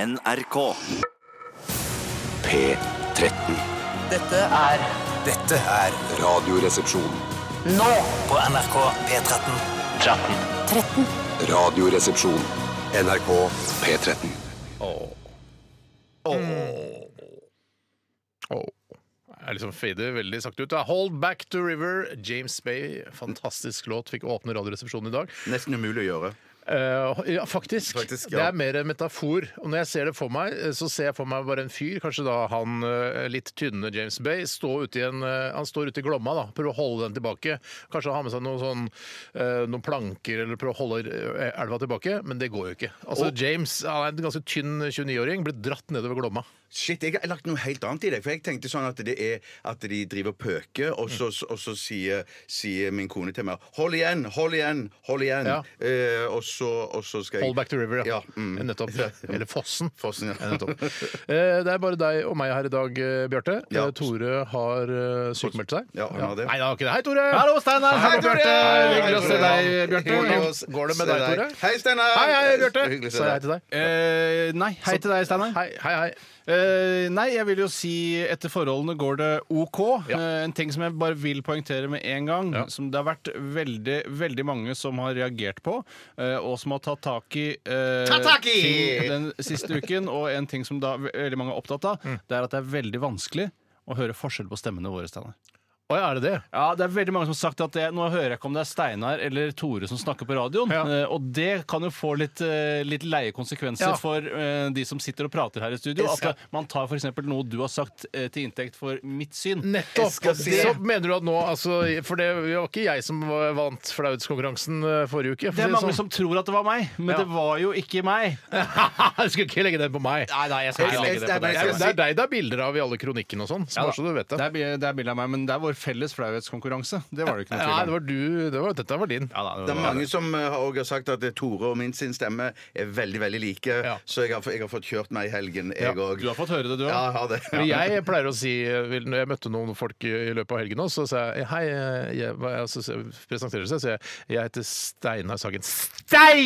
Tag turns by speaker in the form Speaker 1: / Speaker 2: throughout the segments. Speaker 1: NRK.
Speaker 2: P13.
Speaker 3: Dette er
Speaker 4: Dette er
Speaker 2: Radioresepsjon.
Speaker 3: nå
Speaker 4: på NRK P13.
Speaker 2: Radioresepsjon. NRK P13.
Speaker 5: Jeg liksom fader veldig sakte ut. da. Hold Back to River, James Bay. Fantastisk låt. Fikk åpne Radioresepsjonen i dag.
Speaker 6: Nesten umulig å gjøre.
Speaker 5: Eh, ja, faktisk.
Speaker 6: Faktisk,
Speaker 5: Det
Speaker 6: ja.
Speaker 5: er mer en metafor. Og når jeg ser det for meg, eh, så ser jeg for meg bare en fyr, kanskje da han eh, litt tynne James Bay, stå ute i en, eh, han står ute i Glomma, da, prøver å holde den tilbake. Kanskje han har med seg noen, sånn, eh, noen planker eller prøver å holde eh, elva tilbake, men det går jo ikke. Altså, James han er en ganske tynn 29-åring, blir dratt nedover Glomma.
Speaker 6: Shit, jeg har lagt noe helt annet i det. For jeg tenkte sånn at det er at de driver og pøker, og så,
Speaker 5: Mm.
Speaker 6: og så sier, sier min kone til meg 'hold igjen, hold igjen, hold igjen'.
Speaker 5: Ja.
Speaker 6: Eh, og, så, og så skal jeg
Speaker 5: Hold back to river, ja.
Speaker 6: Ja, mm.
Speaker 5: Nettopp. Eller Fossen.
Speaker 6: Fossen, ja.
Speaker 5: nettopp. Eh, Det er bare deg og meg her i dag, eh, Bjarte.
Speaker 6: Ja.
Speaker 5: Eh, Tore har eh, sykemeldt seg.
Speaker 6: Ja, han har det.
Speaker 5: Nei, det har ikke det. Hei, Tore!
Speaker 6: Hallo, Steinar! Hei,
Speaker 5: Bjarte!
Speaker 6: Tore!
Speaker 5: Hei, Hyggelig å se
Speaker 6: Hei,
Speaker 5: deg, Bjarte.
Speaker 6: Hyggelig å
Speaker 5: Hvordan Går det med
Speaker 6: se
Speaker 5: deg, Tore?
Speaker 6: Hei, Steinar!
Speaker 5: Hei, hei, Bjarte!
Speaker 6: Hyggelig å
Speaker 5: Sa
Speaker 6: se
Speaker 5: jeg
Speaker 6: deg.
Speaker 5: til deg.
Speaker 7: Eh, nei, hei til deg, Steinar.
Speaker 5: Hei, hei, hei.
Speaker 7: Eh, nei, jeg vil jo si etter forholdene går det OK.
Speaker 5: Ja.
Speaker 7: Eh, en ting som jeg bare vil poengtere med en gang,
Speaker 5: Ja.
Speaker 7: som det har vært veldig veldig mange som har reagert på, eh, og som har tatt tak i eh,
Speaker 6: Ta tak i!
Speaker 7: ting den siste uken, og en ting som da ve- veldig mange er opptatt av,
Speaker 6: Mm.
Speaker 7: det er at det er veldig vanskelig å høre forskjell på stemmene våre, Steinar.
Speaker 5: Å, ja, er det det?
Speaker 7: Ja, det er veldig mange som har sagt at det, nå hører jeg ikke om det er Steinar eller Tore som snakker på radioen.
Speaker 5: Ja.
Speaker 7: Eh, og det kan jo få litt, eh, litt leie konsekvenser
Speaker 5: Ja.
Speaker 7: for eh, de som sitter og prater her i studio. At eh, man tar f.eks. noe du har sagt eh, til inntekt for mitt syn.
Speaker 5: Nettopp!
Speaker 6: skal si
Speaker 5: Så
Speaker 6: det.
Speaker 5: mener du at nå, altså For det var ikke jeg som var- vant flautskonkurransen eh, forrige uke. for å
Speaker 7: Det
Speaker 5: si
Speaker 7: er
Speaker 5: sånn.
Speaker 7: mange som tror at det var meg, men
Speaker 5: Ja.
Speaker 7: det var jo ikke meg.
Speaker 5: Jeg skulle ikke legge den på meg.
Speaker 7: Nei, nei, jeg skal ikke legge
Speaker 6: Nei,
Speaker 7: det på deg.
Speaker 5: Det er,
Speaker 6: jeg
Speaker 5: det
Speaker 6: skal
Speaker 5: er deg det er bilder av i alle kronikkene og sånn. så
Speaker 7: Ja,
Speaker 5: bare så du vet det.
Speaker 7: da. Det er, bi- det er bilde av meg, men det er vår felles flauhetskonkurranse. Det var det ikke noe
Speaker 5: Nei, det
Speaker 7: tvil om.
Speaker 5: var du. Det var, dette var din.
Speaker 7: Ja, da,
Speaker 6: Det
Speaker 7: var-
Speaker 6: er mange som eh, har også sagt at eh, Tore og min sin stemme er veldig veldig like.
Speaker 5: Ja.
Speaker 6: Så jeg har, jeg har fått kjørt meg i helgen, jeg òg.
Speaker 7: Du har fått høre det, du òg.
Speaker 6: Ja, jeg har det.
Speaker 5: Men jeg pleier å si, vil- når jeg møtte noen folk i i løpet av helgen nå, så sa jeg hei, eh, jeg, hva er- så så presenterer de seg, så jeg, jeg heter Steinar Sagen.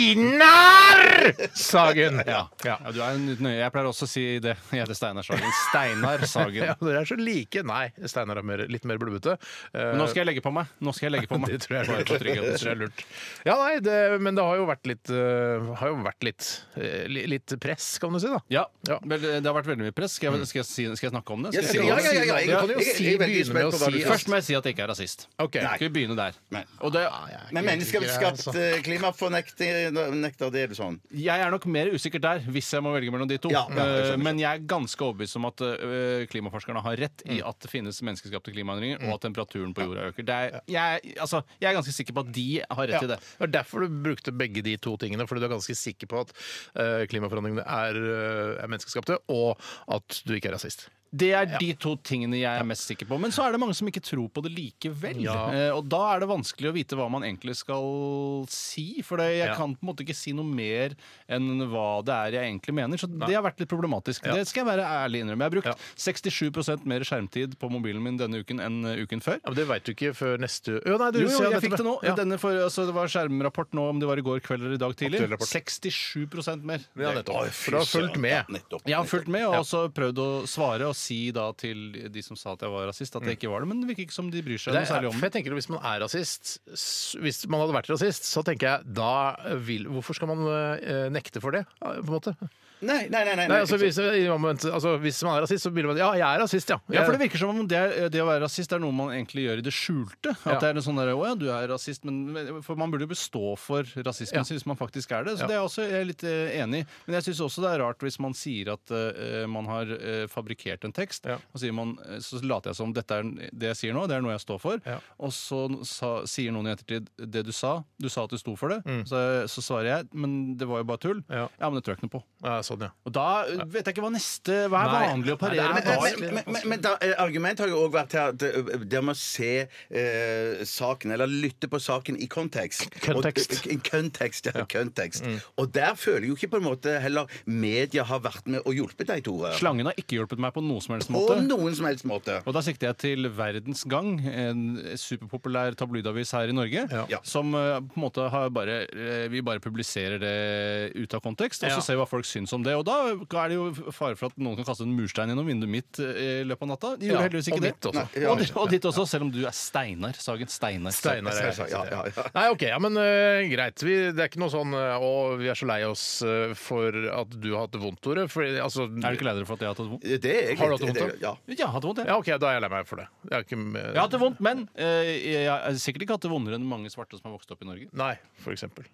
Speaker 5: Steinar Sagen! Ja. ja.
Speaker 7: Ja, du er en nøye. Jeg pleier også å si det. Jeg heter Steinar Sagen. Steinar Sagen.
Speaker 5: Ja, Dere er så like. Nei, Steinar er mer, litt mer blubbete. Eh,
Speaker 7: Men nå skal jeg legge på meg. Nå skal jeg legge på meg.
Speaker 5: det tror jeg,
Speaker 7: Bare for
Speaker 5: det
Speaker 7: trygghetens
Speaker 5: tror jeg er
Speaker 7: skyld.
Speaker 5: lurt. Ja, nei, det, men det har jo vært litt eh, Har jo vært litt, eh, li- litt press, kan du si, da.
Speaker 7: Ja,
Speaker 5: Ja.
Speaker 7: Vel, det har vært veldig mye press. Skal jeg, skal jeg, si, skal jeg snakke om det? Skal
Speaker 6: Jeg
Speaker 7: jeg
Speaker 6: sier- ja,
Speaker 7: si noe?
Speaker 6: ja, ja, ja,
Speaker 5: Du kan jo
Speaker 6: jeg- jeg-
Speaker 5: si,
Speaker 6: jeg er veldig
Speaker 5: begynne med
Speaker 6: spent
Speaker 5: å
Speaker 6: på hva du
Speaker 5: si
Speaker 6: skal
Speaker 7: Først må jeg si at jeg ikke er rasist.
Speaker 5: Ok.
Speaker 7: Skal vi begynne der?
Speaker 6: Nei.
Speaker 7: Og det,
Speaker 5: Ah,
Speaker 6: Men mennesker har
Speaker 5: altså.
Speaker 6: skapt eh, klimafornekter, nekter det, er det sånn?
Speaker 7: jeg er nok mer usikker der, hvis jeg må velge mellom de to.
Speaker 6: Ja, ja, jeg skjønner.
Speaker 7: Eh, Men jeg er ganske overbevist om at eh, klimaforskerne har rett i at det finnes menneskeskapte klimaendringer, og at temperaturen på jorda øker. Det er, jeg, altså, jeg er ganske sikker på at de har rett
Speaker 5: Ja,
Speaker 7: i det.
Speaker 5: Det er derfor du brukte begge de to tingene, fordi du er ganske sikker på at eh, klimaforandringene er, eh, er menneskeskapte, og at du ikke er rasist.
Speaker 7: Det er de to tingene jeg er mest sikker på. Men så er det mange som ikke tror på det likevel.
Speaker 5: Ja.
Speaker 7: Eh, og da er det vanskelig å vite hva man egentlig skal si. For det, jeg
Speaker 5: Ja.
Speaker 7: kan på en måte ikke si noe mer enn hva det er jeg egentlig mener. Så det har vært litt problematisk. Det skal jeg være ærlig innrømme. Jeg har brukt 67 mer skjermtid på mobilen min denne uken enn eh, uken før.
Speaker 5: Ja, men Det veit du ikke før neste Å, nei, du
Speaker 7: Jo, jo,
Speaker 5: ser
Speaker 7: jeg
Speaker 5: dette
Speaker 7: fikk det nå.
Speaker 5: med- Ja.
Speaker 7: Denne for, altså, det var skjermrapport nå, om det var i går kveld eller i dag tidlig.
Speaker 5: Aktuell rapport.
Speaker 7: 67 mer.
Speaker 5: Ja, nettopp. For du har fulgt med.
Speaker 6: Nettopp.
Speaker 7: Jeg har fulgt med og også prøvd å svare og si da til de som sa at jeg var rasist, at jeg ikke var det. Men det virker ikke som de bryr seg
Speaker 5: Mm. Det
Speaker 7: noe
Speaker 5: er,
Speaker 7: særlig om
Speaker 5: for
Speaker 7: det.
Speaker 5: jeg tenker at Hvis man er rasist, s- hvis man hadde vært rasist, så tenker jeg da eh, vil, Hvorfor skal man eh, nekte for det, eh, på en måte?
Speaker 6: Nei, nei, nei. nei,
Speaker 5: Nei, altså, hvis, i moment, altså, hvis man er rasist, så vil man Ja, jeg er rasist, ja.
Speaker 7: Ja, for det virker som om det, er- eh, det å være rasist er noe man egentlig gjør i det skjulte. At
Speaker 5: Ja.
Speaker 7: det er en sånn der, å ja, du er rasist, men men- For man burde jo bestå for rasismen
Speaker 5: Ja.
Speaker 7: sin hvis man faktisk er det. Så
Speaker 5: Ja.
Speaker 7: det er jeg også, jeg er litt eh, enig i. Men jeg syns også det er rart hvis man sier at eh, man har eh, fabrikkert en tekst,
Speaker 5: Ja.
Speaker 7: og sier man, eh, så later jeg som dette er n- det jeg sier nå, det er noe jeg står for.
Speaker 5: Ja.
Speaker 7: Og så sa, sier noen i ettertid det du sa, du sa at du sto for det. Så, eh, så svarer jeg, men det var jo bare tull.
Speaker 5: Mm. Ja.
Speaker 7: ja men det tror jeg ikke noe på.
Speaker 5: ja, sånn, ja.
Speaker 7: Og da eh, vet jeg ikke hva neste Hva er
Speaker 5: Nei.
Speaker 7: vanlig å
Speaker 5: Nei, det
Speaker 7: parere
Speaker 5: er-
Speaker 7: med?
Speaker 6: Men,
Speaker 7: Hva er-
Speaker 6: men, men, men, men da, eh, argumentet har jo òg vært her at eh, dere må se eh, saken, eller lytte på saken i kontekst.
Speaker 5: Kontekst. Mm.
Speaker 6: Og, eh, kontekst, ja, kontekst. Og der føler jeg jo ikke på en måte heller media har vært med og hjulpet deg, Tore.
Speaker 7: Slangen har ikke hjulpet meg på noen som helst
Speaker 6: På
Speaker 7: måte.
Speaker 6: noen som helst måte.
Speaker 7: Og da sikter jeg til Verdens Gang, en superpopulær tabloidavis her i Norge,
Speaker 5: Ja.
Speaker 7: som eh, på en måte har bare eh, Vi bare publiserer det ut av kontekst, og
Speaker 5: Ja.
Speaker 7: så ser vi hva folk syns om som det. Og da er det jo fare for at noen kan kaste en murstein gjennom vinduet mitt eh, i løpet av natta. De gjorde
Speaker 5: Ja,
Speaker 7: heldigvis ikke
Speaker 5: og
Speaker 7: det.
Speaker 5: ditt også.
Speaker 6: Ja,
Speaker 7: og, di- og ditt også, selv om du er Steinar Sagen. Steinar. Sagen.
Speaker 5: Steinar er
Speaker 6: Ja, ja, ja, ja.
Speaker 5: Nei, OK. Ja, men eh, greit. Vi, det er ikke noe sånn eh, 'Å, vi er så lei oss eh, for at du har hatt det vondt', Tore. Fordi, altså,
Speaker 7: Er du ikke lei deg for at jeg har hatt det vondt?
Speaker 6: Det er jeg
Speaker 5: Har du hatt
Speaker 6: litt-
Speaker 5: det vondt, da?
Speaker 6: det- Ja.
Speaker 7: Ja, jeg har hatt det vondt, jeg.
Speaker 5: Ja, OK, da er jeg lei meg for det. Jeg har ikke
Speaker 7: Jeg har hatt det vondt, men eh, jeg har sikkert ikke hatt det vondere enn mange svarte som har vokst opp i Norge.
Speaker 5: Nei, for eksempel.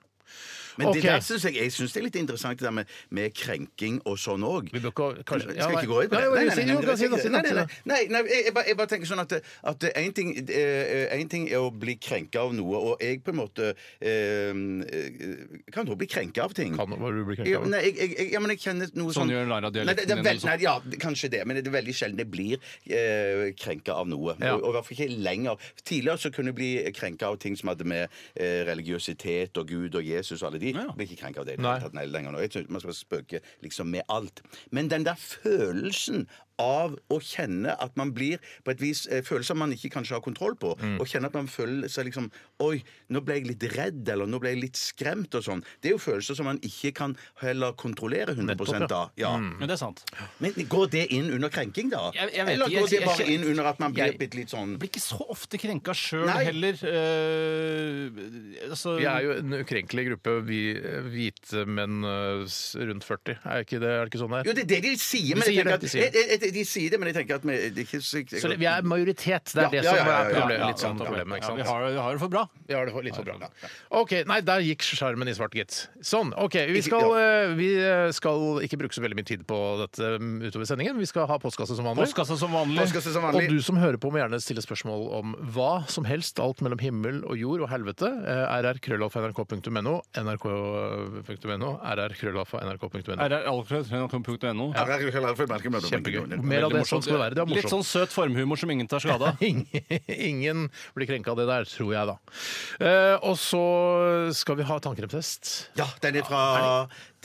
Speaker 6: Men
Speaker 5: Ok.
Speaker 6: det der synes jeg, jeg synes det er litt interessant, det der med, med krenking og sånn òg.
Speaker 5: Vi bør ikke kanskje,
Speaker 6: Skal vi ikke gå inn på
Speaker 5: Nei,
Speaker 6: det?
Speaker 5: jo, si- jo, kan si det, si det,
Speaker 6: nei, nei,
Speaker 5: si
Speaker 6: nei,
Speaker 5: det.
Speaker 6: nei, nei, jeg, jeg, bare, jeg bare tenker sånn at, at en, ting, eh, en ting er å bli krenka av noe, og jeg på en måte eh, kan jo bli krenka av ting.
Speaker 5: Kan hva du blir krenka
Speaker 6: Ja,
Speaker 5: over?
Speaker 6: nei, jeg, jeg, jeg, ja, men jeg kjenner noe
Speaker 7: Sånn
Speaker 6: sånn
Speaker 7: gjør Lara-dialekten
Speaker 6: Nei, det- det er
Speaker 7: din,
Speaker 6: veld-
Speaker 7: eller
Speaker 6: Nei, ja, det- kanskje det, men det er veldig sjelden jeg blir eh, krenka av noe.
Speaker 5: Ja.
Speaker 6: Og, og i hvert fall ikke lenger. Tidligere så kunne jeg bli krenka av ting som hadde med eh, religiøsitet og Gud og Jesus og alle de.
Speaker 7: Ja.
Speaker 6: Blir ikke krenka av det i det
Speaker 5: Nei.
Speaker 6: hele tatt, nei, lenger nå. Jeg tror man skal spøke liksom med alt. Men den der følelsen av å kjenne at man blir på et vis eh, følelser man ikke kanskje har kontroll på.
Speaker 5: Mm.
Speaker 6: Å kjenne at man føler seg liksom Oi, nå ble jeg litt redd, eller nå ble jeg litt skremt og sånn. Det er jo følelser som man ikke kan heller kontrollere 100
Speaker 5: Nettopp, ja. Mm.
Speaker 6: av. Ja.
Speaker 7: Men det er sant.
Speaker 6: Men går det inn under krenking, da?
Speaker 7: Jeg- jeg vet
Speaker 6: eller
Speaker 7: ikke,
Speaker 6: går
Speaker 7: jeg-
Speaker 6: det bare
Speaker 7: jeg-
Speaker 6: inn under at man blir
Speaker 7: jeg-
Speaker 6: bitte litt sånn
Speaker 7: Jeg blir ikke så ofte krenka sjøl
Speaker 6: Nei.
Speaker 7: heller. eh, altså,
Speaker 5: Vi er
Speaker 6: mm.
Speaker 5: jo en ukrenkelig gruppe, vi eh, hvite menn eh, s- rundt 40. Er ikke det, er det ikke sånn det er?
Speaker 6: Jo, det er det de sier, men
Speaker 5: De sier
Speaker 6: jeg
Speaker 5: det,
Speaker 6: tenker at
Speaker 5: de sier det.
Speaker 6: jeg- jeg- De sier det, men jeg tenker at vi det er ikke så-
Speaker 5: Så det- vi er majoritet. Det er
Speaker 6: Ja,
Speaker 5: det
Speaker 6: ja,
Speaker 5: som er
Speaker 6: ja, ja, ja, ja,
Speaker 5: problemet.
Speaker 6: ja,
Speaker 5: Litt sånn problemet, ikke
Speaker 7: Ja,
Speaker 5: sant?
Speaker 7: vi, har, vi har det for bra.
Speaker 5: Ja, det var litt for bra. OK. Nei, der gikk skjermen i svart, gitt. Sånn. OK. Vi
Speaker 6: Ikke-
Speaker 5: skal,
Speaker 6: ja.
Speaker 5: eh, vi eh, skal ikke bruke så veldig mye tid på dette mm, utover sendingen. Vi skal ha postkasse som vanlig.
Speaker 7: Postkassa som vanlig.
Speaker 6: Postkasser som
Speaker 5: Og
Speaker 6: vanlig.
Speaker 5: du som hører på, må gjerne stille spørsmål om hva som helst. Alt mellom himmel og jord og helvete. Eh, rrkrøllalfa.nrk.no. eh, nrk.no. rrkrøllalfa.nrk.no.
Speaker 7: rralfred.no.
Speaker 6: Ja, jeg kan aldri få merke meg det.
Speaker 5: Kjempegøy. Mer av det. Sånn skal det være. Det er
Speaker 7: Litt
Speaker 5: morsomt.
Speaker 7: sånn søt formhumor som ingen tar skade av.
Speaker 5: Ingen, ingen blir krenka av det der, tror jeg, da. Eh, og så skal vi ha tannkremtest.
Speaker 6: Ja, den er fra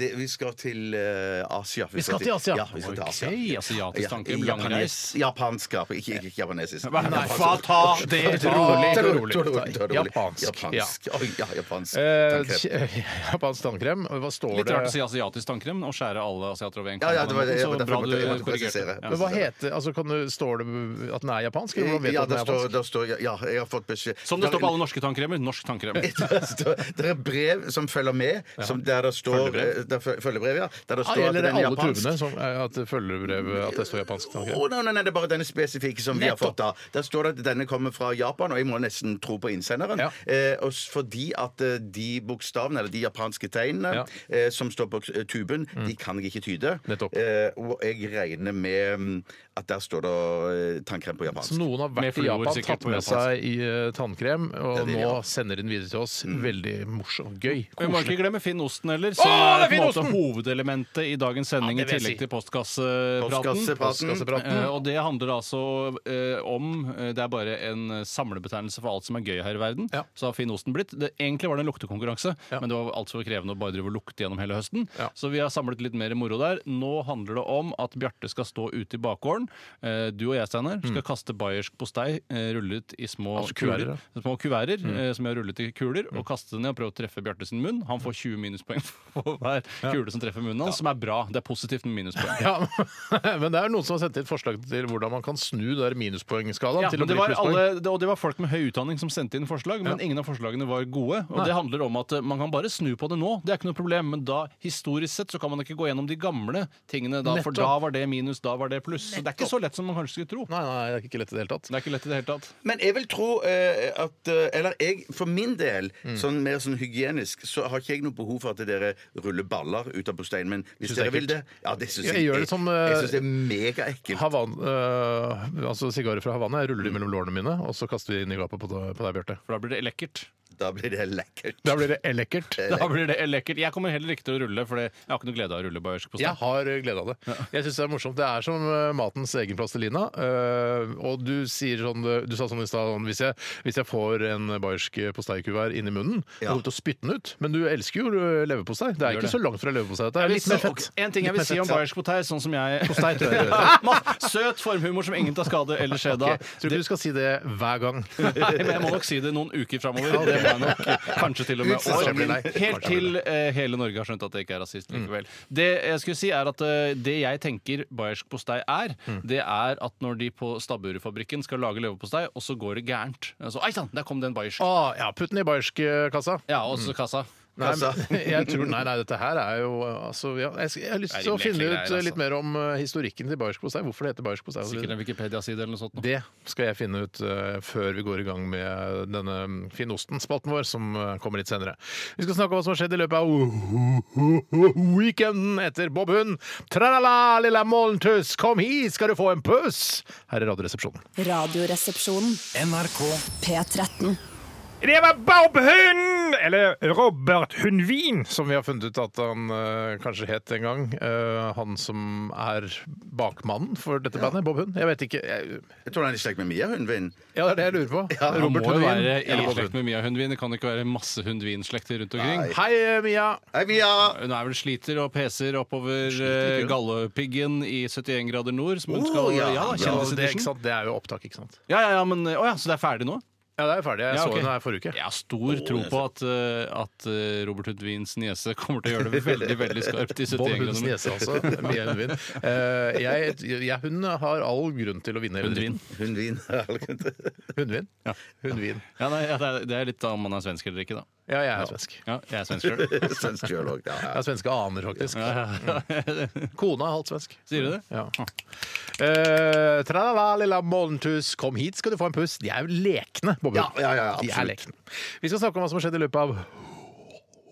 Speaker 6: det, Vi skal til eh, Asia.
Speaker 5: Vi skal til Asia.
Speaker 6: Ja, vi skal til Asia.
Speaker 7: Ok, asiatisk tanke,
Speaker 6: Ja,
Speaker 7: lang
Speaker 6: japanes-
Speaker 7: reis.
Speaker 6: Japansk, ja, ikke, ikke japanesisk.
Speaker 7: Nei,
Speaker 6: Japansk.
Speaker 7: fa- ta det
Speaker 6: Ta
Speaker 7: rolig.
Speaker 6: det rolig, ta det rolig, ta det rolig.
Speaker 5: Japansk,
Speaker 6: Japansk. Oi, ja, japansk.
Speaker 5: Eh,
Speaker 6: Takk.
Speaker 5: kje- Japansk tannkrem. og Hva står
Speaker 7: Litt
Speaker 5: det
Speaker 7: rart å si asiatisk tannkrem og skjære alle asiater over en
Speaker 6: Ja, ja, det var det. Jeg
Speaker 7: Så
Speaker 6: var derfor
Speaker 7: bra
Speaker 6: jeg måtte- jeg måtte
Speaker 7: du
Speaker 6: presisere.
Speaker 7: korrigerte.
Speaker 5: Men hva heter altså, kan du, Står det at den er japansk? Eller hvordan vet
Speaker 6: Eh, ja,
Speaker 5: du at den
Speaker 6: der
Speaker 5: er
Speaker 6: står,
Speaker 5: japansk?
Speaker 6: der står, ja, jeg har fått beskjed
Speaker 7: Som det står på alle norske tannkremer. Norsk tannkrem.
Speaker 6: Der står- Det er brev som følger med, som der det står
Speaker 5: Følgebrev?
Speaker 6: eh, der fø- Følgebrev, ja. Der det
Speaker 5: Ah,
Speaker 6: står at
Speaker 5: gjelder
Speaker 6: den
Speaker 5: det
Speaker 6: er
Speaker 5: alle
Speaker 6: japansk.
Speaker 5: turene som, eh, at det følger brev at det står japansk tannkrem?
Speaker 6: Å, nei, nei, nei, det er bare denne spesifikke som vi har
Speaker 5: Nettopp.
Speaker 6: fått. da Der står det at denne kommer fra Japan, og jeg må nesten tro på innsenderen.
Speaker 5: Ja.
Speaker 6: Eh, og s- fordi at eh, de bokstavene, eller de japanske tegnene
Speaker 5: Ja. Mm.
Speaker 6: eh, som står på eh, tuben, de kan jeg ikke tyde.
Speaker 5: Nettopp.
Speaker 6: Eh, og jeg regner med mm, at der står det eh, tannkrem på japansk.
Speaker 5: Så noen har
Speaker 7: Med
Speaker 5: vært i
Speaker 7: fluor,
Speaker 5: Japan,
Speaker 7: sikkert,
Speaker 5: tatt
Speaker 7: på
Speaker 5: med
Speaker 7: japansk.
Speaker 5: seg i eh, tannkrem, og
Speaker 6: Ja, det er Mm.
Speaker 5: nå
Speaker 6: ja.
Speaker 5: sender de den videre til oss. Veldig morsomt. Gøy.
Speaker 7: Og Vi må ikke
Speaker 5: Koselig.
Speaker 7: glemme Finn Osten heller,
Speaker 5: Å,
Speaker 7: som
Speaker 5: det
Speaker 7: er
Speaker 5: er
Speaker 7: på en
Speaker 5: Finn
Speaker 7: måte
Speaker 5: Osten!
Speaker 7: hovedelementet i dagens sending
Speaker 5: Ja,
Speaker 7: i
Speaker 5: det vil jeg si.
Speaker 7: tillegg til postkassepraten.
Speaker 6: Postkassepraten.
Speaker 5: Mm.
Speaker 7: Eh, og det handler altså eh, om eh, Det er bare en eh, samlebetegnelse for alt som er gøy her i verden.
Speaker 5: Ja.
Speaker 7: Så har Finn Osten blitt. Det, egentlig var det en luktekonkurranse,
Speaker 5: Ja.
Speaker 7: men det var altfor krevende å bare drive og lukte gjennom hele høsten.
Speaker 5: Ja.
Speaker 7: Så vi har samlet litt mer moro der. Nå handler det om at Bjarte skal stå ute i bakgården. Eh, du og jeg, Steinar, skal kaste bayersk postei eh, rullet i små
Speaker 5: Mm. Altså Mm. kuverter,
Speaker 7: kuler. Små kuverter eh, som jeg har rullet i kuler,
Speaker 5: Mm.
Speaker 7: og kaste den ned og prøve å treffe Bjarte sin munn. Han får 20 minuspoeng for hver kule som treffer munnen hans, som er bra. Det er positivt med minuspoeng.
Speaker 5: Ja, men det er noen som har sendt inn forslag til hvordan man kan snu der minuspoengskalaen
Speaker 7: Ja,
Speaker 5: til å
Speaker 7: men det
Speaker 5: bli
Speaker 7: var
Speaker 5: plusspoeng.
Speaker 7: alle, det, og det var folk med høy utdanning som sendte inn forslag, men ingen av forslagene var gode. Og det handler om at eh, man kan bare snu på det nå, det er ikke noe problem, men da historisk sett så kan man ikke gå gjennom de gamle tingene, da, for
Speaker 5: Nettopp.
Speaker 7: da var det minus, da var det pluss. Så det er ikke så lett som man kanskje skulle tro.
Speaker 5: Nei, nei, det er ikke lett i det hele tatt.
Speaker 7: Det er ikke lett i det hele tatt.
Speaker 6: Men jeg vil tro eh, at eh, Eller jeg, for min del,
Speaker 5: Mm.
Speaker 6: sånn mer sånn hygienisk, så har ikke jeg noe behov for at dere ruller baller ut av posteien. Men hvis
Speaker 5: Synes det er
Speaker 6: dere vil det
Speaker 5: ekkelt.
Speaker 6: Ja, det syns
Speaker 5: Jeg
Speaker 6: jeg,
Speaker 5: gjør det som, eh,
Speaker 6: jeg synes det er megaekkelt.
Speaker 5: Havan, øh, altså Sigarer fra Havana jeg ruller de mellom lårene mine, og så kaster vi inn i gapet på, deg- på deg, Bjarte.
Speaker 7: For da blir det lekkert.
Speaker 6: Da blir det lekkert.
Speaker 5: Da blir det lekkert.
Speaker 7: Da blir det lekkert. Jeg kommer heller ikke til å rulle, for jeg har ikke noe glede av å rulle bayersk postei.
Speaker 5: Jeg har eh, glede av det. Jeg synes Det er morsomt. Det er som eh, matens egen plastelina. Eh, og du sier sånn eh, Du sa sånn i stad sånn, hvis, jeg- hvis jeg får en bayersk posteikuvert inni munnen, så
Speaker 6: Ja.
Speaker 5: kommer jeg til å spytte den ut. Men du elsker jo eh, leverpostei. Det er
Speaker 7: Gjør
Speaker 5: ikke
Speaker 7: det.
Speaker 5: så langt fra leverpostei. dette er Litt mer fett.
Speaker 7: En ting jeg vil si om bayersk potei, sånn som jeg
Speaker 5: Postei, tror jeg.
Speaker 7: Søt formhumor som ingen tar skade eller skjedd av.
Speaker 5: Ok, Tror ikke du skal si det hver gang.
Speaker 7: Nei, men jeg må nok si det noen uker framover. Det må jeg nok kanskje til og
Speaker 5: Ut
Speaker 7: med
Speaker 5: sesongen.
Speaker 7: år. Helt til eh, hele Norge har skjønt at det ikke er rasist likevel. Det jeg skulle si er at eh, det jeg tenker bayersk postei er, det er at når de på Stabburefabrikken skal lage leverpostei, og så går det gærent. Så, Ei sann, der kom det en bayersk.
Speaker 5: Ah, ja, Putt den i eh, bayersk-kassa.
Speaker 7: Ja, og så kassa.
Speaker 5: Nei,
Speaker 7: Altså.
Speaker 6: Kassa.
Speaker 5: men jeg tror, nei, nei, dette her er jo altså, ja, jeg, jeg har lyst
Speaker 7: Det er
Speaker 5: til å
Speaker 7: rimelig
Speaker 5: finne ut
Speaker 7: ekle greier,
Speaker 5: litt
Speaker 7: altså.
Speaker 5: mer om eh, historikken til bayersk postei. Hvorfor det heter bayersk postei.
Speaker 7: Sikkert en Wikipedia-side eller noe sånt. nå.
Speaker 5: Det skal jeg finne ut eh, før vi går i gang med denne Finnosten-spalten vår, som eh, kommer litt senere. Vi skal snakke om hva som har skjedd i løpet av weekenden etter Bob Hund. Tralala, lilla morgentuss, kom hit, skal du få en puss! Her er Radioresepsjonen.
Speaker 1: Radioresepsjonen.
Speaker 4: NRK
Speaker 1: P13.
Speaker 8: Det var Bob Hund! Eller Robert Hundvin.
Speaker 5: Som vi har funnet ut at han eh, kanskje het en gang. eh, han som er bakmannen for dette bandet, Bob Hund. Jeg vet ikke. Jeg,
Speaker 6: Jeg tror han er i slekt med Mia Hundvin.
Speaker 5: ja, det er det jeg lurer på.
Speaker 7: Han
Speaker 5: Robert
Speaker 7: må jo
Speaker 5: Hundvin.
Speaker 7: være
Speaker 5: eller
Speaker 7: i
Speaker 5: Bob
Speaker 7: slekt
Speaker 5: Hund.
Speaker 7: med Mia Hundvin. Det kan jo ikke være masse Hundvin-slekter rundt omkring.
Speaker 6: Nei.
Speaker 5: Hei, eh, Mia!
Speaker 6: Hei, Mia!
Speaker 7: Hun er vel sliter og peser oppover
Speaker 5: Sliter ikke
Speaker 7: eh,
Speaker 5: hun?
Speaker 7: Galdhøpiggen i 71 grader nord. Som hun
Speaker 6: Å,
Speaker 7: skal, ja,
Speaker 6: ja.
Speaker 5: Ja, det, er ikke
Speaker 7: kjendisedition.
Speaker 5: sant? det er jo opptak, ikke sant?
Speaker 7: Ja, ja, ja, men, å ja, så det er ferdig nå?
Speaker 5: Ja, det er jo ferdig. Jeg
Speaker 7: Ja,
Speaker 5: så
Speaker 7: ok.
Speaker 5: henne her forrige uke.
Speaker 7: Jeg har stor tro på at, eh, at eh, Robert Hudvins niese kommer til å gjøre det veldig veldig skarpt i
Speaker 5: Bob
Speaker 7: 71
Speaker 5: Hunds
Speaker 7: grader nord.
Speaker 5: niese, altså. Mia Hundvin. Eh, jeg, jeg, hun har all grunn til å vinne hele
Speaker 7: Hundvin.
Speaker 5: dritten.
Speaker 6: Hundvin.
Speaker 5: Hundvin?
Speaker 7: Ja.
Speaker 5: Hundvin.
Speaker 7: Ja, nei, ja, det, er, det er litt om man er svensk eller ikke, da.
Speaker 5: Ja, jeg er svensk.
Speaker 7: Ja, jeg er svensk sjøl.
Speaker 6: Svensk geolog. Ja,
Speaker 5: Jeg
Speaker 6: ja.
Speaker 5: er svenske aner, faktisk. Mm. Kona er halvt svensk.
Speaker 7: Sier du det?
Speaker 5: Ja. Eh, tralala, lilla morgentuss, kom hit skal du få en puss. De er jo lekne, Bobby.
Speaker 6: Ja, ja, ja,
Speaker 5: De er
Speaker 6: absolutt.
Speaker 5: lekne. Vi skal snakke om hva som har skjedd i løpet av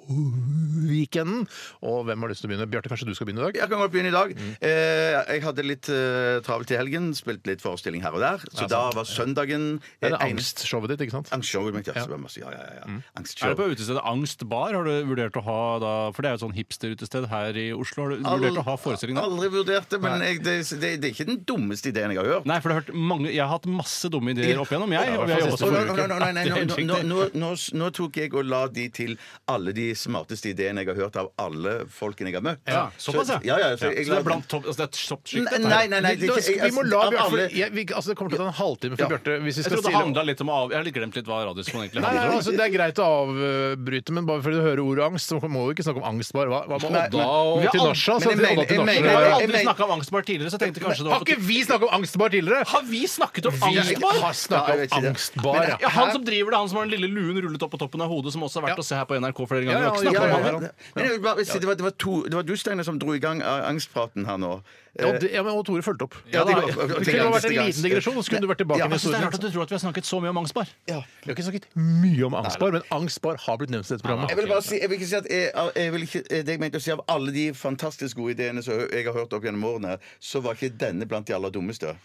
Speaker 5: weekenden. Og hvem har lyst til å begynne? Bjarte, kanskje du skal begynne i dag?
Speaker 6: Jeg kan godt begynne i dag.
Speaker 5: Mm.
Speaker 6: Eh, jeg hadde litt eh, travelt i helgen. Spilt litt forestilling her og der. Så da var søndagen eh,
Speaker 5: Det er Mm. det
Speaker 6: en-
Speaker 5: angstshowet ditt, ikke sant?
Speaker 6: Angstshowet mitt, ja. så det var masse- ja, ja, ja, ja.
Speaker 7: Er
Speaker 6: Angstshow.
Speaker 7: det på utestedet Angst Bar? Har du vurdert å ha da For det er jo et sånn hipsterutested her i Oslo. Har du vurdert å ha forestilling der?
Speaker 6: Aldri vurdert det, men jeg, det, det, det er ikke den dummeste ideen jeg har hørt.
Speaker 7: Nei, for det har hørt mange, jeg har hatt masse dumme ideer opp igjennom, jeg.
Speaker 5: Ja,
Speaker 7: Og vi har jobbet
Speaker 6: Å,
Speaker 7: for
Speaker 6: Nei, nei,
Speaker 7: uker.
Speaker 6: nei, nei, nei,
Speaker 7: Det er helt
Speaker 6: nå- nå,
Speaker 7: riktig.
Speaker 6: nå, nå, nå tok jeg og la de til alle de smarteste ideene jeg har hørt av alle folkene jeg har møtt.
Speaker 7: Ja, såpass,
Speaker 6: ja. ja, ja så, jeg
Speaker 7: så det
Speaker 6: la-
Speaker 7: er blant topp, altså det er et toppsjikt?
Speaker 6: Nei,
Speaker 7: dette her.
Speaker 6: nei, nei, nei det
Speaker 5: Da
Speaker 6: er ikke,
Speaker 5: skal-
Speaker 6: jeg,
Speaker 5: vi må la
Speaker 6: av
Speaker 5: Bjarte for,
Speaker 6: alle-
Speaker 5: jeg, vi, altså, Det kommer til å ta en halvtime for
Speaker 6: Ja.
Speaker 5: Bjarte hvis vi
Speaker 7: Jeg
Speaker 5: skal
Speaker 7: trodde det
Speaker 5: stille
Speaker 7: handla litt om å av... Jeg har litt glemt litt hva Radiosporen egentlig
Speaker 5: Nei, nei,
Speaker 7: handler om.
Speaker 5: altså, Det er greit å avbryte, men bare fordi du hører ordet angst, så må vi ikke snakke om angst bare. Hva, hva med
Speaker 6: Nei,
Speaker 5: Odda
Speaker 6: men-
Speaker 5: og
Speaker 7: vi har
Speaker 5: til
Speaker 7: aldri-
Speaker 5: Nasja?
Speaker 6: men
Speaker 5: så
Speaker 6: jeg
Speaker 5: til Odda
Speaker 6: mener-
Speaker 5: til
Speaker 6: jeg
Speaker 5: Nasja?
Speaker 7: Vi
Speaker 6: mener-
Speaker 7: har
Speaker 5: Ja, ja.
Speaker 7: aldri
Speaker 6: men-
Speaker 7: snakka om angstbar tidligere, så jeg tenkte kanskje det var
Speaker 5: Har ikke vi snakket om angstbar tidligere?
Speaker 7: Har vi snakket om
Speaker 5: Vi
Speaker 7: angstbar?
Speaker 5: har
Speaker 6: Ja, jeg
Speaker 5: snakket
Speaker 6: vet ikke
Speaker 5: om
Speaker 6: det.
Speaker 5: angstbar.
Speaker 7: Ja, han som driver det, han som har den lille luen rullet opp på toppen av hodet, som også har vært
Speaker 5: Ja.
Speaker 7: å se her på NRK flere
Speaker 5: Ja,
Speaker 7: ganger.
Speaker 5: ja,
Speaker 7: Vi har ikke
Speaker 6: Ja,
Speaker 7: snakket
Speaker 6: ja,
Speaker 7: om
Speaker 6: ja.
Speaker 7: han her,
Speaker 6: Men jeg vil bare si, det, var, det, var to, det var du, Steinar, som dro i gang eh, angstpraten her nå. Eh,
Speaker 5: Ja, det- ja, men og Tore fulgte opp.
Speaker 6: ja, det
Speaker 5: da,
Speaker 6: går-
Speaker 5: ja.
Speaker 6: ok,
Speaker 5: Det kunne ha
Speaker 6: neste
Speaker 5: vært en
Speaker 6: gang.
Speaker 5: liten digresjon, og så kunne du vært tilbake
Speaker 6: Ja,
Speaker 5: i
Speaker 6: men
Speaker 7: Jeg synes det er
Speaker 5: historien.
Speaker 7: rart at du tror at vi har snakket så mye om angstbar.
Speaker 6: Ja.
Speaker 5: Vi har ikke snakket mye om angstbar, men angstbar har blitt nevnt i dette
Speaker 6: Jeg
Speaker 5: programmet.
Speaker 6: vil bare si, jeg vil ikke si at jeg, jeg vil ikke, det jeg mente å si Av alle de fantastisk gode ideene som jeg har hørt opp gjennom årene, så var ikke denne blant de aller dummeste.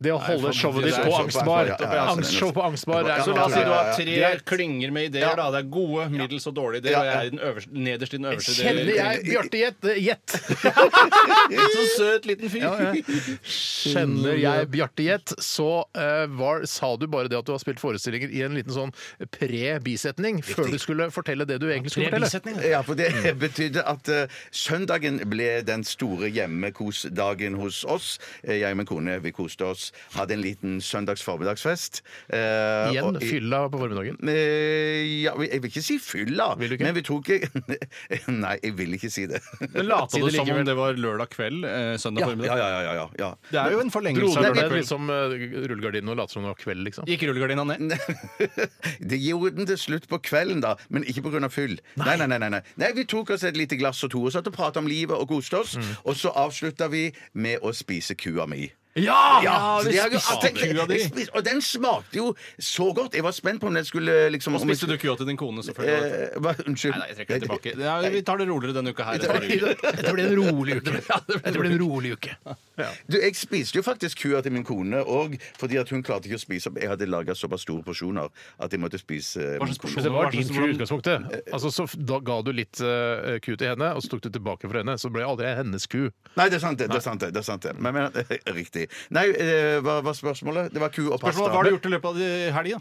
Speaker 5: Det å holde showet ditt
Speaker 7: det er
Speaker 5: på
Speaker 7: show på
Speaker 5: angstbar.
Speaker 6: angstbar, ja, ja, ja.
Speaker 5: Angstshow på angstbar. det er-
Speaker 6: Ja,
Speaker 7: Så la oss si du har
Speaker 6: ja,
Speaker 7: tre
Speaker 5: ja.
Speaker 7: klynger med ideer. da Det er gode, middels og dårlige ideer.
Speaker 6: Ja,
Speaker 7: Og
Speaker 6: ja.
Speaker 7: jeg er i den øverste, nederst i den øverste
Speaker 5: Kjenner
Speaker 7: delen.
Speaker 5: jeg Bjarte Gjett? Gjett!
Speaker 7: Så søt liten fyr.
Speaker 5: Kjenner jeg Bjarte Gjett, så eh, var, sa du bare det at du har spilt forestillinger i en liten sånn pre-bisetning før du skulle fortelle det du egentlig skulle fortelle.
Speaker 7: altså.
Speaker 6: Ja, for det betydde at eh, søndagen ble den store hjemmekosdagen hos oss. Eh, jeg og min kone, vi koste oss. Hadde en liten søndags formiddagsfest. eh,
Speaker 5: Igjen
Speaker 6: og-
Speaker 5: fylla på formiddagen.
Speaker 6: Eh, ja, jeg vil ikke si fylla,
Speaker 5: Vil du ikke?
Speaker 6: men vi tok Nei, jeg vil ikke si det.
Speaker 7: Men Lata
Speaker 5: Si
Speaker 7: du
Speaker 5: det
Speaker 7: som om
Speaker 5: likevel.
Speaker 7: det var lørdag kveld? Eh, søndag
Speaker 6: Ja, ja,
Speaker 7: formiddag?
Speaker 6: ja, ja, ja, ja.
Speaker 7: Det er jo en
Speaker 5: Dro
Speaker 7: forlengelse av
Speaker 5: dere
Speaker 7: lørdag
Speaker 5: ned
Speaker 7: kveld.
Speaker 5: liksom, eh, rullegardinen og lot som det var kveld, liksom?
Speaker 7: Gikk rullegardina ned?
Speaker 6: Det gjorde den til slutt på kvelden, da, men ikke pga. fyll. Nei. Nei, nei, nei, nei. nei, Vi tok oss et lite glass og to og satt og prata om livet og koste oss.
Speaker 7: Mm.
Speaker 6: Og så avslutta vi med å spise kua mi.
Speaker 7: Ja!
Speaker 6: Ja,
Speaker 7: vi
Speaker 6: det har jeg jo-
Speaker 7: spiste
Speaker 6: tenk-
Speaker 7: kua di.
Speaker 6: jeg spiste- Og den smakte jo så godt. Jeg var spent på om den skulle liksom
Speaker 7: Og
Speaker 6: om jeg
Speaker 7: spiste du kua til din kone,
Speaker 6: skulle- eh,
Speaker 7: selvfølgelig?
Speaker 6: hva- Unnskyld.
Speaker 7: Nei, nei, jeg trekker det tilbake. Ja, vi tar det roligere denne uka her.
Speaker 5: Det ble en rolig uke. Det ble en rolig uke.
Speaker 6: Du, Jeg spiste jo faktisk kua til min kone òg, fordi at hun klarte ikke å spise opp. Jeg hadde laga såpass store porsjoner at jeg måtte spise
Speaker 7: Hva slags
Speaker 5: Men det var din fru i
Speaker 7: hvordan-
Speaker 5: utgangspunktet. Altså, så f- da ga du litt eh, ku til henne, og så tok du tilbake fra henne. Så ble aldri hennes ku.
Speaker 6: Nei, det er sant, det. det, er sant, det, det er sant det. Men, men, riktig. Nei, eh, hva var spørsmålet? Det var ku og pasta.
Speaker 7: Spørsmålet, Hva har du gjort i løpet av helga?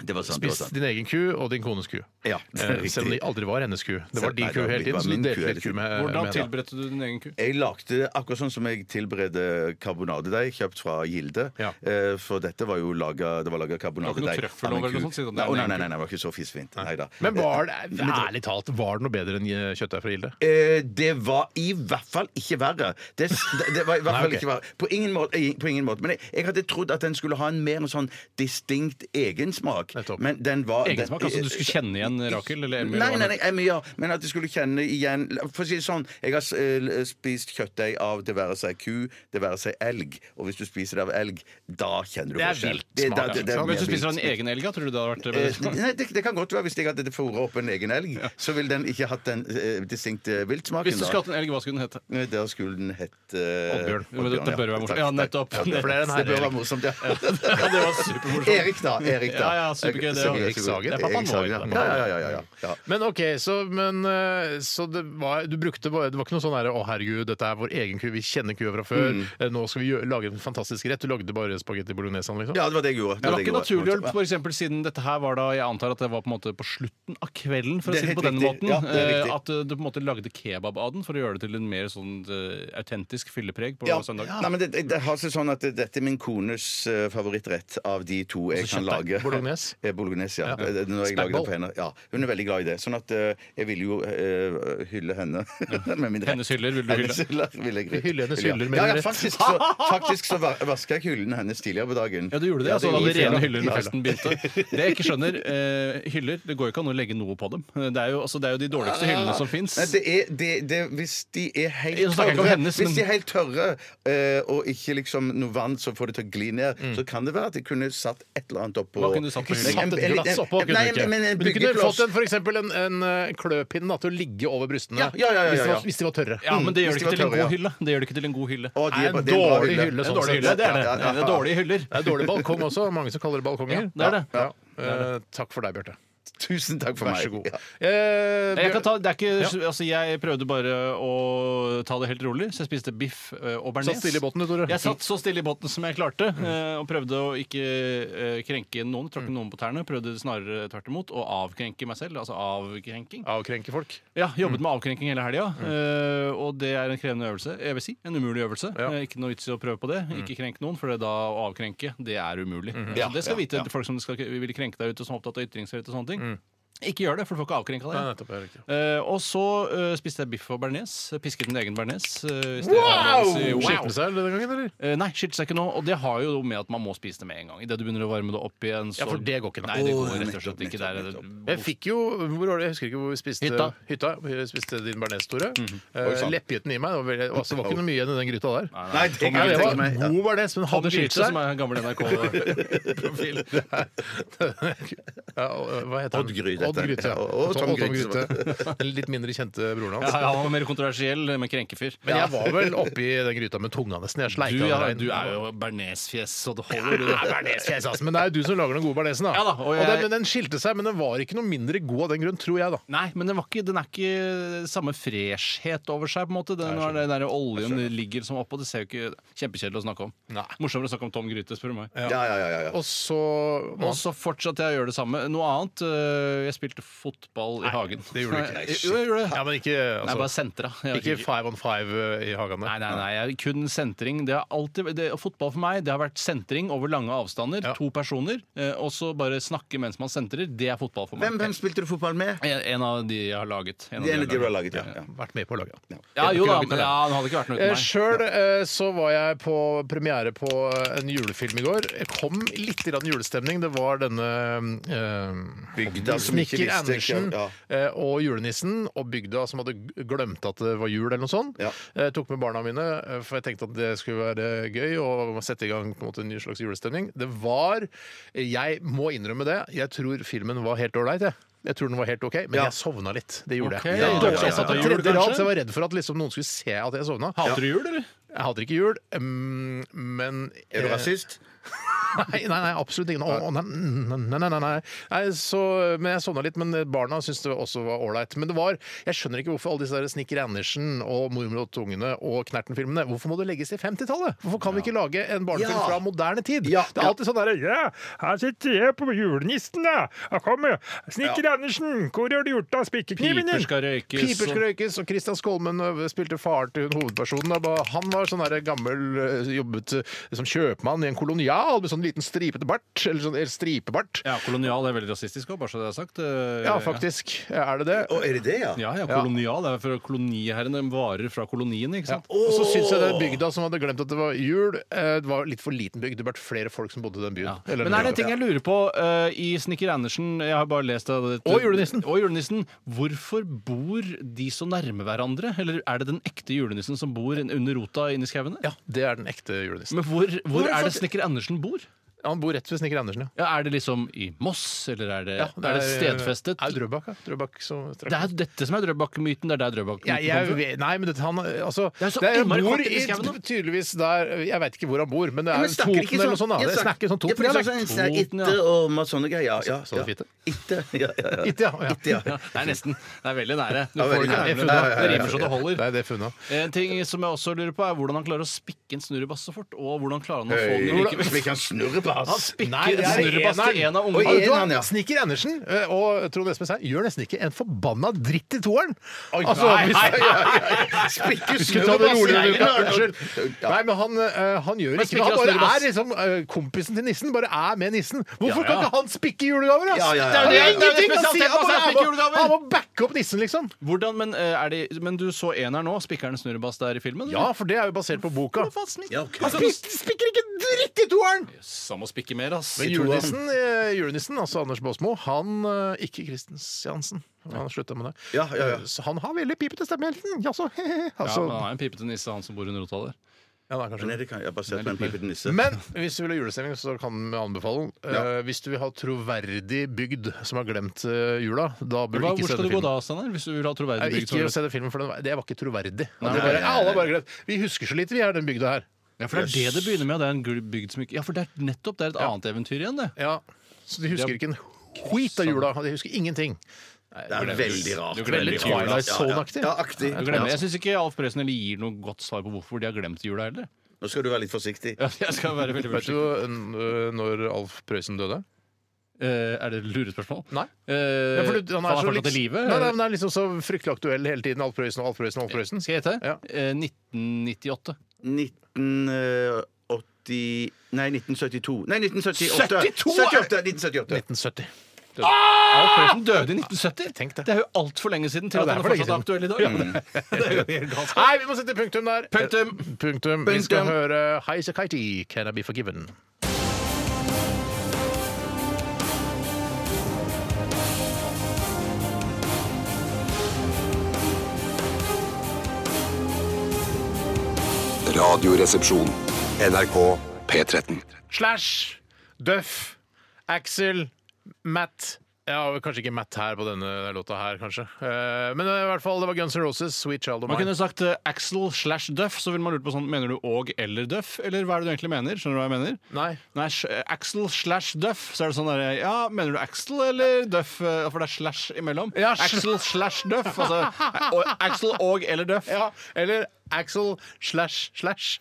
Speaker 6: Det var sant.
Speaker 5: Spist din egen ku og din kones ku.
Speaker 6: Ja, det er
Speaker 5: Eh, Selv om de
Speaker 6: riktig.
Speaker 5: aldri var hennes ku. Det var
Speaker 6: Selv-
Speaker 5: din
Speaker 6: nei,
Speaker 5: ku
Speaker 6: det var-
Speaker 5: hele
Speaker 6: det
Speaker 5: tiden.
Speaker 6: var
Speaker 5: Så du
Speaker 6: min ku
Speaker 5: delte
Speaker 6: hele
Speaker 5: litt ku
Speaker 6: tiden.
Speaker 5: med
Speaker 7: Hvordan
Speaker 5: med henne.
Speaker 7: tilberedte du din egen ku?
Speaker 6: Jeg lagde akkurat sånn som jeg tilberedte karbonadedeig kjøpt fra Gilde.
Speaker 5: Ja.
Speaker 6: Eh, For dette var jo laga, det var laga
Speaker 7: Det var
Speaker 6: karbonadedeig.
Speaker 7: ikke noe trøffel over eller noe sånt, siden det
Speaker 6: Nei,
Speaker 7: er
Speaker 6: å, nei,
Speaker 7: en
Speaker 6: nei, nei, nei, det var ikke så fisfint. Nei da.
Speaker 5: Men var det ærlig talt, var det noe bedre enn eh, kjøttdeig fra Gilde?
Speaker 6: Eh, det var i hvert fall ikke verre. Det, det, det var i hvert
Speaker 5: Nei,
Speaker 6: fall
Speaker 5: ok.
Speaker 6: ikke verre. På ingen måte. eh, På ingen måte. Men jeg, jeg hadde trodd at den skulle ha en mer en sånn distinkt egensmak.
Speaker 5: Nettopp.
Speaker 6: Men den var den-
Speaker 7: Egensmak? Altså du skulle kjenne igjen Rakel? Eller Emil?
Speaker 6: Nei,
Speaker 7: eller hva
Speaker 6: nei,
Speaker 7: det-
Speaker 6: nei, Emil, ja. men at de skulle kjenne igjen For å si det sånn, jeg har eh, spist kjøttdeig av det være seg ku, det være seg elg. Og hvis du spiser det av elg, da kjenner du
Speaker 5: Det er
Speaker 6: forskjell.
Speaker 5: vilt smak,
Speaker 6: da-
Speaker 5: ja.
Speaker 6: det- det er
Speaker 5: Men
Speaker 7: Hvis du
Speaker 6: mer
Speaker 7: altså. spiser
Speaker 6: vilt.
Speaker 7: av din egen elg, ja, tror du det hadde vært
Speaker 6: Eh,
Speaker 7: bedre?
Speaker 6: Nei, det, det kan godt være. Hvis jeg hadde fôret opp en egen elg, så ville den ikke hatt den eh, distinkte viltsmaken.
Speaker 7: Hvis du
Speaker 6: da.
Speaker 7: skulle hatt en elg, hva skulle den hete?
Speaker 6: Nei, Der skulle den hett eh,
Speaker 5: Oddbjørn.
Speaker 7: Jo, men dette
Speaker 6: ja.
Speaker 7: bør være morsomt.
Speaker 6: Takk,
Speaker 7: Ja,
Speaker 6: takk.
Speaker 7: nettopp.
Speaker 6: Ja, det,
Speaker 5: For det er en
Speaker 6: det bør
Speaker 5: herreelg.
Speaker 6: være morsomt, ja.
Speaker 7: det var supermorsomt.
Speaker 6: Erik, da. Erik, da.
Speaker 7: Ja, ja, supergøy, det
Speaker 6: Supergøy,
Speaker 7: også.
Speaker 5: Erik Sagen. Det er pappaen
Speaker 6: Erik Sagen,
Speaker 5: vår.
Speaker 6: ja. Ja, ja, ja, ja, ja.
Speaker 5: Men ok, så, men, eh, så det var, du brukte bare, det var ikke noe sånn her, å herregud, dette er vår egen ku, vi kjenner kua fra før,
Speaker 6: Mm.
Speaker 5: eh, nå skal vi gjø- lage en fantastisk rett. Du lagde bare spagetti bolognese, liksom?
Speaker 6: Ja, det var det jeg gjorde.
Speaker 7: Det var
Speaker 6: jeg
Speaker 7: ikke
Speaker 6: gjorde.
Speaker 7: naturlig, for eksempel, siden dette her var da Jeg antar at det var på en måte på slutten av kvelden, for å
Speaker 6: Det er
Speaker 7: si det på
Speaker 6: helt
Speaker 7: den
Speaker 6: riktig.
Speaker 7: måten.
Speaker 6: Ja, det er
Speaker 7: eh,
Speaker 6: riktig.
Speaker 7: at eh, du på en måte lagde kebab av den for å gjøre det til en mer sånn eh, autentisk fyllepreg på
Speaker 6: Ja.
Speaker 7: søndag.
Speaker 6: Nei, men det, det, det har seg sånn at det- dette er min kones eh, favorittrett av de to jeg
Speaker 5: Altså
Speaker 6: kan
Speaker 5: kjøttdeig,
Speaker 6: lage.
Speaker 5: bolognese?
Speaker 6: Eh, Bolognese, ja. Eh, Når jeg lager
Speaker 5: Spagball.
Speaker 6: det på henne. Ja, hun er veldig glad i det. Sånn at eh, jeg ville jo eh, hylle henne med min rett.
Speaker 7: Hennes hyller vil du
Speaker 6: Hennes
Speaker 7: hylle.
Speaker 6: hyller vil jeg
Speaker 5: Du hyller hennes
Speaker 6: hylle, ja.
Speaker 5: hyller med
Speaker 6: ja,
Speaker 5: din
Speaker 6: ja,
Speaker 5: rett.
Speaker 6: faktisk så, faktisk så va- vasker jeg hyllene hennes tidligere på dagen.
Speaker 7: Ja, du gjorde det. altså,
Speaker 6: Ja,
Speaker 7: da
Speaker 6: det
Speaker 7: hadde
Speaker 6: gjorde jeg.
Speaker 7: rene hyller
Speaker 6: Ja,
Speaker 7: når
Speaker 6: ja.
Speaker 7: festen begynte. Det jeg ikke skjønner, eh, hyller Det går jo ikke an å legge noe på dem. Det er jo, altså, det er jo de dårligste hyllene som fins.
Speaker 6: Ah, Nei, det er, det, det, hvis de er helt
Speaker 7: Nå snakker jeg ikke om
Speaker 6: tørre,
Speaker 7: hennes,
Speaker 6: hvis
Speaker 7: men-
Speaker 6: de er helt tørre eh, og ikke liksom noe vann som får det til å gli ned, så kan det være at de kunne satt et eller annet oppå.
Speaker 7: Hva kunne du satt på
Speaker 5: Satt
Speaker 7: hyllen?
Speaker 6: En-
Speaker 5: et
Speaker 6: en-
Speaker 5: glass
Speaker 6: en-
Speaker 5: oppå, kunne
Speaker 6: nei,
Speaker 5: du ikke.
Speaker 6: men en
Speaker 5: Men du kunne
Speaker 6: byggekloss.
Speaker 5: fått en, for eksempel en, en eh, kløpinne da, til å ligge over brystene
Speaker 6: Ja, ja, ja, ja,
Speaker 5: hvis de
Speaker 6: ja.
Speaker 5: var- hvis de var tørre.
Speaker 7: Ja, men det gjør
Speaker 6: Hvis
Speaker 7: det
Speaker 6: de
Speaker 7: ikke til en
Speaker 6: var tørre,
Speaker 7: god
Speaker 6: ja.
Speaker 7: hylle. Det gjør det ikke til en god hylle.
Speaker 6: Å,
Speaker 5: en
Speaker 6: de er bra- det er en bra
Speaker 5: dårlig hylle,
Speaker 7: Det er
Speaker 5: sånn
Speaker 7: en dårlig
Speaker 5: sett.
Speaker 7: hylle, det er det.
Speaker 6: Ja, ja, ja.
Speaker 7: Det er dårlige hyller.
Speaker 5: Det er dårlig balkong også. Mange som kaller det balkonger.
Speaker 7: Ja, det er det.
Speaker 5: Eh, takk for deg, Bjarte.
Speaker 6: Tusen takk for
Speaker 5: Vær
Speaker 6: meg.
Speaker 5: så god.
Speaker 6: Ja.
Speaker 5: Eh,
Speaker 7: Jeg, kan ta, det er ikke,
Speaker 5: Ja.
Speaker 7: altså, jeg prøvde bare å ta det helt rolig, så jeg spiste biff eh, og bearnés.
Speaker 5: Satt stille i båten, du, Tore.
Speaker 7: Jeg satt så stille i båten som jeg klarte,
Speaker 6: Mm.
Speaker 7: eh, og prøvde å ikke eh, krenke noen, tråkke
Speaker 6: Mm.
Speaker 7: noen på tærne. Prøvde snarere tvert imot å avkrenke meg selv, altså avkrenking.
Speaker 5: Avkrenke folk.
Speaker 7: Ja,
Speaker 5: Mm.
Speaker 7: Jobbet med avkrenking hele helga, eh, og det er en krevende øvelse. Jeg vil si, En umulig øvelse.
Speaker 5: Ja. Mm.
Speaker 7: Eh, Ikke noe vits i å prøve på det. Ikke krenk noen, for det da å avkrenke, det er umulig.
Speaker 6: Ja,
Speaker 7: Så det skal
Speaker 6: ja,
Speaker 7: vite
Speaker 6: ja.
Speaker 7: folk som skal, vil krenke deg ute, som er opptatt av ytringsfrihet og sånne ting. Ikke gjør det, for du får ikke avkrenka deg.
Speaker 5: Nei, Mm. nettopp, det er riktig.
Speaker 7: Eh, og så eh, spiste jeg biff og bearnés. Pisket min egen bearnés. eh, i stedet for å
Speaker 5: Wow!
Speaker 7: si wow!
Speaker 5: Skilte seg denne gangen, eller?
Speaker 7: Eh, nei, skilte seg ikke nå. Og det har jo med at man må spise det med en gang. Idet du begynner å varme det opp igjen, så
Speaker 5: Ja, for det går ikke,
Speaker 7: Nei,
Speaker 5: nei.
Speaker 7: det går
Speaker 6: Åh,
Speaker 7: rett og slett
Speaker 6: nettopp,
Speaker 7: ikke. Det er-
Speaker 6: nettopp,
Speaker 5: Jeg fikk jo hvor var det? Jeg husker ikke hvor vi spiste
Speaker 7: Hytta.
Speaker 5: hytta. Vi spiste din bearnés, Tore.
Speaker 6: Oi,
Speaker 5: Eh,
Speaker 6: sant.
Speaker 5: Leppegytten i meg. Det var, veldig, altså, det var ikke noe mye igjen i den gryta der.
Speaker 6: Nei, det kan
Speaker 5: Ja,
Speaker 6: jeg
Speaker 5: det
Speaker 6: tenke
Speaker 5: var
Speaker 6: meg. Ja.
Speaker 5: god bearnés, men
Speaker 7: Hadde
Speaker 5: hadde skilt
Speaker 7: Schiltze, som
Speaker 5: seg.
Speaker 7: er en gammel NRK-profil.
Speaker 5: Ja, og, eh, hva heter han?
Speaker 6: Odd Gry, dette.
Speaker 5: Odd Gryte.
Speaker 6: Ja, og- og
Speaker 5: Altså,
Speaker 6: Tom
Speaker 5: Odd Tom
Speaker 6: Gryte.
Speaker 5: Gryte. Den litt mindre kjente broren
Speaker 7: Ja,
Speaker 5: hans.
Speaker 7: han var mer kontroversiell, men krenkefyr.
Speaker 5: Men jeg var vel oppi den gryta med tunga nesten. Jeg
Speaker 7: Du,
Speaker 5: sleika
Speaker 7: ja,
Speaker 5: av regn.
Speaker 7: du er jo bearnésfjes, så det holder. du,
Speaker 5: Ja,
Speaker 7: det.
Speaker 5: bearnésfjes, altså. Men det er jo du som lager den gode bearnésen, da.
Speaker 7: Ja da, og
Speaker 5: og
Speaker 7: jeg-
Speaker 5: den, men den skilte seg, men den var ikke noe mindre god av den grunn, tror jeg, da.
Speaker 7: Nei, men den, var ikke, den er ikke samme freshhet over seg. på en måte Den, den der oljen ligger som oppå. Det ser jo ikke kjempekjedelig å snakke om.
Speaker 5: Nei.
Speaker 7: Morsommere å snakke om Tom Gryte, spør du meg.
Speaker 6: Ja, ja, ja, ja, ja.
Speaker 5: Og så
Speaker 7: Og så fortsatte jeg å gjøre det samme. Noe annet øh, Jeg spilte fotball i hagen.
Speaker 5: det gjorde du ikke.
Speaker 7: Nei, Jo, jeg gjorde det.
Speaker 5: Ja, men ikke
Speaker 7: Nei,
Speaker 5: altså,
Speaker 7: bare sentra. Jeg
Speaker 5: Ikke
Speaker 7: orker ikke.
Speaker 5: five on five eh, i hagen
Speaker 7: Nei,
Speaker 5: der.
Speaker 7: nei, nei, jeg, kun sentring. Det har alltid, det, og fotball for meg det har vært sentring over lange avstander.
Speaker 5: Ja.
Speaker 7: To personer. eh, Og så bare snakke mens man sentrer. Det er fotball for meg.
Speaker 6: Hvem, hvem spilte du fotball med?
Speaker 7: En, en av de jeg har laget. En av
Speaker 6: Det ene de
Speaker 7: de jeg
Speaker 6: du har
Speaker 7: har laget.
Speaker 6: laget, ja. ja.
Speaker 5: Vært med på laget.
Speaker 7: Ja, jo
Speaker 5: Jeg har ikke
Speaker 7: da,
Speaker 5: laget
Speaker 7: men
Speaker 5: noe.
Speaker 7: ja, han hadde ikke vært noe
Speaker 5: Eh,
Speaker 7: uten meg.
Speaker 5: Sjøl eh, så var jeg på premiere på eh, en julefilm i går. Jeg kom litt grann julestemning. Det var denne eh,
Speaker 6: Bygda som ikke
Speaker 5: Snekker
Speaker 6: visste ikke-
Speaker 5: Andersen
Speaker 6: ja.
Speaker 5: eh, og julenissen og bygda som hadde g- glemt at det var jul eller noe sånt.
Speaker 6: Ja.
Speaker 5: Jeg tok med barna mine, eh, for jeg tenkte at det skulle være gøy å sette i gang på en måte en ny slags julestemning. Det var Jeg må innrømme det, jeg tror filmen var helt ålreit, jeg. Jeg tror den var helt OK, men jeg sovna litt. Det gjorde
Speaker 7: Ok.
Speaker 5: jeg.
Speaker 7: Ja,
Speaker 5: Det var dårlig.
Speaker 7: dårlig oppsatt av
Speaker 5: Det var
Speaker 7: jul,
Speaker 5: tredje
Speaker 7: kanskje?
Speaker 5: rad, så jeg var redd for at liksom noen skulle se at jeg sovna.
Speaker 7: Hater du jul, eller?
Speaker 5: Jeg hater ikke jul, mm, men
Speaker 6: Er du rasist?
Speaker 5: Nei, nei, nei, absolutt ikke. Å, å, nei, nei, nei, nei, nei. nei så, men Jeg sovna litt, men barna syntes det også var ålreit. Men det var, jeg skjønner ikke hvorfor alle disse der Snikker Andersen og Mormor og tungene og Knerten-filmene Hvorfor må det legges til 50-tallet? Hvorfor kan vi ikke lage en barnefilm
Speaker 6: Ja.
Speaker 5: fra moderne tid?
Speaker 6: Ja,
Speaker 5: det er
Speaker 6: ja.
Speaker 5: alltid sånn derre
Speaker 8: Ja, her sitter jeg på julenissen, da. Her kommer Snekker Andersen. Hvor har du gjort av spikerkniven
Speaker 7: Piper
Speaker 8: din?
Speaker 7: skal røykes.
Speaker 5: Piper skal røykes, og Christian Skolmen ø, spilte far til hun hovedpersonen. og ba- Han var sånn der gammel, ø, jobbet ø, som kjøpmann i en kolonial med sånn liten stripete bart. Eller sånn eller stripebart.
Speaker 7: Ja, kolonial er veldig rasistisk òg, bare så det er sagt. Eh,
Speaker 5: Ja, faktisk. eh, Er det det?
Speaker 6: Å, er det det, ja?
Speaker 7: Ja, ja, kolonial er for koloniherrene varer fra kolonien, ikke sant?
Speaker 5: Og så syns jeg den bygda som hadde glemt at det var jul, eh, det var litt for liten bygd. Det burde vært flere folk som bodde i den byen.
Speaker 7: Ja.
Speaker 5: Eller
Speaker 7: Men er
Speaker 5: den
Speaker 7: det en ting jeg lurer på eh, i Snikker Andersen Jeg har bare lest av det
Speaker 5: Og julenissen.
Speaker 7: Og julenissen. Hvorfor bor de så nærme hverandre? Eller er det den ekte julenissen som bor in- under rota inni skauene?
Speaker 5: bygda. Ja, det er den ekte julenissen.
Speaker 7: Men hvor, hvor
Speaker 5: Hvorfor-
Speaker 7: er det Snekker Andersen bor?
Speaker 5: Han bor rett ved Snekker Andersen, ja.
Speaker 7: Ja, er det liksom i Moss, eller er det,
Speaker 5: ja
Speaker 7: er det stedfestet?
Speaker 5: Er Drøbak, ja. Drøbak som
Speaker 7: Det er jo dette som er Drøbak-myten. Det er der Drøbak
Speaker 5: jeg, jeg, vet- nei, men dette, han altså,
Speaker 7: Det er så
Speaker 5: jeg
Speaker 7: innmari
Speaker 5: bor
Speaker 7: kort inn i
Speaker 5: i,
Speaker 7: skauen, da.
Speaker 5: tydeligvis der Jeg veit ikke hvor han bor, men det
Speaker 6: Ja,
Speaker 5: er
Speaker 6: men
Speaker 5: jo
Speaker 6: snakker
Speaker 5: Toten
Speaker 6: de ikke
Speaker 5: eller noe
Speaker 6: sånn-
Speaker 5: sånn. da.
Speaker 6: Ja,
Speaker 5: Det
Speaker 6: snakker-
Speaker 5: snakker sånn
Speaker 6: Ja, for det er
Speaker 5: Toten-dialekt.
Speaker 6: sånn- sånn
Speaker 7: Toten, ja.
Speaker 6: Itte og masse sånne greier. Ja, ja,
Speaker 5: Sa du fitte?
Speaker 6: Itte, ja, ja, ja.
Speaker 5: Itte, ja, ja.
Speaker 6: Itte, ja.
Speaker 7: Ja, det er nesten. Det er veldig nære. Du
Speaker 6: Ja,
Speaker 7: får det
Speaker 6: veldig
Speaker 7: ikke
Speaker 6: nære.
Speaker 7: helt
Speaker 6: Ja,
Speaker 7: unna.
Speaker 6: ja, ja, ja,
Speaker 7: Det rimer så det holder.
Speaker 5: Det er det funnet.
Speaker 7: En ting som jeg også lurer på, er hvordan han klarer å spikke en snurrebass så fort. Og hvordan klarer han å få den i
Speaker 6: Hvordan-
Speaker 7: likevel?
Speaker 6: Vi kan snurre på
Speaker 7: Han
Speaker 6: oss.
Speaker 7: spikker
Speaker 5: Nei, det
Speaker 7: en
Speaker 5: er
Speaker 7: snurrebass til
Speaker 5: eneren.
Speaker 7: en av
Speaker 6: Oi,
Speaker 7: ungene.
Speaker 5: Vet du hva?
Speaker 6: eneren, ja.
Speaker 5: Snikker Andersen eh, og Trond Espen Seim gjør nesten ikke en forbanna dritt i toeren.
Speaker 6: Oi,
Speaker 5: Altså,
Speaker 6: nei,
Speaker 5: hvis-
Speaker 6: nei, nei, nei. Spikke
Speaker 5: Vi skulle ta det
Speaker 6: snurrebass.
Speaker 5: rolig.
Speaker 6: Nei,
Speaker 5: Rebecca.
Speaker 6: nei, nei.
Speaker 5: Unnskyld.
Speaker 6: Ja.
Speaker 5: Nei, men han, eh, han gjør ikke
Speaker 7: Men
Speaker 5: det. Han
Speaker 7: spikker av
Speaker 5: bare
Speaker 7: snurrebass.
Speaker 5: er liksom eh, kompisen til nissen. Bare er med nissen.
Speaker 7: Ja,
Speaker 5: Hvorfor
Speaker 7: ja.
Speaker 5: kan ikke han spikke julegaver? ass?
Speaker 6: Ja, ja,
Speaker 5: Det er jo
Speaker 6: ja.
Speaker 7: Det er jo
Speaker 5: ingenting!
Speaker 7: det
Speaker 5: Han sier bare
Speaker 7: spesielt, ass,
Speaker 5: er
Speaker 7: spikke
Speaker 5: med-
Speaker 7: julegaver.
Speaker 5: Han må backe opp nissen, liksom.
Speaker 7: Hvordan, men, eh, er det, men du så eneren nå? Spikkeren snurrebass der i filmen?
Speaker 5: Ja, for det er jo basert på boka. Altså,
Speaker 7: Faen, snitt.
Speaker 6: Ja, ok.
Speaker 7: Han skal-
Speaker 5: spikker ikke dritt i toeren!
Speaker 7: Samme å spikke mer, ass.
Speaker 5: Men julenissen, eh, julenissen, altså Anders Baasmo, han eh, Ikke Christensen. Han slutta med det. Eh,
Speaker 6: Ja, ja, ja.
Speaker 5: Så han har veldig pipete stemme hele tiden. Jaså, he-he.
Speaker 7: Ja,
Speaker 5: Altså,
Speaker 7: men han er en pipete nisse, han som bor under rota der.
Speaker 5: ja, da, kanskje.
Speaker 6: Nei, det kan jeg basert på en pipete nisse.
Speaker 5: Men hvis du vil ha julestemning, så kan vi anbefale den. Eh, hvis du vil ha troverdig bygd som har glemt eh, jula, da bør du
Speaker 7: Hva,
Speaker 5: ikke
Speaker 7: hvor
Speaker 5: se
Speaker 7: skal du
Speaker 5: den
Speaker 7: gå
Speaker 5: filmen.
Speaker 7: da, Steinar? Hvis du vil ha troverdig
Speaker 5: Eh,
Speaker 7: bygd
Speaker 5: Ikke
Speaker 7: toalett?
Speaker 5: se den filmen, for den, var- det var ikke troverdig.
Speaker 7: Nei,
Speaker 5: Det
Speaker 7: nei,
Speaker 5: bare, alle har bare glemt. Vi husker så lite, vi er den bygda her.
Speaker 7: Ja, for det er det det begynner med. og Det er en gl- bygd som ikke Ja, for det er nettopp det er et annet eventyr igjen, det.
Speaker 5: Ja, så de husker ikke en hvit av jula. og De husker ingenting.
Speaker 6: Det er veldig rart.
Speaker 7: Du glemmer
Speaker 6: veldig rart.
Speaker 5: Twilight
Speaker 6: Ja, ja.
Speaker 5: Zone-aktig.
Speaker 6: Ja, aktig.
Speaker 7: Jeg, glemmer- jeg syns ikke Alf Prøysen eller gir noe godt svar på hvorfor de har glemt jula heller.
Speaker 6: Nå skal du være litt forsiktig.
Speaker 7: Ja, jeg skal være veldig
Speaker 5: Vet du
Speaker 7: forsiktig.
Speaker 5: eh, når Alf Prøysen døde?
Speaker 7: Eh, Er det et lurespørsmål?
Speaker 5: Nei.
Speaker 7: Eh,
Speaker 5: Ja, for du-
Speaker 7: han
Speaker 5: så
Speaker 7: er fortsatt i
Speaker 5: liks-
Speaker 7: live?
Speaker 5: Nei, nei, men han er liksom så fryktelig aktuell hele tiden. Alf Prøysen og Alf Prøysen og Alf Prøysen.
Speaker 7: Skal jeg hete?
Speaker 5: Ja.
Speaker 7: Eh, 1998.
Speaker 6: 1980 eh, Nei, 1972. Nei, 1978.
Speaker 5: 72,
Speaker 6: 78, 1978.
Speaker 5: 1970.
Speaker 7: Alf Prøysen døde i 1970!
Speaker 5: Tenk det.
Speaker 7: Det er jo altfor lenge siden til
Speaker 5: Ja,
Speaker 7: at
Speaker 5: det er
Speaker 7: han er
Speaker 5: for lenge
Speaker 7: fortsatt aktuell i dag. Det er jo helt galskap.
Speaker 5: Nei, vi må sette punktum der. Eh,
Speaker 7: Punktum.
Speaker 5: Punktum. Vi skal
Speaker 6: Punktum.
Speaker 5: høre Highasakite, 'Can I Be Forgiven'.
Speaker 2: Radioresepsjon. NRK P13.
Speaker 5: Slash, Duff, Axel, Matt. Ja, kanskje ikke Matt her på denne låta her, kanskje. Eh, Men i hvert fall, det var Guns N' Roses, 'Sweet Child of
Speaker 7: Man kunne
Speaker 5: Mine'.
Speaker 7: sagt eh, Axel slash Duff, så ville man lurt på sånn Mener du og eller Duff, eller hva er det du egentlig mener? Skjønner du hva jeg mener?
Speaker 5: Nei.
Speaker 7: Nei, sj- eh, Axel slash Duff, så er det sånn derre Ja, mener du Axel eller Duff? Eh, For det er slash imellom.
Speaker 5: Ja, sl-
Speaker 7: Axel slash Duff. Altså og, Axel og eller Duff.
Speaker 5: Ja, eller Axel slash slash.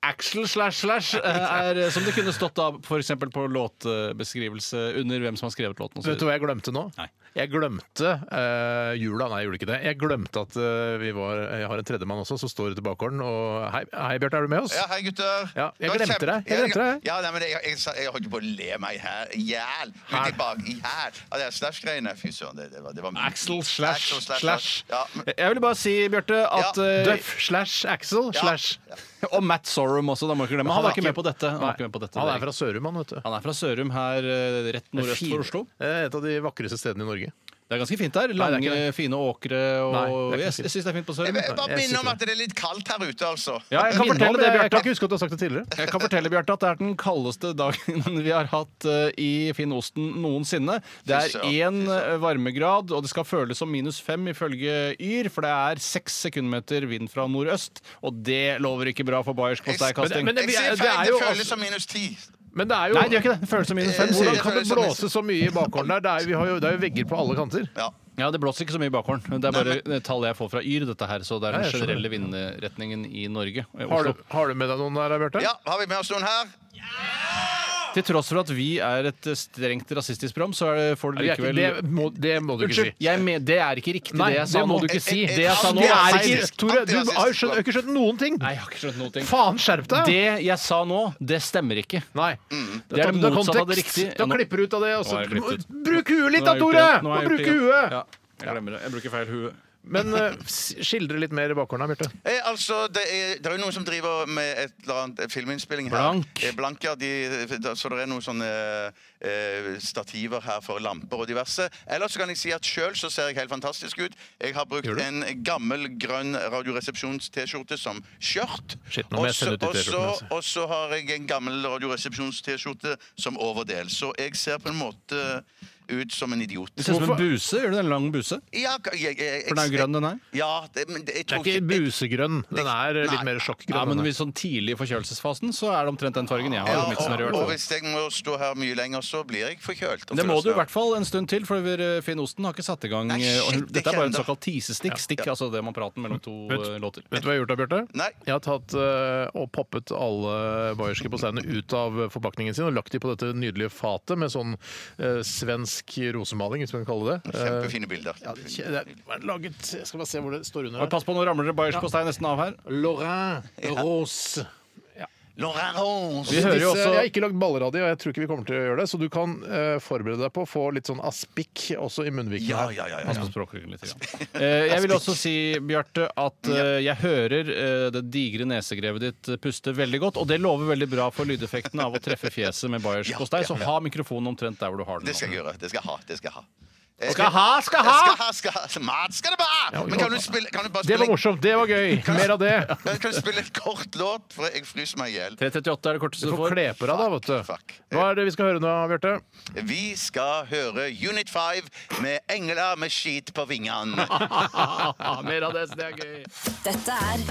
Speaker 7: Axel slash slash eh, er eh, som det kunne stått da f.eks. på låtbeskrivelse under hvem som har skrevet låten. og så
Speaker 5: Vet du
Speaker 7: videre.
Speaker 5: hva jeg glemte nå?
Speaker 7: Nei.
Speaker 5: Jeg glemte eh, jula, nei, jeg gjorde ikke det. Jeg glemte at eh, vi var, jeg har en tredjemann også som står ute i bakgården og Hei, hei Bjarte, er du med oss?
Speaker 9: Ja, hei, gutter.
Speaker 5: Ja, jeg
Speaker 9: Det var
Speaker 5: glemte deg. Jeg
Speaker 9: Ja,
Speaker 5: glemte deg.
Speaker 9: Ja, nei, men jeg, jeg, jeg, jeg holdt på å le meg her i hjel. Ut i bak, i hjel. Ja, det er slash-greiene. Fy søren, det, det var, det var
Speaker 7: Axel slash
Speaker 9: Axel
Speaker 7: slash.
Speaker 9: Ja, men,
Speaker 7: Jeg ville bare si, Bjarte, at
Speaker 9: Ja.
Speaker 7: eh,
Speaker 5: Duff slash Axel slash.
Speaker 7: Og Matt Sorum også, da må du ikke glemme. Han var ikke med på dette. Han,
Speaker 5: Nei,
Speaker 7: var ikke med på dette
Speaker 5: han er fra Sørum, han, vet du.
Speaker 7: han er fra Sørum her eh, rett nordøst
Speaker 5: Fin-
Speaker 7: for Oslo.
Speaker 5: Eh, Et av de vakreste stedene i Norge.
Speaker 7: Det er ganske fint der.
Speaker 5: det er
Speaker 7: Lange,
Speaker 5: ikke det.
Speaker 7: fine åkre.
Speaker 5: Nei,
Speaker 7: Og
Speaker 5: det er ikke
Speaker 7: jeg,
Speaker 5: fint.
Speaker 7: jeg syns det er fint på
Speaker 9: jeg,
Speaker 7: Sørum.
Speaker 9: jeg bare
Speaker 5: Jeg
Speaker 9: minner om
Speaker 5: sitter-
Speaker 9: at det er litt kaldt her ute, altså.
Speaker 7: Ja, jeg kan
Speaker 5: Minne om
Speaker 7: fortelle det,
Speaker 5: Jeg
Speaker 7: Bjarte.
Speaker 5: kan ikke huske at du har sagt det tidligere.
Speaker 7: eh, Jeg kan fortelle Bjarte, at det er den kaldeste dagen vi har hatt eh, i Finnosten noensinne. Det er
Speaker 9: Fy søren,
Speaker 7: én
Speaker 9: fy søren.
Speaker 7: eh, varmegrad, og det skal føles som minus fem ifølge Yr, for det er seks sekundmeter vind fra nordøst, og det lover ikke bra for bayersk
Speaker 9: Jeg- men det-
Speaker 7: posteikasting.
Speaker 5: men det-
Speaker 9: Jeg sier
Speaker 5: det
Speaker 9: feil,
Speaker 5: er
Speaker 9: det,
Speaker 5: jo
Speaker 9: føles
Speaker 5: altså-
Speaker 9: som minus ti.
Speaker 5: Men det er jo
Speaker 7: Nei, det gjør ikke det. Det føles som minus fem.
Speaker 6: Eh,
Speaker 5: Hvordan
Speaker 6: Jeg
Speaker 5: kan
Speaker 6: føler
Speaker 5: det
Speaker 6: det som-
Speaker 5: blåse så mye i bakhånden der? Det er, vi har jo, det er jo vegger på alle kanter.
Speaker 6: Ja.
Speaker 7: Ja, Det blåser ikke så mye i bakhåren. Det er bare tall jeg får fra Yr. dette her, Så det
Speaker 5: Ja,
Speaker 7: er den
Speaker 5: jeg skjønner.
Speaker 7: generelle vindretningen i Norge. eh,
Speaker 5: Har
Speaker 7: Oslo.
Speaker 5: du, har du med deg noen der, Bjarte?
Speaker 6: ja, har vi med oss noen her?
Speaker 7: Til tross for at vi er et eh, strengt rasistisk program, så er det, får du
Speaker 5: Nei, vi er ikke-
Speaker 7: likevel
Speaker 5: Det, må, det må du ikke si.
Speaker 7: Unnskyld, jeg men, det er ikke riktig,
Speaker 5: Nei,
Speaker 7: det jeg sa
Speaker 5: det må
Speaker 7: nå.
Speaker 5: du
Speaker 6: ikke si.
Speaker 7: Det jeg sa nå,
Speaker 6: Det
Speaker 7: er
Speaker 6: er
Speaker 7: ikke
Speaker 6: feil.
Speaker 5: Tore, du har jo skjønt, har ikke skjønt noen ting!
Speaker 7: Nei, jeg har ikke skjønt noen ting.
Speaker 5: Faen, skjerp deg!
Speaker 7: Det jeg sa nå, det stemmer ikke.
Speaker 5: Nei.
Speaker 7: Det er
Speaker 5: Tatt
Speaker 7: det
Speaker 5: ut av
Speaker 7: motsatte av det
Speaker 5: kontekst.
Speaker 7: riktige.
Speaker 5: Mm. Da
Speaker 7: Ja, nå-
Speaker 5: klipper du ut av det. og
Speaker 7: Nå har jeg klippet
Speaker 5: så- Bruk huet litt da,
Speaker 7: Nå har
Speaker 5: Tore!
Speaker 7: jeg gjort det igjen. Nå har
Speaker 5: Nå
Speaker 7: jeg gjort
Speaker 5: bruker
Speaker 7: det igjen.
Speaker 5: huet!
Speaker 7: Ja, jeg glemmer det. Jeg bruker feil hue.
Speaker 5: Men eh, s- skildre litt mer i bakhånden, Bjarte.
Speaker 6: Eh, altså, det er, det er jo noen som driver med et eller annet eh, filminnspilling her.
Speaker 7: Blank.
Speaker 6: Eh, blank, ja. De, da, så det er noen sånne eh, stativer her for lamper og diverse. Ellers så kan jeg si at sjøl så ser jeg helt fantastisk ut. Jeg har brukt en gammel grønn Radioresepsjons-T-skjorte som skjørt.
Speaker 5: Shit, nå må jeg
Speaker 6: Også-
Speaker 5: sende ut de
Speaker 6: også-
Speaker 5: T-skjortene, altså.
Speaker 6: Og så har jeg en gammel Radioresepsjons-T-skjorte som overdel. Så jeg ser på en måte ut som en idiot.
Speaker 7: Det ser ut som en buse. Gjør du det? En lang buse?
Speaker 6: Ja, jeg, jeg, jeg,
Speaker 7: For den er jo grønn, den her.
Speaker 6: Ja, det, men det, jeg
Speaker 5: Det
Speaker 6: tror
Speaker 5: er ikke busegrønn. Den er litt
Speaker 6: Nei.
Speaker 5: mer
Speaker 7: Ja,
Speaker 5: sjokkgrønn.
Speaker 7: men
Speaker 5: den er.
Speaker 7: hvis sånn tidlig i forkjølelsesfasen, så er det omtrent den fargen jeg har.
Speaker 6: Ja,
Speaker 7: på midten her i
Speaker 6: og,
Speaker 7: hvert
Speaker 6: og
Speaker 7: fall.
Speaker 6: hvis jeg må stå her mye lenger, så blir jeg forkjølt. og
Speaker 7: Det må
Speaker 6: forløsner.
Speaker 7: du i hvert fall en stund til, for eh, Finn Osten har ikke satt i gang
Speaker 6: Nei,
Speaker 7: eh, og-
Speaker 6: shit, det
Speaker 7: Dette er bare en
Speaker 6: kjenner jeg.
Speaker 7: såkalt tisestikk. Stikk, altså det man prater mellom to eh, låter.
Speaker 5: Vet du hva jeg har gjort da, Bjarte?
Speaker 6: Nei.
Speaker 5: Jeg har tatt eh, og poppet alle bayerske på scenen ut av forpakningen sin og lagt dem på dette nydelige fatet med sånn eh, svensk rosemaling, hvis man kan kalle det. Eh,
Speaker 6: Kjempefine bilder.
Speaker 5: ja, det er det er laget Jeg skal bare se hvor det står under
Speaker 7: Og
Speaker 5: her.
Speaker 7: Pass på, nå ramler det bayersk postei nesten av her.
Speaker 5: Lorrain Rose.
Speaker 6: Laurent Rose.
Speaker 7: Vi hører jo
Speaker 5: Disse- Jeg har
Speaker 7: også
Speaker 5: ikke lagd balleradio, og jeg tror ikke vi kommer til å gjøre det, så du kan eh, forberede deg på å få litt sånn aspik også i munnviken.
Speaker 6: Ja,
Speaker 5: her.
Speaker 6: ja, ja, ja,
Speaker 7: Pass
Speaker 6: ja.
Speaker 7: på språkbruken litt. grann. Eh, Jeg vil også si, Bjarte, at eh, jeg hører eh, det digre nesegrevet ditt eh, puste veldig godt, og det lover veldig bra for lydeffekten av å treffe fjeset med bayersk
Speaker 6: Ja,
Speaker 7: postei, så
Speaker 6: ja, ja.
Speaker 7: ha mikrofonen omtrent der hvor du har den.
Speaker 6: Det
Speaker 7: nå.
Speaker 6: skal jeg gjøre. Det skal jeg ha. Det skal jeg ha. Eh,
Speaker 7: Skal ha, skal ha!
Speaker 6: Skal ha, skal ha. Mat skal det bare! ha!
Speaker 5: Ja,
Speaker 6: Men kan du, spille, kan du bare
Speaker 5: Det
Speaker 6: spille
Speaker 5: var morsomt. Det var gøy. Mer av det.
Speaker 6: Kan kan du spille et kort låt, for jeg fryser meg i hjel.
Speaker 7: 338 er det korteste
Speaker 5: Du
Speaker 7: du
Speaker 5: får
Speaker 7: får.
Speaker 5: kle på deg, da, vet du.
Speaker 6: Fuck.
Speaker 5: Hva er det vi skal høre nå, Bjarte?
Speaker 6: Vi skal høre Unit 5 med 'Engler med skit på vingene'.
Speaker 7: Mer av det, så det er gøy.
Speaker 1: Dette er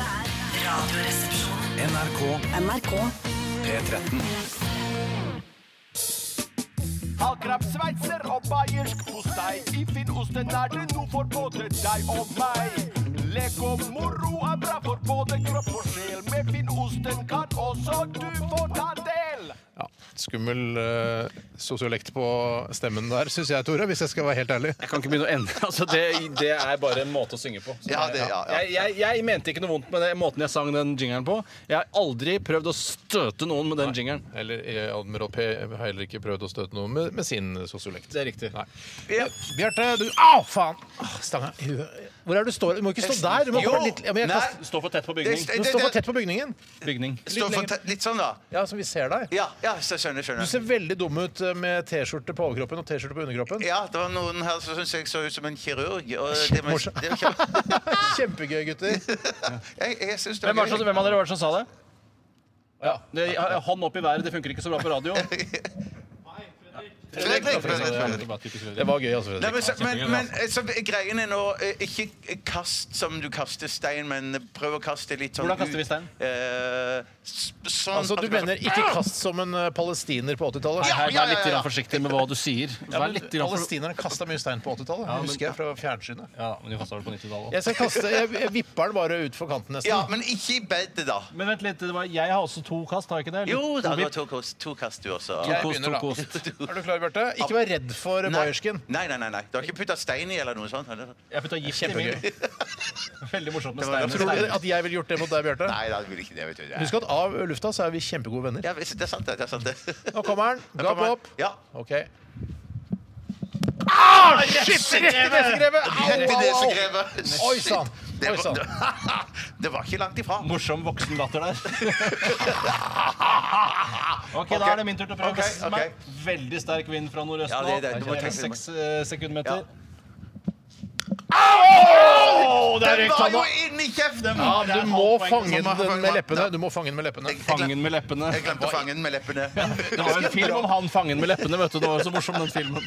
Speaker 2: NRK
Speaker 1: Radioresepsjonen. NRK.
Speaker 2: P13.
Speaker 10: Havkrabbsveitser og bayersk postei. I Finnosten er det noe for både deg og meg. Lek og moro er bra for både kropp og sjel. Med Finnosten kan også du få ta del.
Speaker 5: Ja, Skummel eh, sosiolekt på stemmen der, syns jeg, Tore, hvis jeg skal være helt ærlig.
Speaker 7: Jeg kan ikke begynne å endre. Altså, det, det er bare en måte å synge på. Så
Speaker 6: Ja, det- ja, ja.
Speaker 7: Jeg, jeg, jeg mente ikke noe vondt med den måten jeg sang den jingeren på. Jeg har aldri prøvd å støte noen med den jingeren.
Speaker 5: Eller eh, Admiral P har heller ikke prøvd å støte noen med, med sin eh, sosiolekt.
Speaker 7: Det er riktig.
Speaker 5: Nei. Bjarte, du Au, faen! Åh, Stanga i huet. Hvor er det du står? Du må ikke stå der! Du må
Speaker 6: Jo!
Speaker 5: hoppe litt ja, men jeg
Speaker 6: Nei.
Speaker 5: kaster-
Speaker 7: Stå for tett på
Speaker 6: bygning.
Speaker 7: bygning.
Speaker 6: Det-
Speaker 5: Du står for tett på bygningen.
Speaker 7: bygning.
Speaker 6: Stå for te- Litt sånn, da.
Speaker 5: Ja, så vi ser deg.
Speaker 6: Ja, ja, så skjønner jeg.
Speaker 5: Du
Speaker 6: skjønner.
Speaker 5: ser veldig dum ut eh, med T-skjorte på overkroppen og T-skjorte på underkroppen.
Speaker 6: Ja, det var noen her som syntes jeg så ut som en kirurg. Og det, må-
Speaker 5: Kjempemorsomt.
Speaker 6: det, var kjempe-
Speaker 5: Kjempegøy, gutter.
Speaker 6: jeg, jeg synes det
Speaker 7: Hvem,
Speaker 6: var
Speaker 7: var det som-
Speaker 6: gøy.
Speaker 7: hvem av dere var det som sa det? Ja, det hånd opp i været, det funker ikke så bra på radio.
Speaker 6: Fredrik, Fredrik, Fredrik.
Speaker 5: Det var gøy, altså.
Speaker 6: Nei,
Speaker 5: Fredrik.
Speaker 6: men, så, men, men eh, så, greien er nå eh, Ikke kast som du kaster stein, men prøv å kaste litt sånn
Speaker 7: Hvordan kaster vi stein?
Speaker 6: ut, eh, s- sånn
Speaker 5: Altså,
Speaker 6: at
Speaker 5: Du mener ikke kast som en eh, palestiner på 80-tallet?
Speaker 7: Her,
Speaker 6: ja,
Speaker 7: vær
Speaker 6: ja,
Speaker 7: litt
Speaker 6: ja, ja.
Speaker 7: grann forsiktig med hva du sier. Vær litt grann for...
Speaker 5: Palestinerne kasta mye stein på 80-tallet.
Speaker 7: men-
Speaker 5: husker jeg fra fjernsynet.
Speaker 7: Ja, men du kastet vel på 90-tallet også.
Speaker 5: Jeg, skal kaste, jeg, jeg vipper den bare utfor kanten, nesten.
Speaker 6: Ja, men ikke i bedet, da.
Speaker 7: Men vent litt, det var, jeg har også to kast, har jeg ikke det? Eller?
Speaker 6: Jo da, det
Speaker 7: To
Speaker 6: var
Speaker 7: vipp.
Speaker 6: to kast, to kast du også.
Speaker 5: Jeg
Speaker 7: To kost,
Speaker 5: begynner,
Speaker 7: to
Speaker 5: da.
Speaker 7: kost.
Speaker 5: Er du klar, Bjarte? Ikke vær redd for
Speaker 6: Nei.
Speaker 5: bayersken.
Speaker 6: Nei, nei, nei, nei. Du har ikke putta stein i eller noe sånt? Eller?
Speaker 7: Jeg putta gift i min. Veldig morsomt med
Speaker 6: Det var-
Speaker 7: steiner.
Speaker 6: det
Speaker 5: Tror du
Speaker 7: steiner.
Speaker 5: at jeg ville gjort det mot deg, Bjarte?
Speaker 6: Nei, da vil ikke det, vet du. Det er-
Speaker 5: Husk at av lufta så er vi kjempegode venner.
Speaker 6: Ja, det er sant, det. det er sant det.
Speaker 5: Nå kommer den.
Speaker 6: Nå
Speaker 5: Gap
Speaker 6: kommer den.
Speaker 5: opp.
Speaker 6: Ja.
Speaker 5: OK. Ah, shit! Rett i nesegrevet! Au,
Speaker 6: Rett i
Speaker 5: au, au!
Speaker 6: nesegrevet.
Speaker 5: Oi sann!
Speaker 6: Det
Speaker 5: Oi sann.
Speaker 6: var, det var ikke langt ifra.
Speaker 7: Morsom voksenlatter der. ok, Da er det min tur til å prøve.
Speaker 6: Ok, ok.
Speaker 7: Meg. Veldig sterk vind fra nordøst
Speaker 6: Ja,
Speaker 7: nå.
Speaker 6: det- det- du må tenke litt.
Speaker 7: Seks eh, sekundmeter.
Speaker 6: Ja.
Speaker 5: Å, der
Speaker 6: Den
Speaker 5: røyk
Speaker 6: var jo
Speaker 5: tanna!
Speaker 6: inni kjeften!
Speaker 5: Ja,
Speaker 6: Jeg
Speaker 5: du må
Speaker 7: halvt poeng.
Speaker 5: fange den
Speaker 6: Som har
Speaker 5: med
Speaker 6: fanget meg.
Speaker 5: leppene. Du må fange den med leppene.
Speaker 7: Fangen med leppene.
Speaker 6: glemte å fange den med leppene.
Speaker 7: Det var jo en film om han fangen med leppene. vet du, Det var jo så morsom, den filmen.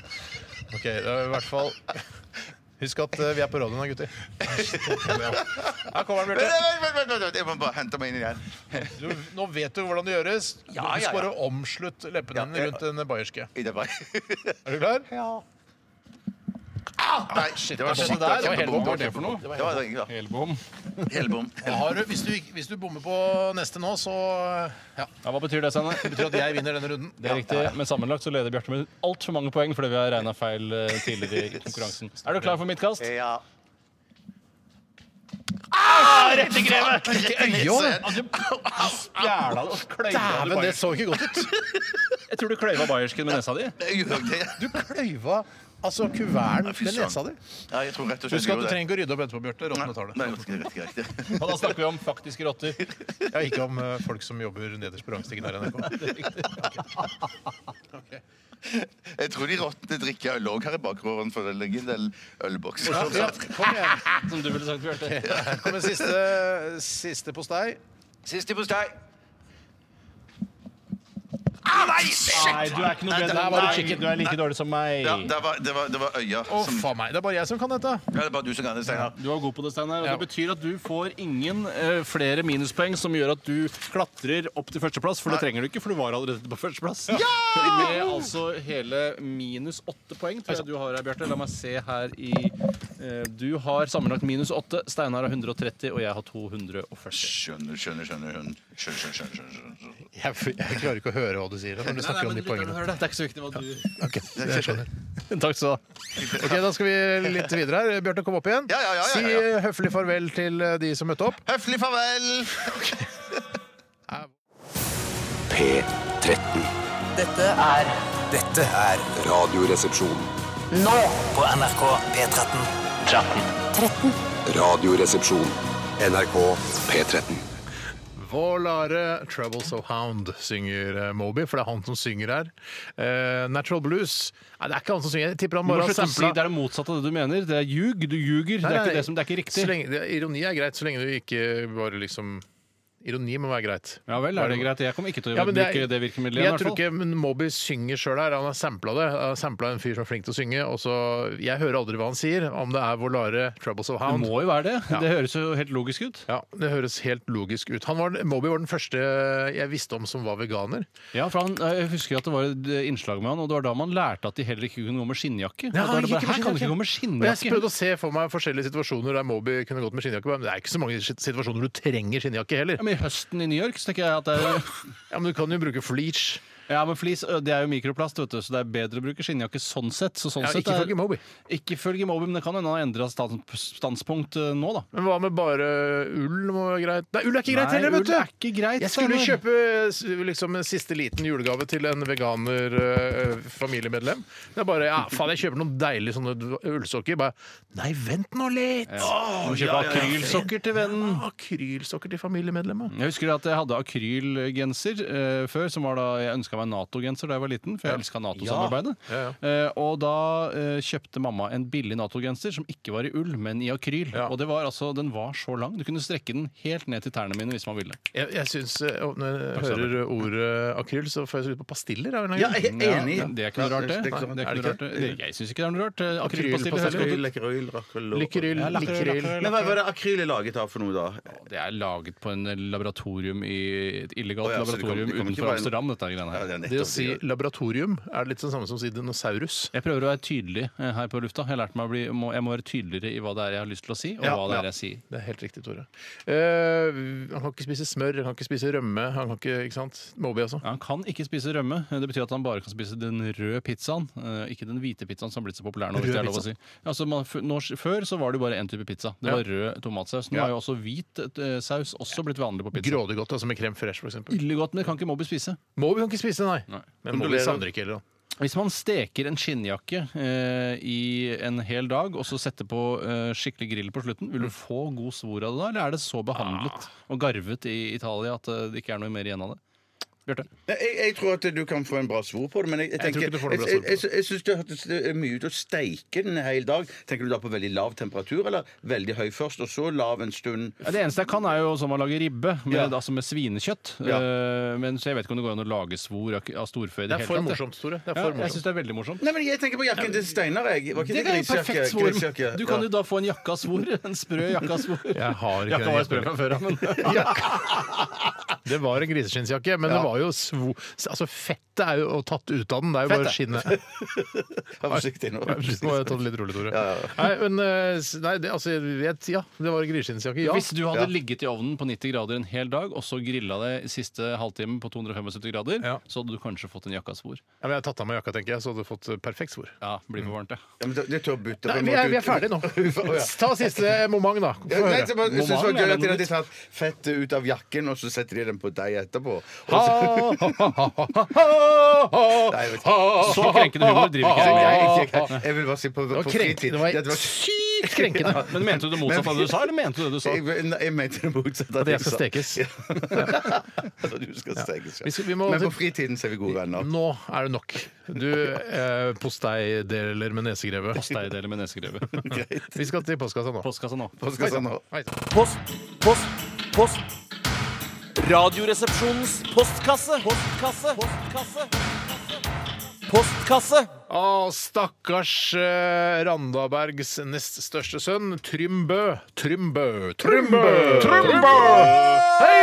Speaker 5: Ok, det er i hvert fall Husk at eh, vi er på radioen, da, gutter. Her kommer den, Bjarte.
Speaker 9: Vent, vent, vent, vent, vent, jeg må bare hente meg inn igjen.
Speaker 5: Du, nå vet du hvordan det gjøres.
Speaker 9: Ja, ja, ja.
Speaker 5: Husk bare å omslutte leppene dine rundt den bayerske.
Speaker 9: I det bare.
Speaker 5: Er du klar?
Speaker 9: Ah, nei, shit, det var
Speaker 5: skjedde
Speaker 9: skikkelig-
Speaker 5: der? Det var
Speaker 9: kjempebom.
Speaker 5: helt-
Speaker 7: Hva var det for noe?
Speaker 9: Det var det, ja.
Speaker 7: Helbom.
Speaker 9: Helbom.
Speaker 5: Da Har du, hvis, du, ikke- hvis du bommer på neste nå, så ja,
Speaker 7: Ja, hva betyr det, Sanne?
Speaker 5: det betyr at jeg vinner denne runden.
Speaker 7: Det er riktig, men sammenlagt så leder Bjarte med altfor mange poeng fordi vi har regna feil eh, tidligere i konkurransen. Er du klar for mitt
Speaker 6: Eh,
Speaker 7: kast?
Speaker 9: Ja. Ah,
Speaker 7: Altså, Jævla, og kløyva du
Speaker 5: Dæven, det
Speaker 7: bayers-
Speaker 5: så ikke godt ut!
Speaker 7: Jeg tror du kløyva bayersken med nesa di.
Speaker 9: Jeg gjør det.
Speaker 5: Du kløyva altså kuverten
Speaker 9: fy
Speaker 5: med
Speaker 9: søren.
Speaker 5: nesa di.
Speaker 9: Ja, jeg tror rett og slett
Speaker 5: Husk at du
Speaker 9: gjorde
Speaker 5: trenger ikke å rydde opp etterpå, Bjarte. Rottene tar
Speaker 9: Nei,
Speaker 5: det.
Speaker 9: rett, rett, rett,
Speaker 7: Og da snakker vi om faktiske rotter.
Speaker 5: Ja, ikke om eh, folk som jobber nederst på rangstigen her i NRK.
Speaker 9: Jeg tror de rottene drikker øl òg her i bakgården, for det ligger en del ølbokser.
Speaker 5: Ja, kom igjen.
Speaker 7: Som du ville sagt, Bjarte.
Speaker 5: Her kommer siste, siste postei.
Speaker 9: Siste postei. Ah, nei, shit!
Speaker 7: Nei, du er ikke noe
Speaker 9: Nei,
Speaker 7: bedre
Speaker 9: der
Speaker 7: enn
Speaker 9: var det
Speaker 7: meg.
Speaker 9: chicken.
Speaker 7: Du er like dårlig som meg.
Speaker 9: Ja, det var, det var, det var øya
Speaker 5: Å,
Speaker 9: som
Speaker 5: faen meg. Det er bare jeg som kan dette.
Speaker 9: Ja, Det er bare du som kan det, Steinar.
Speaker 7: Du var god på det, Steinar. og
Speaker 5: Ja.
Speaker 7: Det betyr at du får ingen eh, flere minuspoeng som gjør at du klatrer opp til førsteplass, for det trenger du ikke, for du var allerede på førsteplass. Med altså hele minus åtte poeng, tror jeg du har her, Bjarte. La meg se her i eh, Du har sammenlagt minus åtte. Steinar har 130, og jeg har 240.
Speaker 9: Skjønner, skjønner, skjønner. skjønner, skjønner, skjønner, skjønner, skjønner.
Speaker 5: Jeg, jeg klarer ikke å høre hva du sier. Når du snakker om de poengene.
Speaker 7: det. er ikke så viktig hva du
Speaker 5: Ok, jeg skjønner.
Speaker 7: Takk skal du ha.
Speaker 5: Ok, Da skal vi litt videre her. Bjarte, kom opp igjen.
Speaker 9: Ja, ja, ja, ja,
Speaker 5: Si
Speaker 9: ja.
Speaker 5: eh, høflig farvel til eh, de som møtte opp.
Speaker 9: Høflig farvel!
Speaker 2: P13.
Speaker 3: Dette er
Speaker 4: Dette er
Speaker 2: Radioresepsjon.
Speaker 3: nå.
Speaker 4: på NRK P13.
Speaker 2: Radioresepsjon. NRK P13.
Speaker 5: Vålare Trouble So Hound synger eh, Moby, for det er han som synger her. Eh, Natural Blues Nei, det er ikke han som synger. Jeg tipper han
Speaker 7: Du må
Speaker 5: bare har
Speaker 7: slutte å si
Speaker 5: sampla.
Speaker 7: det er det motsatte av det du mener. Det er ljug. Du ljuger. Det er ikke det som det er ikke
Speaker 5: Så
Speaker 7: riktig.
Speaker 5: lenge, det, ironi er greit, så lenge du ikke bare liksom Ironi må være greit.
Speaker 7: Ja vel, er det greit? Jeg kommer ikke til å
Speaker 5: Ja, men
Speaker 7: bruke det, virkemidlet igjen,
Speaker 5: Jeg
Speaker 7: i
Speaker 5: tror
Speaker 7: hvert fall.
Speaker 5: ikke men Moby synger sjøl her. Han har sampla det. Han har sampla en fyr som er flink til å synge. Og så, jeg hører aldri hva han sier, om det er Volare Troubles of
Speaker 7: Det
Speaker 5: Hound.
Speaker 7: må jo være det. Det høres jo helt logisk ut.
Speaker 5: Ja, Det høres helt logisk ut. Han var, Moby var den første jeg visste om som var veganer.
Speaker 7: Ja, for han, jeg husker at det var et eh, innslag med han, og det var da man lærte at de heller ikke kunne gå med skinnjakke.
Speaker 5: Ja, han
Speaker 7: Og da er det bare,
Speaker 5: gikk ikke med
Speaker 7: her kan du ikke gå med
Speaker 5: Og jeg prøvde
Speaker 7: skinnjakke.
Speaker 5: å se for meg forskjellige situasjoner der Moby kunne gått med skinnjakke. Men det er ikke så mange sit- situasjoner du trenger skinnjakke heller.
Speaker 7: Ja, men I høsten i New York så tenker jeg at det er,
Speaker 5: Ja, Men du kan jo bruke fleece.
Speaker 7: ja, men flis ø, det er jo mikroplast, vet du, så det er bedre å bruke skinnjakke sånn sett. Så sånn
Speaker 5: Ja,
Speaker 7: sett
Speaker 5: ikke
Speaker 7: er-
Speaker 5: ifølge Moby.
Speaker 7: Ikke følge Moby, men det kan hende han har endra standpunkt ø, nå, da.
Speaker 5: Men hva med bare ull? Må være greit? Nei, ull er ikke greit heller,
Speaker 7: Nei,
Speaker 5: vet du!
Speaker 7: ull er ikke greit.
Speaker 5: Jeg skulle
Speaker 7: Steinar.
Speaker 5: kjøpe s- liksom, en siste liten julegave til en veganer eh, familiemedlem. Det er bare ja, faen, jeg kjøper noen deilige sånne d- ullsokker. Bare nei, vent nå litt! Åh,
Speaker 7: Du må kjøpe akrylsokker til vennen.
Speaker 5: Akrylsokker til familiemedlemmet.
Speaker 7: Jeg husker at jeg hadde akrylgenser eh, før, som var da jeg ønska meg Nato-genser da jeg var liten, for jeg elska Nato-samarbeidet.
Speaker 5: Ja,
Speaker 7: Eh, og da eh, kjøpte mamma en billig Nato-genser som ikke var i ull, men i akryl.
Speaker 5: Ja.
Speaker 7: Og det var altså, den var så lang. Du kunne strekke den helt ned til tærne mine hvis man ville.
Speaker 5: Jeg, jeg syns eh, og Når jeg
Speaker 7: Takk,
Speaker 5: hører ordet akryl, så får jeg så lyst på pastiller. av en eller
Speaker 6: Ja,
Speaker 5: annen grunn.
Speaker 6: jeg er enig.
Speaker 7: Ja, det er ikke noe rart, det.
Speaker 6: er ikke
Speaker 7: Nei,
Speaker 6: sånn.
Speaker 7: det er
Speaker 5: Er det
Speaker 7: ikke noe rart, det. Jeg syns ikke det er noe rart. Eh, Akrylpastiller
Speaker 5: Akrylpastiller.
Speaker 7: høres godt ut.
Speaker 6: Lekkerøyl, rakkerøl
Speaker 5: Lykkeryll,
Speaker 7: Ja, lakkerøl,
Speaker 5: likkeryll.
Speaker 7: lakkerøl.
Speaker 6: Men hva, hva er det akryl er laget av for noe, da?
Speaker 7: Det er laget på en eh, laboratorium i et illegalt
Speaker 6: Å, ja, så det kommer-
Speaker 7: laboratorium
Speaker 6: det kommer ikke
Speaker 7: utenfor
Speaker 6: bare en-
Speaker 7: Amsterdam, dette greiene her.
Speaker 6: Ja, det er nettopp
Speaker 5: Det å si
Speaker 6: det.
Speaker 5: laboratorium er litt det samme som å si dinosaurus.
Speaker 7: Jeg prøver å være tydelig eh, her på lufta. Jeg, har lært meg å bli, må, jeg må være tydeligere i hva det er jeg har lyst til å si, og
Speaker 5: Ja,
Speaker 7: hva det
Speaker 5: ja.
Speaker 7: er jeg sier.
Speaker 5: Det er helt riktig, Tore. Eh, han kan ikke spise smør, han kan ikke spise rømme. Han kan ikke, ikke sant? Moby, altså.
Speaker 7: Han kan ikke spise rømme. Det betyr at han bare kan spise den røde pizzaen, eh, ikke den hvite pizzaen som har blitt så populær nå.
Speaker 5: Rød
Speaker 7: Hvis det er lov å
Speaker 5: pizza.
Speaker 7: si. Altså, man, f- nå, før så var det jo bare én type pizza. Det var rød tomatsaus. Nå
Speaker 5: Ja.
Speaker 7: har jo også hvit eh, saus også blitt vanlig på pizza.
Speaker 5: Grådig godt, altså med crème fresh, f.eks.
Speaker 7: Illegodt, men det kan ikke Moby spise.
Speaker 5: Moby kan ikke spise, nei.
Speaker 7: Nei.
Speaker 5: Men Moby savner ikke heller. da.
Speaker 7: Hvis man steker en skinnjakke eh, i en hel dag og så setter på eh, skikkelig grill på slutten, vil du få god Ah. svor av det da, eller er det så behandlet og garvet i Italia at eh, det ikke er noe mer igjen av det? Bjarte?
Speaker 6: Nei, Jeg, jeg tror at du kan få en bra svor på det, men jeg, jeg
Speaker 5: Jeg tror
Speaker 6: tenker
Speaker 5: ikke du får noe bra
Speaker 6: Jeg,
Speaker 5: svor på
Speaker 6: jeg, jeg, jeg syns det hørtes eh, mye ut å steike den en hel dag. Tenker du da på veldig lav temperatur, eller veldig høy først, og så lav en stund?
Speaker 7: Ja, det eneste jeg kan, er jo sånn man lager ribbe, med,
Speaker 6: Ja.
Speaker 7: altså med svinekjøtt. Eh, men så jeg vet ikke om det går an å lage svor av av storfe i
Speaker 5: Det
Speaker 7: det
Speaker 5: er
Speaker 7: hele
Speaker 5: for
Speaker 7: tatt, jeg.
Speaker 5: morsomt, Tore. Det er
Speaker 7: Ja,
Speaker 5: for
Speaker 7: jeg
Speaker 5: morsomt.
Speaker 7: syns det er veldig morsomt.
Speaker 6: Nei, men Jeg tenker på jakken til Steinar. jeg. Var ikke
Speaker 7: Det
Speaker 6: det,
Speaker 7: er jo
Speaker 6: grisejakke?
Speaker 7: perfekt svor.
Speaker 6: Grisejakke,
Speaker 7: Du kan
Speaker 6: ja.
Speaker 7: jo da få en jakka svor. En sprø jakka svor.
Speaker 5: Jeg har ikke
Speaker 7: Jakka
Speaker 5: den
Speaker 7: var sprø fra før av, men
Speaker 5: Det var en griseskinnsjakke, men det var jo svo... Altså, fettet er jo tatt ut av den. Det er jo bare skinnet.
Speaker 6: Vær forsiktig nå.
Speaker 5: Nå må jeg ta det litt rolig, Tore. Nei, men eh, s- nei, det, altså, jeg vet, ja, det var en griseskinnsjakke. Ja.
Speaker 7: Hvis du hadde
Speaker 6: Ja.
Speaker 7: ligget i ovnen på 90 grader en hel dag, og så grilla det siste halvtimen på 275 grader,
Speaker 5: Ja.
Speaker 7: så hadde du kanskje fått en jakka svor.
Speaker 5: Ja, men jeg har tatt av meg jakka, tenker jeg, så hadde du fått eh, perfekt svor.
Speaker 7: Ja, blir for varmt, det.
Speaker 6: Ja, men det, det tør bytte på
Speaker 5: Nei,
Speaker 6: en
Speaker 5: vi, er,
Speaker 6: måte
Speaker 5: vi
Speaker 6: ut.
Speaker 5: er ferdige nå. Ta siste moment, da. Få
Speaker 6: Ja, Nei, så
Speaker 5: høre.
Speaker 6: bare- jeg synes det var
Speaker 7: Normal,
Speaker 6: gøy
Speaker 7: er
Speaker 6: at de
Speaker 7: det
Speaker 6: hadde tatt fettet ut av jakken, og så setter de den på deg etterpå.
Speaker 5: Ha,
Speaker 6: Og
Speaker 5: ha, ha, ha, ha, ha,
Speaker 6: Nei, jeg vet
Speaker 5: ha, ha.
Speaker 7: Så krenkende humor driver
Speaker 6: Så
Speaker 7: ikke jeg.
Speaker 6: Liksom, jeg, jeg, jeg, jeg vil bare si på,
Speaker 5: Det
Speaker 6: på
Speaker 5: var krenkende.
Speaker 6: fritid
Speaker 5: Det var
Speaker 6: Det var-
Speaker 5: sykt krenkende.
Speaker 7: Men mente du det motsatte av det du sa, eller mente du det du sa?
Speaker 6: jeg, jeg mente det motsatte. av
Speaker 5: At jeg
Speaker 6: du
Speaker 5: skal
Speaker 6: sa.
Speaker 5: stekes.
Speaker 6: Ja. At du skal stekes,
Speaker 5: Vi
Speaker 6: ja.
Speaker 5: skal- vi må-
Speaker 6: Men på fritiden så er vi gode venner.
Speaker 5: Nå er det nok. Du eh, posteideler med nesegreve.
Speaker 7: Posteideler med nesegrevet.
Speaker 5: Vi skal til postkassa nå.
Speaker 7: Postkassa nå.
Speaker 6: Hva skal jeg si nå?
Speaker 5: Hei.
Speaker 4: Post, post, post. Radioresepsjonens postkasse. Postkasse. Postkasse. Postkasse.
Speaker 5: Å, stakkars eh, Randabergs nest største sønn, Trym Bø. Trym Bø. Trym Bø! Trym Bø! Hei!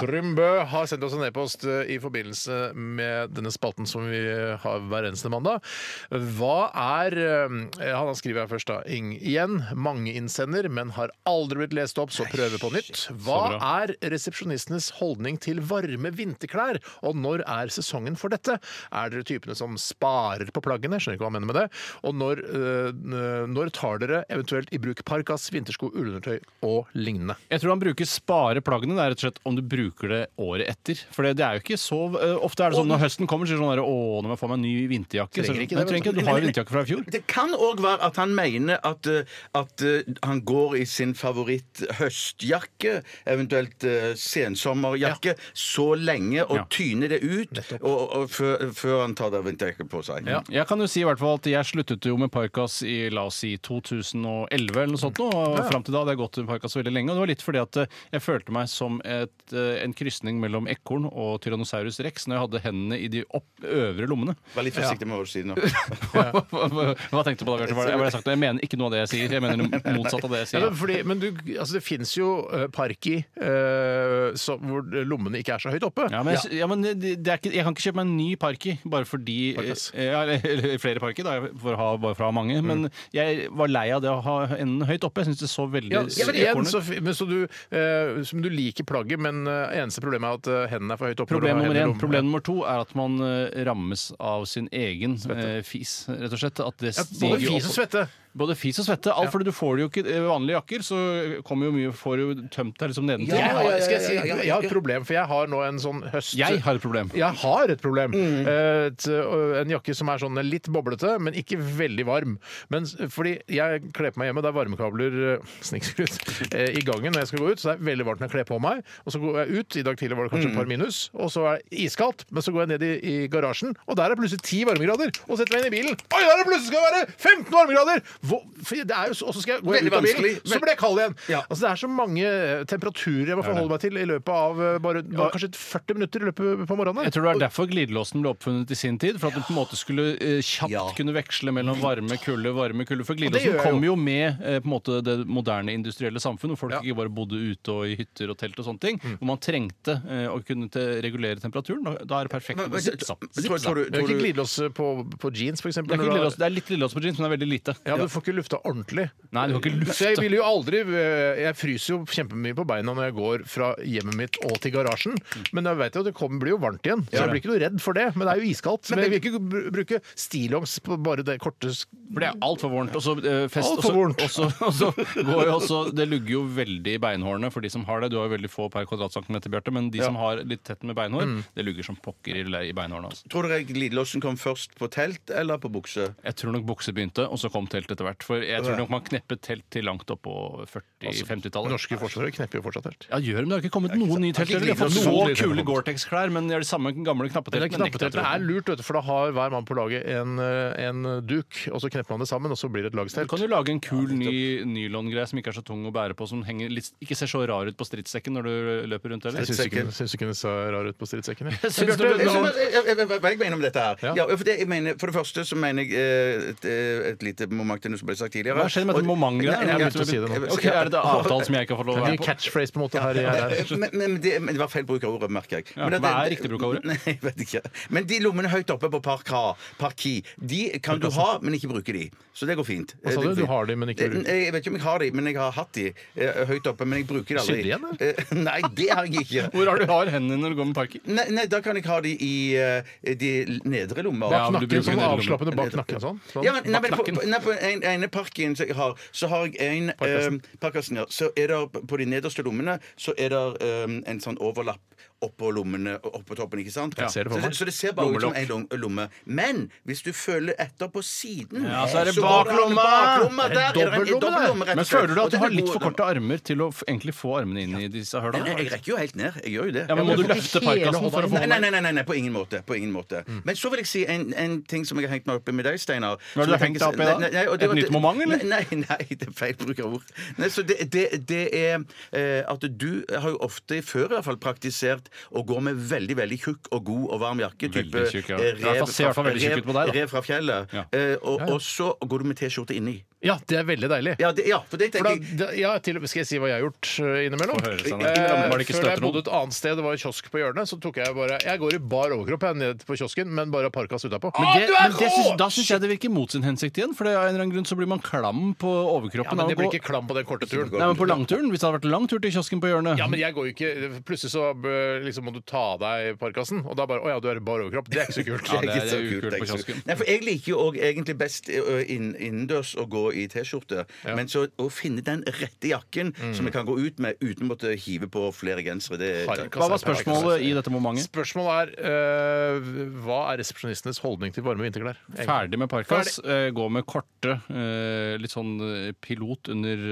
Speaker 5: Trym Bø har sendt oss en e-post eh, i forbindelse med denne spalten som vi har hver eneste mandag. Hva er eh, Han skriver her først, da. Ing igjen. Mange innsender, men har aldri blitt lest opp, så prøver på nytt. Hva er resepsjonistenes holdning til varme vinterklær, og når er sesongen for dette? Er dere typene som sparer på plaggene? Skjønner ikke hva han mener med det. Og når, øh, n- når tar dere eventuelt i bruk parkas, vintersko, ullundertøy og lignende?
Speaker 7: Jeg tror han bruker spare plaggene. Det er rett og slett om du bruker det året etter. For det, det er jo ikke så eh, Ofte er det sånn når høsten kommer, så er det sånn der, å, nå må jeg få meg en ny vinterjakke. Så,
Speaker 5: Trenger ikke det,
Speaker 7: men jeg trenger ikke det. Du har jo vinterjakke fra i fjor.
Speaker 6: Det kan òg være at han mener at, eh, at eh, han går i sin favoritt-høstjakke, eventuelt eh, sensommerjakke, så lenge og
Speaker 7: Ja.
Speaker 6: tyner det ut og, og, før, før han tar det vinterjakke på seg.
Speaker 7: Ja, jeg kan jo si i hvert fall at jeg sluttet jo med Parkas i la oss si 2011 eller noe sånt. nå, Og fram til da hadde jeg gått med Parkas veldig lenge. Og det var litt fordi at eh, jeg følte meg som et, eh, en krysning mellom ekorn og Tyrannosaurus rex når jeg hadde hendene i de opp, øvre lommene.
Speaker 6: Vær litt forsiktig med hva du sier nå.
Speaker 7: Hva, hva, hva tenkte du på da, Bjarte? Hva er det- hva er det jeg har sagt nå? Jeg mener ikke noe av det jeg sier. Jeg mener det motsatte av det jeg
Speaker 5: Ja,
Speaker 7: sier.
Speaker 5: men fordi, men du, altså det fins jo øh, parki øh, som- hvor lommene ikke er så høyt oppe.
Speaker 7: Ja, men, jeg- ja, men det det er ikke, jeg kan ikke kjøpe meg en ny parki bare fordi
Speaker 5: Parkas.
Speaker 7: eh, ja, Eller eller flere parker, da, for å ha, bare for å ha mange. Men jeg var lei av det å ha enden høyt oppe. Jeg syns det så veldig
Speaker 5: Ja, så, igjen,
Speaker 7: ekorn ut.
Speaker 5: så, fi- men så du, øh, som du liker plagget, men øh, eneste problemet er at øh, hendene er for høyt oppe. når du har
Speaker 7: Problem nummer
Speaker 5: hendene i
Speaker 7: én.
Speaker 5: lommen.
Speaker 7: Problem nummer to er at man eh, rammes av sin egen eh, fis, rett og slett. At det
Speaker 5: ja, både
Speaker 7: stiger jo
Speaker 5: fis og
Speaker 7: opp-
Speaker 5: svette.
Speaker 7: Både fis og svette. Alt fordi du får det jo ikke eh, vanlige jakker, så kommer jo mye Får jo tømt deg liksom nedentil.
Speaker 5: Jeg
Speaker 7: Jeg
Speaker 5: har,
Speaker 7: har-
Speaker 5: skal jeg, si, jeg har et problem, for jeg har nå en sånn høst...
Speaker 7: Jeg har et problem.
Speaker 5: Jeg har et problem.
Speaker 6: Mm.
Speaker 5: Eh, Et, ø, en jakke som er sånn litt boblete, men ikke veldig varm. Men, s- fordi jeg kler på meg hjemme, det er varmekabler ø, snikskryt, eh, i gangen når jeg skal gå ut, så det er veldig varmt når jeg kler på meg. Og så går jeg ut, i dag tidlig var det kanskje et par
Speaker 6: Mm.
Speaker 5: minus, og så er det iskaldt, men så går jeg ned i, i garasjen, og der er det plutselig ti varmegrader, og setter meg inn i bilen. Oi, der er det plutselig skal det være 15 varmegrader! Hvor, for det er jo, så- og så skal jeg gå
Speaker 6: Veldig
Speaker 5: ut av bilen,
Speaker 6: vanskelig.
Speaker 5: så blir jeg kald igjen.
Speaker 6: Ja.
Speaker 5: Altså, det er så mange eh, temperaturer jeg må forholde meg til i løpet av eh, bare, bare kanskje 40 minutter i løpet på morgenen.
Speaker 7: Jeg tror det er derfor glidelåsen ble oppfunnet i sin tid. For at den på en måte skulle eh, kjapt
Speaker 6: Ja.
Speaker 7: kunne veksle mellom varme, kulde, varme, kulde. For
Speaker 5: gjør
Speaker 7: glidelåsen
Speaker 5: jeg
Speaker 7: kom
Speaker 5: jo.
Speaker 7: jo med eh, på en måte det moderne industrielle samfunn, hvor folk
Speaker 5: Ja.
Speaker 7: ikke bare bodde ute og i hytter og telt og sånne ting. Hvor man trengte eh, å kunne te- regulere temperaturen. Da, da er det perfekt.
Speaker 6: Men- men-
Speaker 7: Zip-zap,
Speaker 6: tror-
Speaker 7: zip-zap.
Speaker 6: tror du-
Speaker 5: Det er jo ikke glidelås eh, på, på jeans, f.eks.
Speaker 7: Det er, ikke glidelås, det er litt glidelås på jeans, men det er veldig lite.
Speaker 5: Ja, men du får ikke lufta ordentlig.
Speaker 7: Nei, du får ikke lufta.
Speaker 5: Så jeg vil jo aldri eh, Jeg fryser jo kjempemye på beina når jeg går fra hjemmet mitt og til garasjen,
Speaker 7: Mm.
Speaker 5: men jeg vet jo at det kommer, blir jo varmt igjen, så jeg blir ikke noe redd for det. Men det er jo iskaldt. Men jeg vil ikke br- bruke stillongs på bare det korte sk-
Speaker 7: For det er altfor varmt. Og så eh, fest,
Speaker 5: Alt for
Speaker 7: og
Speaker 5: varmt.
Speaker 7: så- og så- og så går jo også- Det lugger jo veldig i beinhårene for de som har det. Du har jo veldig få per kvadratcentimeter, Bjarte, men de som har litt tett med beinhår,
Speaker 5: Mm.
Speaker 7: det lugger som pokker i, i beinhårene. Altså.
Speaker 6: Tror dere glidelåsen kom først på telt eller på bukse?
Speaker 7: Jeg tror nok bukse begynte, og så kom teltet etter hvert. For jeg tror nok man kneppet telt til langt opp på 40-50-tallet.
Speaker 5: Altså, Norske forsvarere knepper jo fortsatt helt.
Speaker 7: Ja, gjør de det? har ikke kommet noen nye telt.
Speaker 5: ikke
Speaker 7: De har fått
Speaker 5: noen
Speaker 7: så
Speaker 5: nye telt.
Speaker 7: kule Gore-Tex-klær, men de har de samme gamle
Speaker 5: Men sånn- det er
Speaker 7: knappeteltene.
Speaker 5: knappeteltet er lurt, vet du, for da har hver mann på laget en, eh, en duk, og så knepper man det sammen, og så blir det et
Speaker 7: Du
Speaker 5: lagstelt.
Speaker 7: kan jo lage en kul ny nylongreie som ikke er så tung å bære på, som henger litt, ikke ser så rar ut på stridssekken når du løper rundt heller.
Speaker 5: Jeg syns ikke, syns ikke hun så rar ut på stridssekken. jeg.
Speaker 7: Syns du-
Speaker 6: Jeg synes- jeg- jeg- jeg- Hva jeg mener om dette her?
Speaker 5: Ja.
Speaker 6: Ja, for, det, jeg mener, for det første så mener jeg eh, et, eh, et lite moment til noe som ble sagt tidligere.
Speaker 7: Hva skjer med
Speaker 6: Og-
Speaker 7: dette moment-greiet?
Speaker 6: Nei,
Speaker 5: Jeg
Speaker 6: nei, nei,
Speaker 5: har begynt å si det nå.
Speaker 7: Ok, Er det det avtalen som jeg ikke har fått lov
Speaker 5: Det
Speaker 7: å
Speaker 5: er mye
Speaker 7: være på?
Speaker 5: catchphrase på en måte her. her, her.
Speaker 6: Eh, Men, men, det, men det var feil bruk av ordet, merker jeg.
Speaker 7: Ja,
Speaker 6: Men at-
Speaker 7: hva er riktig bruk av ordet?
Speaker 6: Nei, jeg vet ikke. Men de lommene høyt oppe på Park A, Park I, de kan du ha, men ikke bruke de. Så det går fint. Eh,
Speaker 5: Hva sa
Speaker 6: Det går
Speaker 5: du? Du
Speaker 6: fint.
Speaker 5: har de, men ikke bruker de.
Speaker 6: Nei, Jeg vet ikke om jeg har de, men jeg har hatt de eh, høyt oppe, men jeg bruker de aldri.
Speaker 5: Sydde igjen,
Speaker 6: Eh, Nei, det har jeg ikke.
Speaker 7: Hvor har du har hendene når du går med parker?
Speaker 6: Nei, nei, da kan jeg ha de i eh, de nedre lommer.
Speaker 7: Ja, men du
Speaker 5: Nakken
Speaker 7: bruker
Speaker 5: sånn
Speaker 7: den i lommen.
Speaker 5: avslappende bak nakken sånn. sånn.
Speaker 6: Ja, men, nei, men på,
Speaker 7: Bakknakken.
Speaker 6: på- nei, på en, ene parken som jeg har, så har jeg en
Speaker 5: Parkasen.
Speaker 6: eh, Parkasen, ja. Så er det på de nederste lommene så er det eh, en sånn overlapp oppå lommene og oppå toppen, ikke sant?
Speaker 5: ser det for
Speaker 6: så,
Speaker 5: meg.
Speaker 6: så det ser bare ut som
Speaker 7: Lommelokk.
Speaker 6: en lom- lomme. Men hvis du føler etter på siden,
Speaker 7: Ja, så er det
Speaker 6: går
Speaker 7: baklomma.
Speaker 6: baklomma
Speaker 5: Det er
Speaker 6: der!
Speaker 5: en
Speaker 6: Er det en
Speaker 5: dobbeltlomme der.
Speaker 6: dobbeltlomme, rett og
Speaker 7: Men
Speaker 6: slett.
Speaker 7: føler du
Speaker 6: Og
Speaker 7: at du
Speaker 6: den
Speaker 7: har
Speaker 6: er
Speaker 7: litt
Speaker 6: god.
Speaker 7: for korte armer til å f- egentlig få armene inn i disse
Speaker 6: Nei, nei, Jeg
Speaker 7: hølene?
Speaker 6: rekker jo helt ned. Jeg gjør jo det.
Speaker 7: Ja, men må
Speaker 5: men
Speaker 7: du
Speaker 5: får ikke
Speaker 7: løfte
Speaker 5: hele
Speaker 7: parkasen
Speaker 5: hånda
Speaker 7: for å
Speaker 5: inn.
Speaker 7: få
Speaker 6: Nei, nei, nei, nei, nei, nei, på ingen måte. På ingen måte.
Speaker 7: Mm.
Speaker 6: Men så vil jeg si en, en ting som jeg har hengt meg opp i med deg, Steinar.
Speaker 7: Hva
Speaker 6: som
Speaker 7: er det du har
Speaker 6: jeg
Speaker 7: hengt
Speaker 6: tenker-
Speaker 7: deg opp i da?
Speaker 6: Nei, nei, og
Speaker 7: Et
Speaker 6: var-
Speaker 7: nytt moment, eller?
Speaker 6: Nei, nei, nei, det er feil bruk av ord. Nei, så det, det, det er eh, at du har jo ofte, før i hvert fall, praktisert å gå med veldig, veldig tjukk og god og varm jakke.
Speaker 7: Veldig
Speaker 6: type,
Speaker 7: tjukk, ja.
Speaker 6: eh,
Speaker 7: I hvert fall ser i hvert fall veldig tjukk
Speaker 6: rev,
Speaker 7: ut på deg, da.
Speaker 6: rev fra fjellet.
Speaker 7: Ja.
Speaker 6: Eh, og, og så går du med T-skjorte inni.
Speaker 5: Ja, det er veldig deilig.
Speaker 6: Ja, det, ja, for det
Speaker 5: For da,
Speaker 6: tenker jeg
Speaker 5: da, ja, til, skal jeg si hva jeg har gjort eh, innimellom?
Speaker 7: Få høre, Steinar.
Speaker 5: Eh,
Speaker 7: Var det ikke
Speaker 5: Før jeg
Speaker 7: støterod?
Speaker 5: bodde et annet sted, det var en kiosk på hjørnet, så tok jeg bare Jeg går i bar overkropp jeg, ned på kiosken, men bare har parkas utapå.
Speaker 7: Men, det, men det syns, da syns jeg det virker mot sin hensikt igjen, for det er av en eller annen grunn så blir man klam på
Speaker 5: Ja,
Speaker 7: overkroppen.
Speaker 5: men
Speaker 7: av å
Speaker 5: det blir
Speaker 7: gå-
Speaker 5: ikke klam på den korte turen.
Speaker 7: Nei, men på langturen, Hvis det hadde vært lang tur til kiosken på hjørnet
Speaker 5: Ja, men jeg går jo ikke Plutselig så eh, liksom, må du ta av deg parkasen, og da bare Å ja, du er i bar overkropp. Det er ikke så kult.
Speaker 7: Ja, det er-
Speaker 6: ikke så
Speaker 7: det ukult
Speaker 6: kult,
Speaker 7: på
Speaker 6: ikke så
Speaker 7: kiosken.
Speaker 6: kult. Nei, for Jeg liker jo også egentlig best ø, inn- innendørs å gå i T-skjorte. Men så å finne den rette jakken som jeg kan gå ut med uten å måtte hive på flere gensere det
Speaker 5: Parkas
Speaker 7: Hva var
Speaker 5: er parkas.
Speaker 7: spørsmålet i dette momentet?
Speaker 5: Spørsmålet er eh, hva er resepsjonistenes holdning til varme vinterklær?
Speaker 7: Ferdig med parkas. eh, Gå med korte, eh, litt sånn eh, pilot under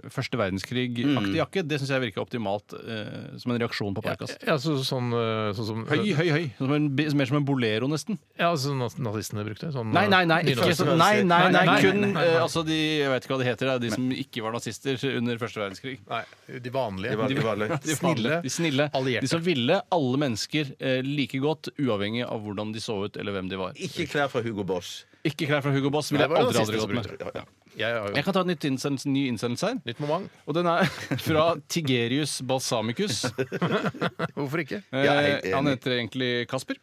Speaker 7: eh, første verdenskrig-aktig jakke. Det syns jeg virker optimalt eh, som en reaksjon på parkas.
Speaker 5: Mm. Ja, så, sånn, eh, sånn som
Speaker 7: Høy, høy, høy. Som en, bi- mer som en bolero, nesten.
Speaker 5: Ja, sånn naz- nazistene brukte. Sånn,
Speaker 7: Nei, nei, nei. Ikke,
Speaker 5: nynazister.
Speaker 7: sånn- nei, nei, nei,
Speaker 5: Nei, nei,
Speaker 7: kun
Speaker 5: nei, nei,
Speaker 7: eh, altså de Jeg vet ikke hva de heter, eh, de som ikke var nazister under første verdenskrig.
Speaker 5: Nei, de vanlige.
Speaker 6: var- de var løy.
Speaker 7: De snille, de, snille,
Speaker 5: allierte.
Speaker 7: de som ville alle mennesker eh, like godt, uavhengig av hvordan de så ut eller hvem de var.
Speaker 6: Ikke klær fra Hugo Boss.
Speaker 7: Ikke klær fra Hugo Boss ville
Speaker 5: Det
Speaker 7: jeg
Speaker 5: var
Speaker 7: aldri,
Speaker 5: nazistene
Speaker 7: aldri gått
Speaker 5: som
Speaker 7: med.
Speaker 5: brukte det. Ja. Jeg har
Speaker 7: Jeg
Speaker 5: jo
Speaker 7: kan ta en nytt innsendelse, ny innsendelse her.
Speaker 5: nytt moment.
Speaker 7: Og den er fra Tigerius Balsamicus.
Speaker 5: Hvorfor ikke?
Speaker 7: Eh,
Speaker 6: Ja, helt enig.
Speaker 7: han heter egentlig Kasper.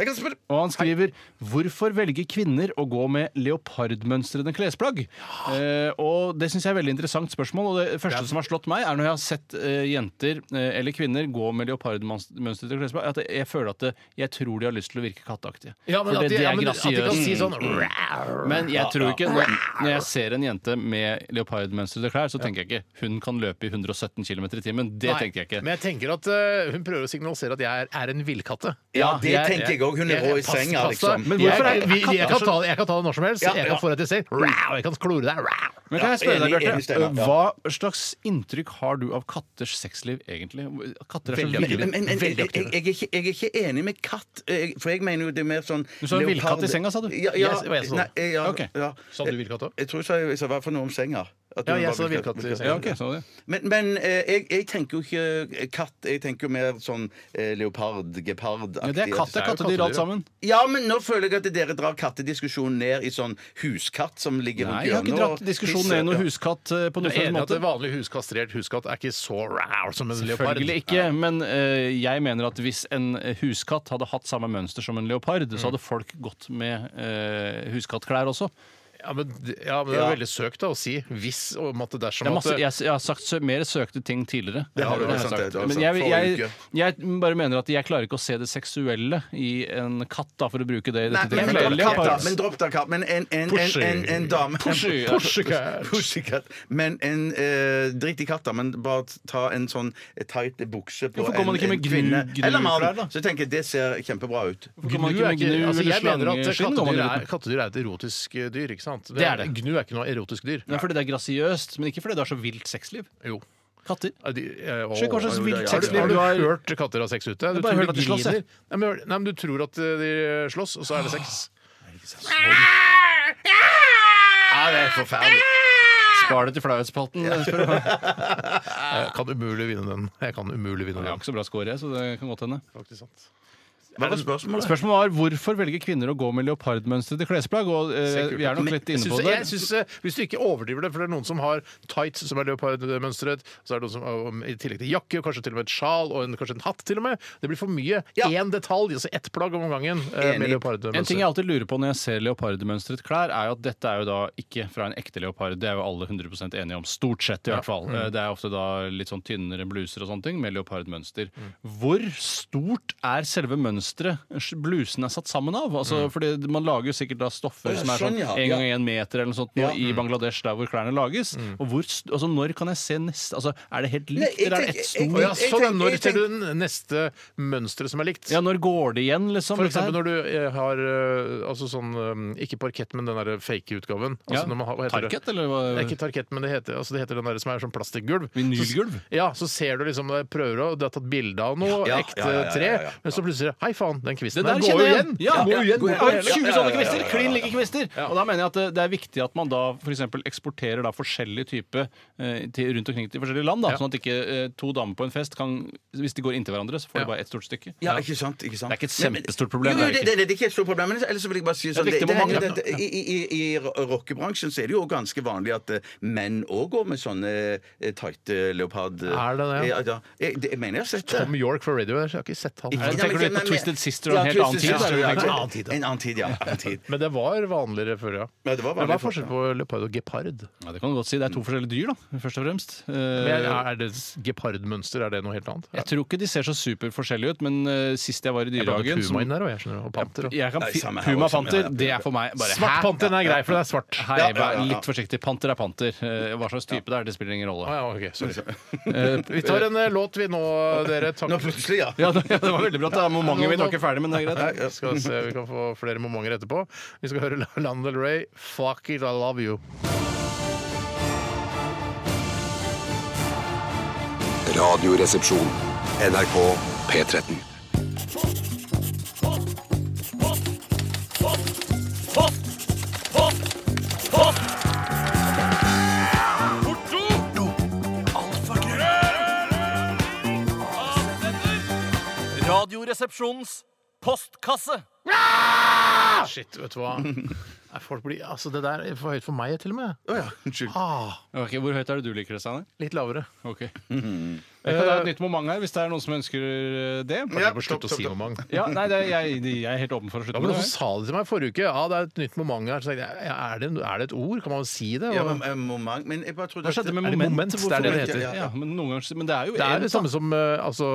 Speaker 6: Jeg kan spørre
Speaker 7: Og han skriver hvorfor velger kvinner å gå med leopardmønstrede klesplagg? Eh, og Det syns jeg er veldig interessant spørsmål. Og Det første som har slått meg, er når jeg har sett eh, jenter eh, eller kvinner gå med leopardmønstrede klesplagg, at jeg føler at det, jeg tror de har lyst til å virke katteaktige. For det, det
Speaker 5: ja,
Speaker 7: er
Speaker 5: men at de kan
Speaker 7: grasiøst. Mm.
Speaker 5: si sånn
Speaker 7: Men jeg tror ikke når, når jeg ser en jente med leopardmønstrede klær, så tenker jeg ikke hun kan løpe i 117 km i timen. Det
Speaker 5: Nei,
Speaker 7: tenker jeg ikke.
Speaker 5: Men jeg tenker at eh, hun prøver å signalisere at jeg er, er en villkatte.
Speaker 6: Ja, det
Speaker 7: jeg-
Speaker 6: tenker jeg òg. Hun er
Speaker 5: Jeg-
Speaker 6: rå i
Speaker 5: pass-
Speaker 6: senga,
Speaker 5: pass deg.
Speaker 6: liksom.
Speaker 7: Men
Speaker 5: Jeg,
Speaker 7: hvorfor er-
Speaker 5: jeg, vi- jeg, kan ta, jeg kan ta det når som helst.
Speaker 6: altså- Ja,
Speaker 5: Jeg
Speaker 6: ja.
Speaker 5: kan få deg til å si «Rau», Jeg kan klore deg «Rau».
Speaker 7: Men kan jeg spørre
Speaker 6: Ja,
Speaker 7: deg,
Speaker 6: enig- enig,
Speaker 7: Bjarte, Øh,
Speaker 6: Steinar, ja.
Speaker 7: hva slags inntrykk har du av katters sexliv, egentlig? Katter er så
Speaker 5: Veldig
Speaker 7: ville.
Speaker 6: Men, men, men jeg,
Speaker 5: Veldig
Speaker 6: jeg,
Speaker 5: aktive.
Speaker 6: jeg, er ikke, jeg er ikke enig med katt, eh, for jeg mener jo det er mer sånn
Speaker 7: Du sa en
Speaker 6: leopard-
Speaker 7: villkatt i senga, sa du?
Speaker 6: Ja, ja,
Speaker 5: Yes, hva jeg sa.
Speaker 6: nei, eh, ja,
Speaker 7: Ok.
Speaker 6: ja.
Speaker 5: Sa sånn du villkatt òg?
Speaker 6: Jeg tror jeg sa- jeg sa i hvert fall noe om senga. At
Speaker 5: Ja,
Speaker 6: hun
Speaker 5: jeg
Speaker 6: var
Speaker 5: sa
Speaker 6: villkatt.
Speaker 5: villkatt i senga.
Speaker 7: Ja, ok, så det.
Speaker 6: Men, men eh, jeg, jeg tenker jo ikke eh, katt, jeg tenker jo mer sånn eh, leopard, gepard
Speaker 7: Ja, det er katt, det er kattedyr alt sammen.
Speaker 6: Ja, men nå føler jeg at dere drar kattediskusjonen ned i sånn huskatt som ligger
Speaker 7: Nei,
Speaker 6: rundt
Speaker 7: jeg har ikke
Speaker 6: hjørnet. og
Speaker 7: dratt diskusjonen ned i noen
Speaker 6: pisser.
Speaker 7: huskatt eh, på
Speaker 5: Du
Speaker 7: noen
Speaker 5: er enig
Speaker 7: slags
Speaker 5: i Sånn at
Speaker 7: måte.
Speaker 5: en vanlig huskastrert huskatt er ikke så rar som en leopard?
Speaker 7: Selvfølgelig ikke, men eh, jeg mener at hvis en øh, huskatt hadde hatt samme mønster som en leopard, så hadde folk gått med eh, huskattklær også.
Speaker 5: Ja, men, ja, men det er veldig søkt da, å si hvis og måtte dersom
Speaker 7: Det er masse,
Speaker 5: at-
Speaker 7: jeg, jeg har sagt sø mer søkte ting tidligere.
Speaker 6: Det har du, det
Speaker 7: jeg
Speaker 6: er sant, det, det har du
Speaker 7: Men
Speaker 6: sagt
Speaker 7: jeg,
Speaker 6: forrige
Speaker 7: jeg, jeg bare mener at jeg klarer ikke å se det seksuelle i en katt, da, for å bruke det i
Speaker 6: Nei,
Speaker 7: dette
Speaker 6: men dropp
Speaker 7: tilfellet. Jeg
Speaker 6: katt, da.
Speaker 7: har-
Speaker 6: Men dropp da, katt. Men en, en, en,
Speaker 5: Pushy.
Speaker 6: en, en dame
Speaker 7: Pushy, ja.
Speaker 5: Pushycat.
Speaker 6: Pushycat. Men en eh, Drit i katta, men bare ta en sånn tight bukse på
Speaker 7: Hvorfor
Speaker 6: en,
Speaker 7: kommer man ikke
Speaker 6: en
Speaker 7: med gnu-
Speaker 6: kvinne.
Speaker 7: gnuklær,
Speaker 6: Eller
Speaker 7: da?
Speaker 6: mann. Så tenker jeg det ser kjempebra ut.
Speaker 7: Hvorfor kan man
Speaker 5: Gnu
Speaker 7: ikke
Speaker 5: er
Speaker 7: med
Speaker 5: ikke-
Speaker 7: gnu
Speaker 5: altså,
Speaker 7: eller
Speaker 5: jeg mener at
Speaker 7: slangeskinn? går man
Speaker 5: kattedyr
Speaker 7: rundt
Speaker 5: er,
Speaker 7: med?
Speaker 5: kattedyr er et erotisk eh, dyr, ikke sant?
Speaker 7: Det er det.
Speaker 5: Gnu er ikke noe erotisk dyr.
Speaker 7: Nei, fordi det er grasiøst, men ikke fordi det har så vilt sexliv.
Speaker 5: Jo.
Speaker 7: Katter.
Speaker 5: Ja, de- eh, å,
Speaker 7: Sjekk hva slags
Speaker 5: jo,
Speaker 7: vilt
Speaker 5: det er-
Speaker 7: sexliv
Speaker 5: har du
Speaker 7: du
Speaker 5: har
Speaker 7: har-
Speaker 5: du hørt katter ha sex ute? Du
Speaker 7: har bare
Speaker 5: tror
Speaker 7: hørt at de slåss,
Speaker 5: griner.
Speaker 7: jeg.
Speaker 5: Nei, men, hør- nei, men du tror at eh, de slåss, og så er det sex.
Speaker 6: Ja, det er forferdelig.
Speaker 7: Spar det til flauhetsspalten. spør du meg.
Speaker 5: Jeg kan umulig vinne den. Jeg kan umulig vinne
Speaker 7: Jeg har
Speaker 5: den.
Speaker 7: ikke så bra score, jeg, så det kan godt hende.
Speaker 5: Faktisk sant.
Speaker 6: Hva var spørsmålet?
Speaker 7: Spørsmålet var hvorfor velger kvinner å gå med leopardmønstrede klesplagg? Og eh, vi er nok litt
Speaker 5: Jeg
Speaker 7: inne på
Speaker 5: synes,
Speaker 7: det.
Speaker 5: jeg synes, eh, hvis du ikke overdriver det, for det er noen som har tights som er leopardmønstret, så er det noen som um, i tillegg til jakke, og kanskje til og med et sjal og en, kanskje en hatt til og med. Det blir for mye. Én detalj, altså ett plagg om gangen eh, med
Speaker 6: Enig.
Speaker 7: En ting
Speaker 5: leopardmønster.
Speaker 7: jeg alltid lurer på når jeg ser leopardmønstret klær, er jo at dette er jo da ikke fra en ekte leopard. Det er jo alle 100 enige om. Stort sett, i hvert fall. Eh,
Speaker 5: Mm.
Speaker 7: Det er ofte da litt sånn tynnere bluser og sånne ting med leopardmønster.
Speaker 5: Mm.
Speaker 7: Hvor stort er selve mønsteret blusen er satt sammen av? Altså,
Speaker 5: Mm.
Speaker 7: fordi man lager jo sikkert da stoffer
Speaker 6: Å, ja,
Speaker 7: som er
Speaker 6: sånn,
Speaker 7: sånn
Speaker 6: ja.
Speaker 7: én
Speaker 6: Ja.
Speaker 7: gang én meter eller noe sånt nå
Speaker 6: Ja.
Speaker 7: i Bangladesh, der hvor klærne lages.
Speaker 5: Mm.
Speaker 7: Og hvor, st- altså, når kan jeg se neste Altså, er det helt likt,
Speaker 6: jeg
Speaker 7: eller er
Speaker 6: tenker-
Speaker 7: det ett
Speaker 6: jeg-
Speaker 7: stort
Speaker 5: Å ja,
Speaker 6: Jeg
Speaker 5: sånn, ja,
Speaker 6: tenk-
Speaker 5: når
Speaker 6: jeg
Speaker 5: ser du den neste mønsteret som er likt?
Speaker 7: Ja, når går det igjen, liksom?
Speaker 5: For
Speaker 7: dette her?
Speaker 5: eksempel når du eh, har eh, altså sånn eh, Ikke parkett, men den der fake utgaven. Altså
Speaker 7: Ja.
Speaker 5: når man har, hva heter det?
Speaker 7: Target, eller hva?
Speaker 5: Det er ikke tarkett, men det heter, altså det heter den der som er sånn plastikkgulv.
Speaker 7: Vinylgulv?
Speaker 5: Så- Ja, så ser du liksom det prøver å Det har tatt bilde av noe
Speaker 6: Ja, ja,
Speaker 5: ekte
Speaker 6: ja, ja, ja,
Speaker 5: tre,
Speaker 6: ja, ja.
Speaker 5: men så plutselig Hei faen, den kvisten
Speaker 7: Det
Speaker 5: der
Speaker 7: der
Speaker 5: går jo
Speaker 7: kjenner jeg
Speaker 5: igjen!
Speaker 7: igjen! Ja,
Speaker 5: Går jo igjen.
Speaker 7: Jeg har 20 sånne kvister!
Speaker 6: ja, ja.
Speaker 7: Klin like kvister! Og da mener jeg at eh, det er viktig at man da f.eks. eksporterer da forskjellig type eh, til, rundt omkring til forskjellige land, da,
Speaker 5: Ja.
Speaker 7: sånn at ikke eh, to damer på en fest kan Hvis de går inntil hverandre, så får
Speaker 5: Ja.
Speaker 7: de bare ett stort stykke.
Speaker 6: Ja, ikke sant, ikke sant.
Speaker 7: Det er ikke
Speaker 6: Nei,
Speaker 7: et
Speaker 6: men-
Speaker 7: kjempestort problem,
Speaker 6: Jo,
Speaker 7: det er
Speaker 6: jo, det,
Speaker 7: ikke.
Speaker 6: det, det, er ikke et stort problem. Men ellers så vil jeg bare si sånn,
Speaker 7: Det er
Speaker 6: det,
Speaker 7: viktig
Speaker 6: det,
Speaker 7: hvor
Speaker 6: henger-
Speaker 7: mange-
Speaker 6: det, I, i, i, i ro- rockebransjen så er det jo ganske vanlig at eh, menn òg går med sånne eh, tighte leopard... eh,
Speaker 5: Er det det?
Speaker 6: Ja, ja. Jeg, det? Jeg mener jeg har sett det.
Speaker 5: Tom York fra Radiohead, jeg har ikke sett han.
Speaker 6: Ikke-
Speaker 7: Nei,
Speaker 6: ja, men-
Speaker 7: tenker du litt på
Speaker 6: men-
Speaker 7: Twisted Sister og
Speaker 6: Ja,
Speaker 7: en helt annen
Speaker 6: Twisted
Speaker 7: tid,
Speaker 6: Sister,
Speaker 7: da?
Speaker 6: ja,
Speaker 7: En
Speaker 5: annen tid, ja.
Speaker 6: En annen tid, ja. En annen tid.
Speaker 5: Men det var vanligere før, ja.
Speaker 6: Ja, det var
Speaker 5: Men
Speaker 6: vanlig
Speaker 5: hva er
Speaker 6: før,
Speaker 5: forskjell på leopard og gepard?
Speaker 7: Ja, det kan du godt si. Det er to forskjellige dyr, da, først og fremst. Eh,
Speaker 5: Men er det s- gepardmønster, er det noe helt annet?
Speaker 7: jeg tror ikke de ser så superforskjellige ut, men eh, sist jeg var i
Speaker 5: Jeg blander
Speaker 7: dyrehagen
Speaker 5: puma inn der, og jeg skjønner, og panter. Og.
Speaker 7: jeg kan,
Speaker 6: Nei, samme her
Speaker 7: Puma
Speaker 6: også, samme her,
Speaker 7: panter,
Speaker 6: ja.
Speaker 7: det er for meg bare
Speaker 5: Svart
Speaker 7: hæ?
Speaker 5: panter den er grei, for det er svart.
Speaker 7: Hei,
Speaker 6: Ja, ja,
Speaker 7: vær
Speaker 6: ja, ja.
Speaker 7: litt forsiktig. Panter er panter. Eh, Hva slags type det er, det spiller ingen rolle.
Speaker 5: Å ja, ok, sorry. Vi tar en eh, låt, vi nå, dere. Takk.
Speaker 6: Nå plutselig, ja.
Speaker 7: Ja, det, ja, det var veldig bra. at Momentet mitt var ikke ferdig, men det er greit.
Speaker 5: Nei, skal vi se, Vi kan få flere momenter etterpå. Vi skal høre Lana Del Rey, 'Fuck It, I Love You'.
Speaker 2: Radioresepsjon. NRK P13.
Speaker 4: Radioresepsjonens postkasse.
Speaker 6: Ah!
Speaker 5: Shit, vet du hva. Nei, Folk blir, altså, det der er for høyt for meg, til og med.
Speaker 6: Å ja, unnskyld.
Speaker 5: Ah,
Speaker 7: Ok, Hvor høyt er det du liker det, Steinar?
Speaker 5: litt lavere.
Speaker 7: Ok. Jeg kan ha et nytt moment her, hvis det er noen som ønsker eh, det.
Speaker 5: Jeg må slutte å si moment.
Speaker 7: Ja, nei, det, jeg, jeg er helt åpen for å
Speaker 5: Ja,
Speaker 7: slutte
Speaker 5: men
Speaker 7: med
Speaker 5: Noen
Speaker 7: det.
Speaker 5: som sa det til meg forrige uke. Ja, det er et nytt moment her. Så tenkte jeg, ja, er, det, er det et ord? Kan man si det?
Speaker 6: Ja, men, eh, moment, men jeg bare trodde
Speaker 7: Hva skjedde med
Speaker 5: Er det
Speaker 7: moment?
Speaker 5: moment?
Speaker 7: Hvorfor-
Speaker 5: Det er det det heter.
Speaker 7: Ja, men, noen ganger, men det er jo
Speaker 5: det er
Speaker 7: en-
Speaker 5: det samme som eh, altså,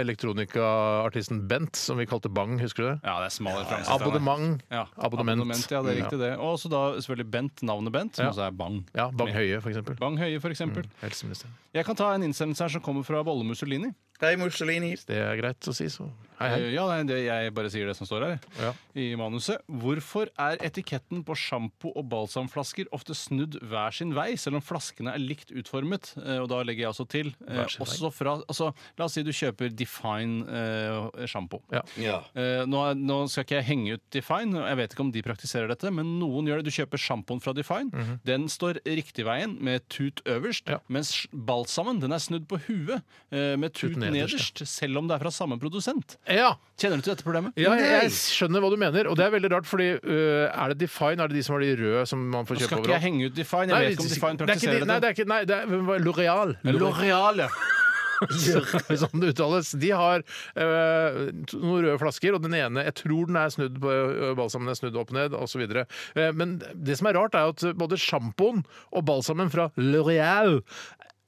Speaker 5: elektronikaartisten Bent, som vi kalte Bang. Husker du det?
Speaker 7: Ja, det er smal referanse. Steinar.
Speaker 5: Abonnement.
Speaker 7: Ja,
Speaker 5: Abonnement.
Speaker 7: abonnement. Ja, det er riktig, det. Og så da selvfølgelig Bent, navnet Bent, som
Speaker 5: Ja.
Speaker 7: også er Bang.
Speaker 5: Ja, Bang Mm. Høie, for eksempel.
Speaker 7: Bang Høie, for eksempel.
Speaker 5: Helseminister.
Speaker 7: Jeg kan ta en innsendelse her som kommer fra Bolle Mussolini.
Speaker 6: Hei, Mussolini.
Speaker 5: Det er greit å si, så. Hei, hei.
Speaker 7: Eh, Ja, nei, det, jeg bare sier det som står her.
Speaker 5: Ja.
Speaker 7: I manuset. Hvorfor er etiketten på sjampo- og balsamflasker ofte snudd hver sin vei, selv om flaskene er likt utformet? Eh, Og da legger jeg også til eh,
Speaker 5: sin vei.
Speaker 7: også fra, altså, La oss si du kjøper Define eh, sjampo.
Speaker 5: Ja.
Speaker 6: Ja.
Speaker 7: Eh, nå, er- nå skal ikke jeg henge ut Define, og jeg vet ikke om de praktiserer dette, men noen gjør det. Du kjøper sjampoen fra Define. Den står riktig veien med tut øverst,
Speaker 5: Mhm. Ja.
Speaker 7: mens sj- balsamen den er snudd på huet eh, med tut
Speaker 5: nederst,
Speaker 7: nederst, selv om det er fra samme produsent.
Speaker 5: ja.
Speaker 7: Kjenner du til dette problemet?
Speaker 5: Ja, jeg, jeg skjønner hva du mener, og det er veldig rart, fordi øh, er det Define, er det de som har de røde som man får
Speaker 7: Nå
Speaker 5: kjøpe
Speaker 7: skal ikke jeg
Speaker 5: overalt?
Speaker 7: henge ut Define. Jeg
Speaker 5: Nei,
Speaker 7: vet ikke om Define
Speaker 5: det er ikke de- Nei,
Speaker 7: praktiserer
Speaker 5: det
Speaker 7: dette.
Speaker 5: er ikke, nei, det er hvem var- L'Oreal.
Speaker 7: L'Oreal, ja.
Speaker 5: Som det sånn uttales. De har øh, to- noen røde flasker, og den ene Jeg tror den er snudd på øh, balsamen er snudd opp ned, osv. Uh, men det som er rart, er jo at både sjampoen og balsamen fra L'Oreal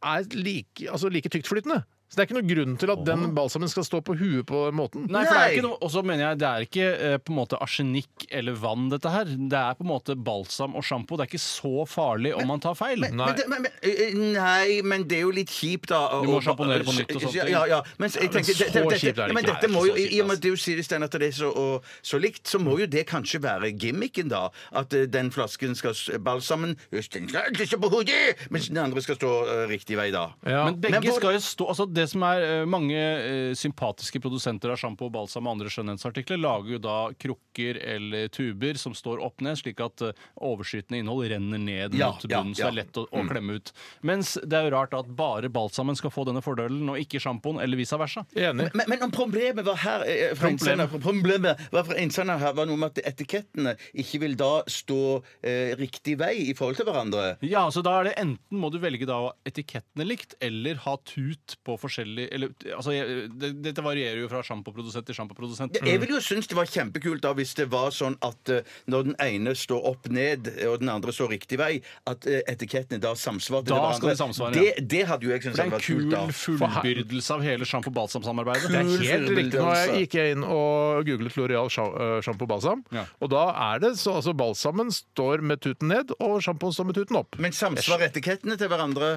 Speaker 5: er like, altså like tyktflytende. Så det er ikke noen grunn til at den balsamen skal stå på huet på den måten.
Speaker 7: Nei, for det er
Speaker 6: Nei.
Speaker 7: ikke noe, og så mener jeg det er ikke eh, på en måte arsenikk eller vann, dette her. Det er på en måte balsam og sjampo. Det er ikke så farlig om man tar feil.
Speaker 5: Nei.
Speaker 6: Men det, men, men, eh, nei, men det er jo litt kjipt, da. å-
Speaker 7: Du må
Speaker 6: å-
Speaker 7: sjamponere på nytt og sånt.
Speaker 6: Ja, ja. Men jeg tenker,
Speaker 5: så
Speaker 6: det- det-
Speaker 5: kjipt er det
Speaker 6: dette- men
Speaker 5: ikke.
Speaker 6: dette
Speaker 5: Nei,
Speaker 6: må
Speaker 5: det
Speaker 6: jo,
Speaker 5: er ikke så
Speaker 6: I og
Speaker 5: kjipt,
Speaker 6: med at du sier Stein, at det er så, og, så likt, så må jo det kanskje være gimmicken, da. At eh, den flasken skal s- balsamen Husk, den skal ikke på hodet! Mens den andre skal stå eh, riktig vei, da.
Speaker 7: Men begge
Speaker 6: Men hvor-
Speaker 7: skal jo stå altså Det som er eh, mange eh, sympatiske produsenter av sjampo, balsam og andre skjønnhetsartikler, lager jo da krukker eller tuber som står opp ned, slik at eh, overskytende innhold renner ned
Speaker 6: Ja,
Speaker 7: mot
Speaker 6: ja,
Speaker 7: bunnen,
Speaker 6: ja. Mm.
Speaker 7: så det er lett å, å klemme ut. Mens det er jo rart at bare balsamen skal få denne fordelen, og ikke sjampoen, eller vice versa.
Speaker 5: Enig.
Speaker 6: Men, men om problemet var her eh, fra innsender, problemet var fra innsender her var noe med at etikettene ikke vil da stå eh, riktig vei i forhold til hverandre.
Speaker 7: Ja, så da er det enten må du velge da å ha etikettene likt, eller ha tut på forskjellig eller, altså, jeg- det, Dette varierer jo fra sjampoprodusent til sjampoprodusent.
Speaker 6: Ja, Jeg ville jo synes det var kjempekult da hvis det var sånn at eh, når den ene står opp ned, eh, og den andre står riktig vei, at eh, etikettene da samsvarte
Speaker 7: Da
Speaker 6: med
Speaker 7: skal
Speaker 6: hverandre.
Speaker 7: de samsvare, ja.
Speaker 6: det, det hadde jo jeg
Speaker 7: Det
Speaker 6: syntes
Speaker 7: er en
Speaker 6: var kult, da.
Speaker 7: kul fullbyrdelse av hele sjampo-balsam-samarbeidet.
Speaker 5: Det er
Speaker 6: Kul
Speaker 5: helt riktig. Nå
Speaker 7: altså.
Speaker 5: gikk jeg inn og googlet Loreal sjampo balsam,
Speaker 7: Ja.
Speaker 5: og da er det så altså balsamen står med tuten ned, og sjampoen står med tuten opp.
Speaker 6: Men samsvarer etikettene til hverandre?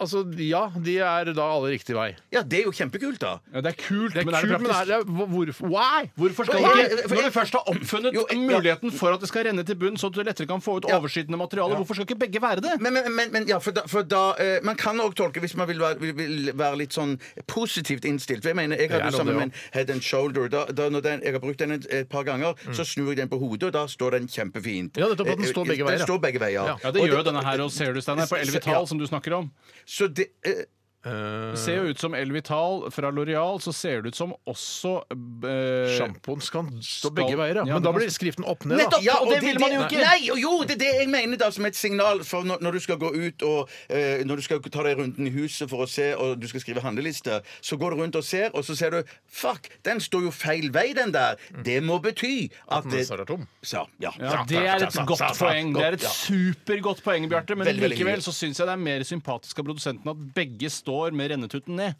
Speaker 5: Altså, ja, de er da alle riktig vei.
Speaker 6: Ja, det er jo kjempekult, da.
Speaker 7: Ja, det er kult,
Speaker 5: Det er
Speaker 7: men er det
Speaker 5: kult, men
Speaker 7: praktisk?
Speaker 5: er det hvorfor, Why?
Speaker 7: Hvorfor skal
Speaker 6: Nei,
Speaker 7: ikke,
Speaker 6: for
Speaker 7: Når
Speaker 6: jeg-
Speaker 7: du først har oppfunnet
Speaker 6: Jo, jeg-
Speaker 7: muligheten for at det skal renne til bunn, så du lettere kan få ut overskytende materiale, hvorfor skal ikke begge være det?
Speaker 6: Men, men, men, men ja, for da, for da eh, Man kan òg tolke hvis man vil være, vil, vil være litt sånn positivt innstilt. For Jeg mener, jeg
Speaker 5: Jeg er
Speaker 6: hadde jo
Speaker 5: om det
Speaker 6: sammen med en head and shoulder. Da, da, når den, jeg har brukt den et, et par ganger, så snur jeg den på hodet, og da står den kjempefint.
Speaker 5: Ja, nettopp at den
Speaker 6: Eh,
Speaker 5: står begge
Speaker 6: den
Speaker 5: veier, ja.
Speaker 6: står begge veier.
Speaker 7: Ja, Det
Speaker 6: Og
Speaker 7: gjør jo denne her hos Ser du, Steinar, på Elvital,
Speaker 6: Ja.
Speaker 7: som du snakker om.
Speaker 6: Så det eh,
Speaker 7: Det ser jo ut som Elvital fra Loreal, så ser det ut som også eh,
Speaker 5: Sjampoen skal stå
Speaker 7: Skal-
Speaker 5: begge veier, ja.
Speaker 7: Ja,
Speaker 5: Men altså-
Speaker 7: det
Speaker 5: da
Speaker 7: kan-
Speaker 5: blir skriften opp ned, da.
Speaker 7: Nettopp! og det vil man jo ikke.
Speaker 6: Nei, og jo, det er det jeg mener da som et signal for når, når du skal gå ut og eh, Når du skal ta deg runden i huset for å se, og du skal skrive handleliste, så går du rundt og ser, og så ser du Fuck, den står jo feil vei, den der. Det må bety at
Speaker 5: Den
Speaker 6: det,
Speaker 5: snart er tom.
Speaker 6: så, ja.
Speaker 7: Ja, det er et godt poeng. Det er et
Speaker 6: Ja.
Speaker 7: supergodt poeng, Bjarte. Men
Speaker 6: Veldig, veldig
Speaker 7: likevel
Speaker 6: hyggelig.
Speaker 7: så syns jeg det er mer sympatisk av produsenten at begge står med rennetuten ned.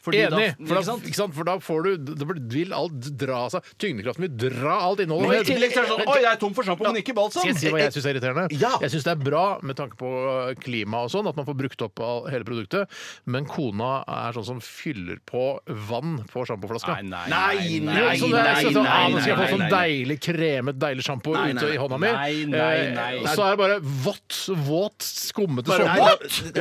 Speaker 7: Fordi da-
Speaker 5: Enig! For
Speaker 7: ikke
Speaker 5: da,
Speaker 7: sant?
Speaker 5: ikke sant? For da får du Da blir- vil alt dra seg Tyngdekraften vil dra alt
Speaker 7: Og i
Speaker 5: innholdet ned.
Speaker 7: tillegg så er det sånn Oi, jeg er tom for sjampo, men ikke balsam!
Speaker 5: Skal jeg si hva jeg syns er irriterende?
Speaker 6: Ja.
Speaker 5: Jeg syns det er bra med tanke på eh, klima og sånn, at man får brukt opp all- hele produktet, men kona er sånn som fyller på vann på sjampoflaska.
Speaker 6: Nei, nei,
Speaker 5: Jo, sånn, jeg synes sånn, ah,
Speaker 6: nei,
Speaker 5: Nå skal jeg få
Speaker 6: nei,
Speaker 5: sånn
Speaker 6: nei, nei.
Speaker 5: deilig kremet, deilig sjampo
Speaker 6: Nei, nei,
Speaker 5: ute i hånda mi.
Speaker 7: Nei, nei, nei.
Speaker 5: Eh, og Så er det bare vått, våt, skummete
Speaker 6: Nei,
Speaker 5: såpe.
Speaker 6: da-